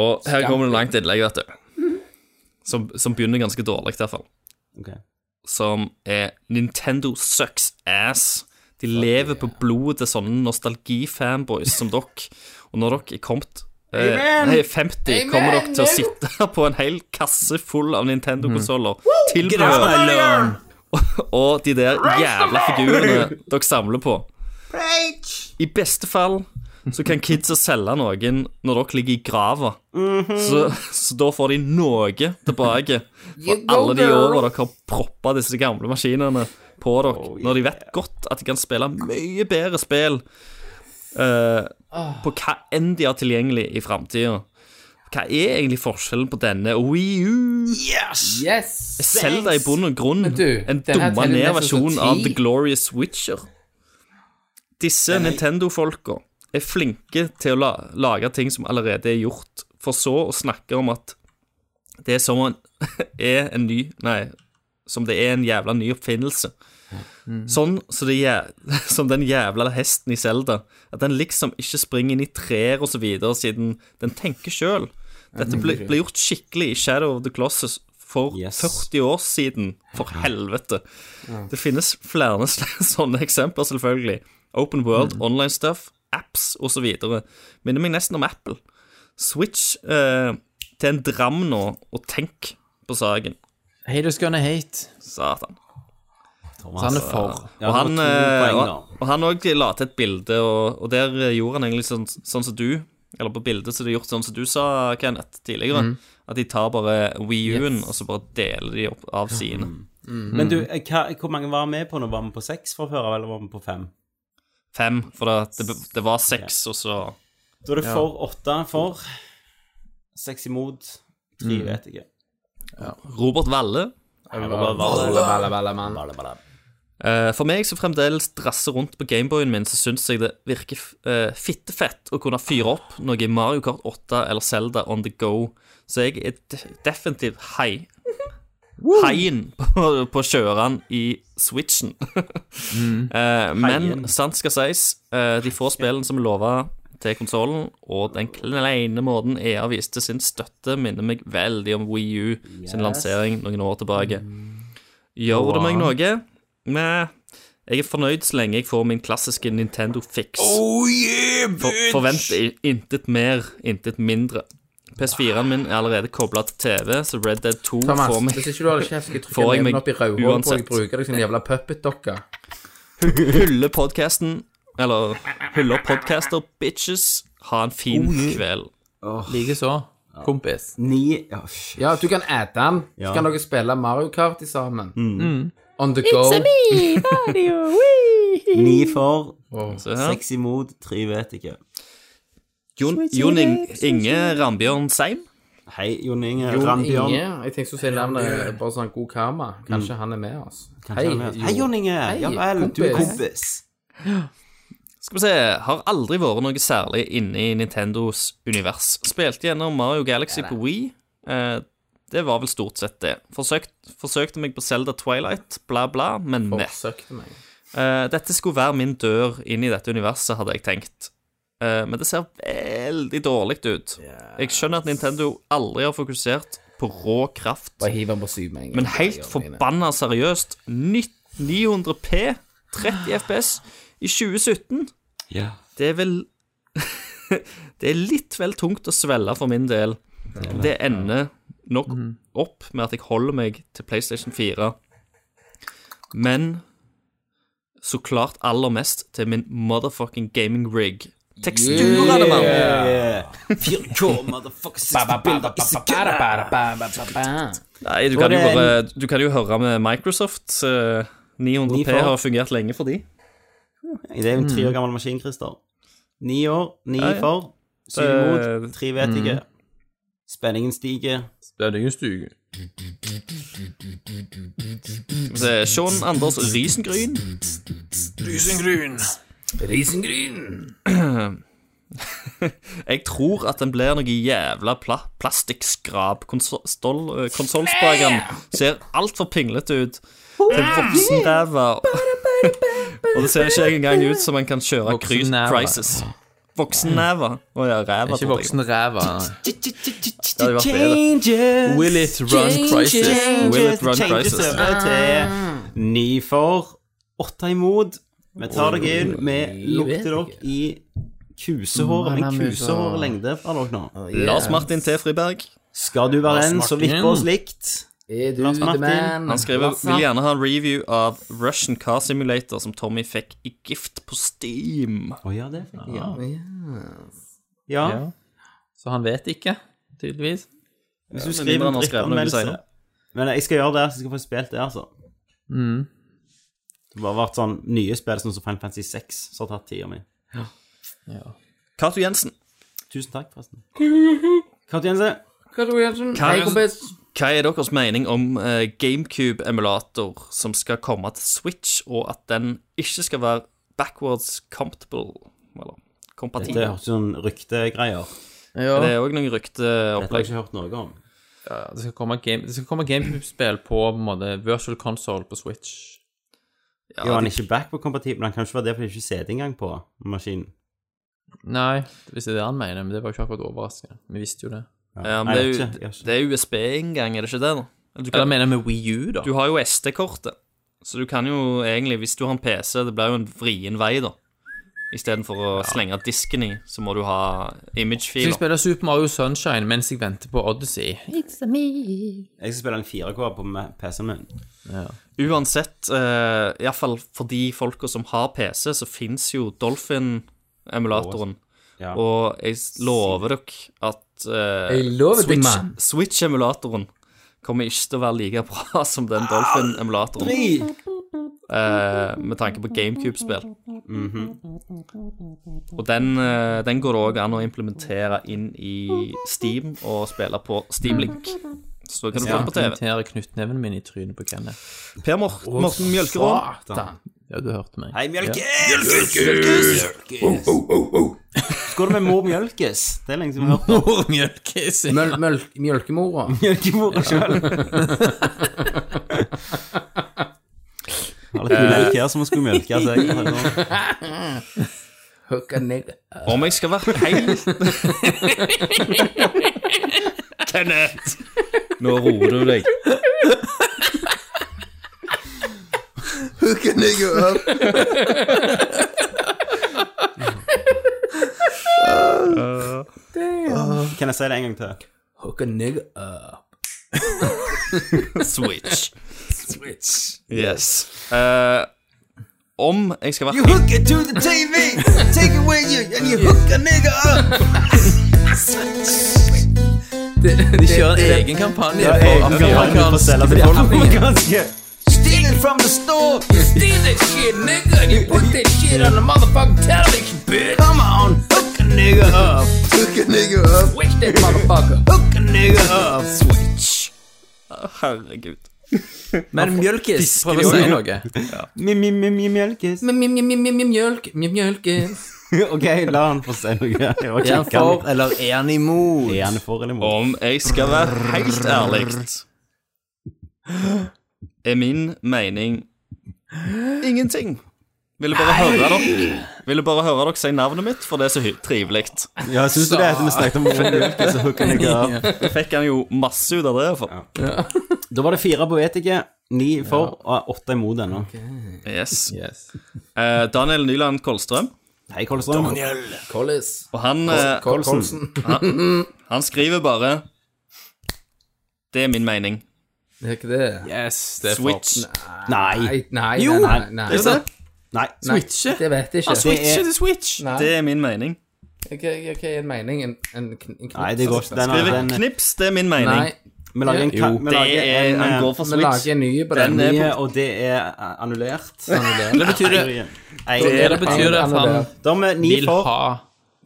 Og her kommer det langt innlegg, vet du. Som, som begynner ganske dårlig, i hvert fall.
Ok.
Som er Nintendo sucks ass. De lever på blodet til sånne nostalgifanboys som dere. Og når dere er kommet eh, nei, 50, kommer dere til å sitte på en hel kasse full av Nintendo-konsoller. Tilbehør. Og de der jævla figurene dere samler på. I beste fall så kan kidsa selge noen når dere ligger i grava.
Mhm.
så, så da får de noe tilbake for
go,
alle de
girl.
årene dere har proppa disse gamle maskinene på dere,
Oh,
når de vet godt at de kan spille mye bedre spill eh,
Ah.
på hva enn de har tilgjengelig i framtida. Hva er egentlig forskjellen på denne og Wii U?
Yes!
Selda i bunn og grunn
du,
en
den her
dumma
teller
ned
nesten som
versjon av
ti.
The Glorious Witcher. Disse Nintendo-folka er flinke til å la lage ting som allerede er gjort, for så å snakke om at det er som en, er en ny Nei, som det er en jævla ny oppfinnelse.
Mm.
Sånn så det, jæ- som den jævla hesten i Selda. At den liksom ikke springer inn i trær og så videre, siden den tenker sjøl. Dette ble, ble gjort skikkelig i Shadow of the Colossus for
Yes.
40 år siden. For helvete. Det finnes flere sl- sånne eksempler, selvfølgelig. Open world, online stuff, apps osv. Minner meg nesten om Apple. Switch eh, til en dram nå, og tenk på saken.
Haters gonna hate.
Satan.
Thomas.
Så han er for.
Ja,
og, han,
det var
eh,
to poeng,
og, og han òg la til et bilde, og, og der eh, gjorde han egentlig sånn, sånn som du Eller på bildet så er det gjort sånn som du sa, Kenneth, tidligere. At de tar bare Wii U-en, og så bare deler de opp av sine.
da. Men du, eh, hva, hvor mange var med på nå? Var vi på seks fra før, eller var vi på fem?
Fem, for det, det, det var seks, og så
Da er det for åtte for. Seks imot. Tre vet jeg ikke.
Robert Valle.
Valle, valle, mann.
Eh, For meg som fremdeles drasser rundt på Gameboyen min, så syns jeg det virker uh, fittefett å kunne fyre opp noe i Mario Kart 8 eller Zelda on the go. Så jeg er de- definitivt hei. Heien på, på kjøreren i Switchen. Eh, men sant skal sies, eh, de få spillene som lova til konsollen, og den kleine måten EA viste sin støtte, minner meg veldig om Wii U sin lansering noen år tilbake. Gjør det meg noe? Nei, jeg er fornøyd så lenge jeg får min klassiske Nintendo-fix. Oh yeah, bitch! For, forvent i- intet mer, intet mindre. PS4-en min er allerede kobla til TV, så Red Dead 2
Thomas,
får meg
hvis ikke du hadde kjeft, skal jeg
Får
trykke
jeg
neven
meg
opp i rødhåret på
uansett.
deg og bruke deg som en jævla puppet-dokka.
Hylle podcasten Eller hylle podcaster, bitches. Ha en fin kveld.
Likeså. Kompis.
Ni ja, shit.
Ja, du kan ete den. Så
Ja.
kan dere spille Mario Kart i sammen. On the go.
Ni for,
Se her.
seks imot, tre vet jeg ikke.
Jon, Jon Ing- Inge Rambjørn Seim.
Hei, Jon Inge.
Jon
Rambjørn.
Inge. Jeg tenkte du skulle si navnet bare sånn god karma. Kanskje han er med oss.
Kanskje han er- Hei, Jon Inge. Ja vel, du er kompis.
Skal vi se, har aldri vært noe særlig inne i Nintendos univers. Spilte gjennom Mario Galaxy på Wii. Eh, det var vel stort sett det. Forsøkt, forsøkte meg på Zelda Twilight, bla, bla, men ne.
Forsøkte meg.
Eh, dette skulle være min dør inn i dette universet, hadde jeg tenkt. Eh, men det ser veldig dårlig ut. Jeg skjønner at Nintendo aldri har fokusert på rå kraft.
Bare hiv han på syv med en gang.
Men helt forbanna seriøst, nytt 900P, 30 FPS, i 2017
Ja.
Det er vel Det er litt vel tungt å svelge for min del. Det ender nok opp med at jeg holder meg til PlayStation 4. Men så klart aller mest til min motherfucking gaming rig. Teksturene,
eh,
mann!
Yeah. 4K, motherfucker, 60 bilder i sekundet.
Nei, du kan, jo
det er
bare, du kan jo høre med Microsoft. eh, 900P
Nifor.
har fungert lenge for de.
Det er jo en tre år gammel maskin, Christer. Ni år, ni
Ja, ja.
for, syv
Det-
imot, tre vet ikke. Spenningen stiger.
Stønningen stuger.
Det er Sean Anders Risengryn.
Risengryn!
Jeg tror at den blir noe jævla pla plastikkskrap. Konsollspakeren ser altfor pinglete ut. Til voksenræva. Og det ser ikke engang ut som en kan kjøre Cry-
Voksenræva.
Crisis. Voksennæva. Å ja, ræva.
Ikke
trodde jeg.
voksen ræva.
Det hadde vært bedre.
Will it run crisis?
Will it run crisis?
over til ni for, åtte imot. Vi tar deg inn, vi lukter dere i kusehåret. Men kusehårlengde fra dere nå.
Lars Martin T. Friberg.
Skal du være en som vipper oss likt,
Er du
Lars
the
Martin,
man?
Han skriver
Lasse?
vil gjerne ha en review av Russian Car Simulator som Tommy fikk i gift på Steam.
Å ja, det fikk jeg.
Ah,
Ja. ja.
Ja. Så han vet ikke, tydeligvis.
Hvis du
men mindre
skriver
han
en
har skrevet noe
drittanmeldelse
senere.
Men jeg skal gjøre det, så jeg skal få spilt det, altså.
Mm.
Det har bare vært sånn nye spill, sånn som Final Fantasy 6, som har tatt tida mi.
Cato Jensen.
Tusen takk, forresten. Kato Jensen.
Hva tror du, Jensen?
Hva
Hei,
er-
kompis.
Hva er deres mening om eh, GameCube-emulator som skal komme til Switch, og at den ikke skal være backwards compatible? Eller
Dette
kompatibel?
hørtes ut som ryktegreier.
Ja.
Det er òg noen
Dette har jeg
rykteopplegg.
ikke hørt noe om.
Det skal komme, game, det skal komme GameCube-spill på, på en måte, virtual console på Switch.
Jo,
Ja,
han
de-
er ikke backward-kompatibel, men han kan ikke være det fordi det ikke er CD engang på maskinen.
Nei, hvis det er det han mener, men det var jo ikke akkurat overraskende. Vi visste jo det.
ja, men
Nei,
det er,
jeg vet ikke, jeg
jo-
vet ikke.
det er USB-inngang, er det ikke det? da? Eller Du,
Eller
kan,
mener jeg med Wii U, da?
du har jo SD-kortet, så du kan jo egentlig, hvis du har en PC, det blir jo en vrien vei, da. Istedenfor å slenge disken i, så må du ha
Så jeg
image-filer.
spiller Super Mario Sunshine mens jeg venter på Odyssey.
Jeg skal spille en 4K på me- PC-en min.
Uansett, eh, iallfall for de folka som har PC, så fins jo Dolphin-emulatoren.
Ja.
Og jeg s- lover dere at eh,
Jeg lover deg,
Switch-
mann.
Switch-emulatoren kommer ikke til å være like bra som den Dolphin-emulatoren. Eh, med tanke på GameCube-spill. Og den, eh, den går det òg an å implementere inn i Steam og spille på Steamlink. Så da kan du få den på TV.
Kommenterer knyttneven min i trynet på Kenneth.
Per Mor- Morten Mjølkeråen.
Satan.
Ja, du hørte meg.
Hei, Mjølkes! Skål med mor Mjølkes. Det er lenge siden vi har hørt om
Mjølkis.
Møl, møl, mjølkemora.
mjølkemora sjøl. Alle
Eh.
kule elker som skulle mjølke seg.
Hook a nigga.
Om jeg skal være helt Kenneth! Nå roer du deg.
Kan jeg si det en gang til?
Hook a nigga up.
Switch.
Switch.
Yes. Eh, om jeg skal være
Hook it to the TV, take away you, and you hook a nigga up.
Det, det,
De kjører en
det-
egen kampanje
Ja,
for
jeg- jeg- jeg-
amerikansk
jeg- jeg- Amerikanske.
Stealing from the store,
Steal that shit, nigga, and you put that shit on the motherfucking television, bitch.
come on, hook a nigga up. Hook a nigga up.
Switch that motherfucker.
Hook a nigga up.
Switch. Herregud.
Men Mjølkis prøver å si noe.
Mi-mi-mi-mjølkes.
M-m-m-m-mjølk, mjølkes.
OK, la han få si noe. Jeg var
Er han
ikke
for, eller er han imot?
Er han for eller imot?
Om jeg skal være helt ærlig, er min mening ingenting. Ville bare høre dere Ville bare høre dere si navnet mitt, for det er så hy- trivelig.
Ja, syns du det? Vi snakket om mor Mjølkes og hooker nigger.
Jeg fikk han jo masse ut av det. For.
Da var det fire på etiket, ni for og åtte imot ennå.
Yes.
Yes.
Eh, Daniel Nyland Kolstrøm.
Hei, Kolstrøm.
Collis.
Og han, eh,
Colson.
han skriver bare Det er min mening.
Det er ikke det.
Yes, det er for.
Switch.
Nei.
Nei, nei,
Jo,
nei, nei.
det er sant.
Nei.
Nei,
Switche.
Det vet jeg
Han
Altså,
ikke.
switcher til Ah, Switch.
Nei.
Det er min mening.
Hva er en mening? En, en, kn- en
Nei, det går ikke. Den, er-
Skriver
den,
knips, det er min mening.
Nei,
vi lager en ka- vi
Det
lager
er,
en,
han
eh,
går for
vi lager
Switch.
en ny på
Den
den.
er
nye, og det er eh, annullert.
Annullert.
Det betyr det,
Nei,
det, betyr det at han
Annullert.
Da er vi ni
vil
for,
ha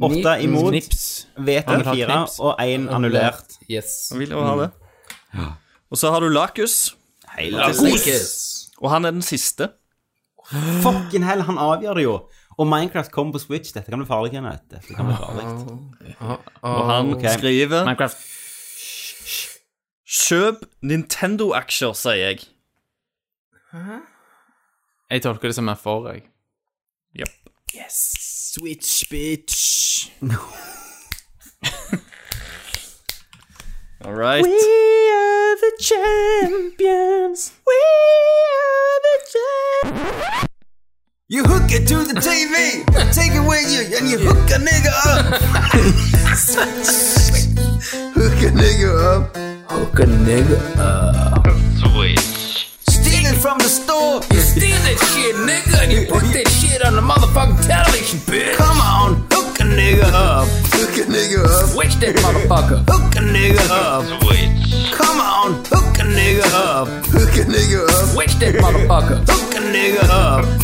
åtte imot,
knips.
vet
Han
en
vil ha
fire
knips.
og én annullert.
Yes.
Han vil jo ha det. Mm. Og så har du Lakus, og han er den siste.
Fucking hell, han avgjør det jo. Og Minecraft kommer på Switch. Dette kan bli farlig, Kenneth. Dette kan bli farlig.
Og han
ok.
skriver
Minecraft.
Kjøp Nintendo-aksjer, sier jeg.
Jeg tolker det som er for, jeg.
Switch, bitch. All right.
You hook it to the TV, take away you, and you hook a nigga up. hook a nigga up.
Hook a nigga up.
from the store.
Steal that shit, nigga, and you put that shit on the motherfucking television, bitch.
Come on, hook a nigga up. Hook a nigga up.
Switch that motherfucker.
Hook a nigga up. Come on, hook a nigga up. Hook a nigga up.
Switch that motherfucker.
Hook a nigga up.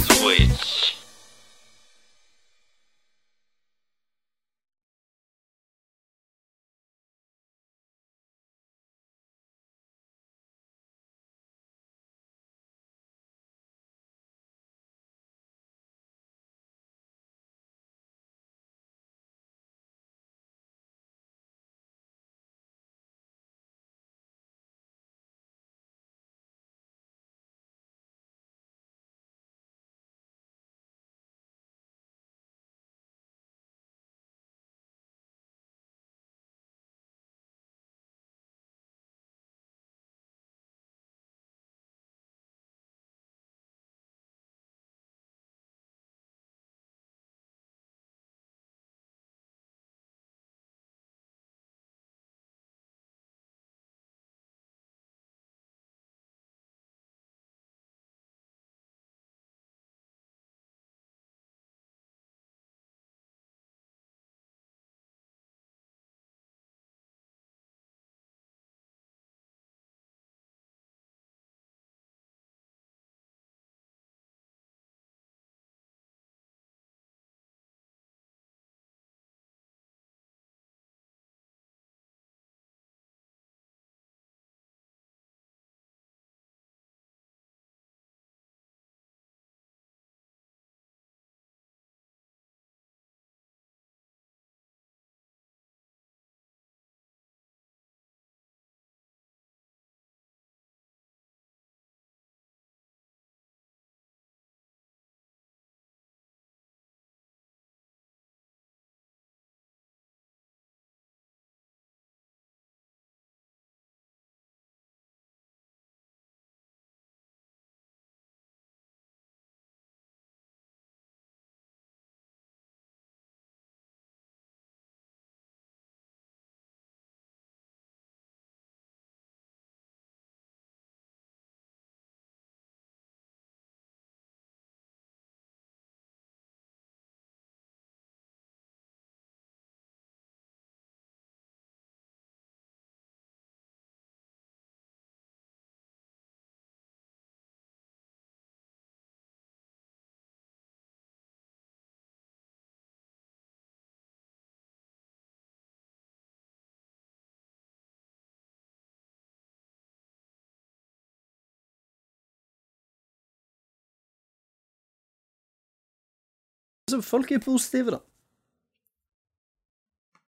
Så folk er positive, da.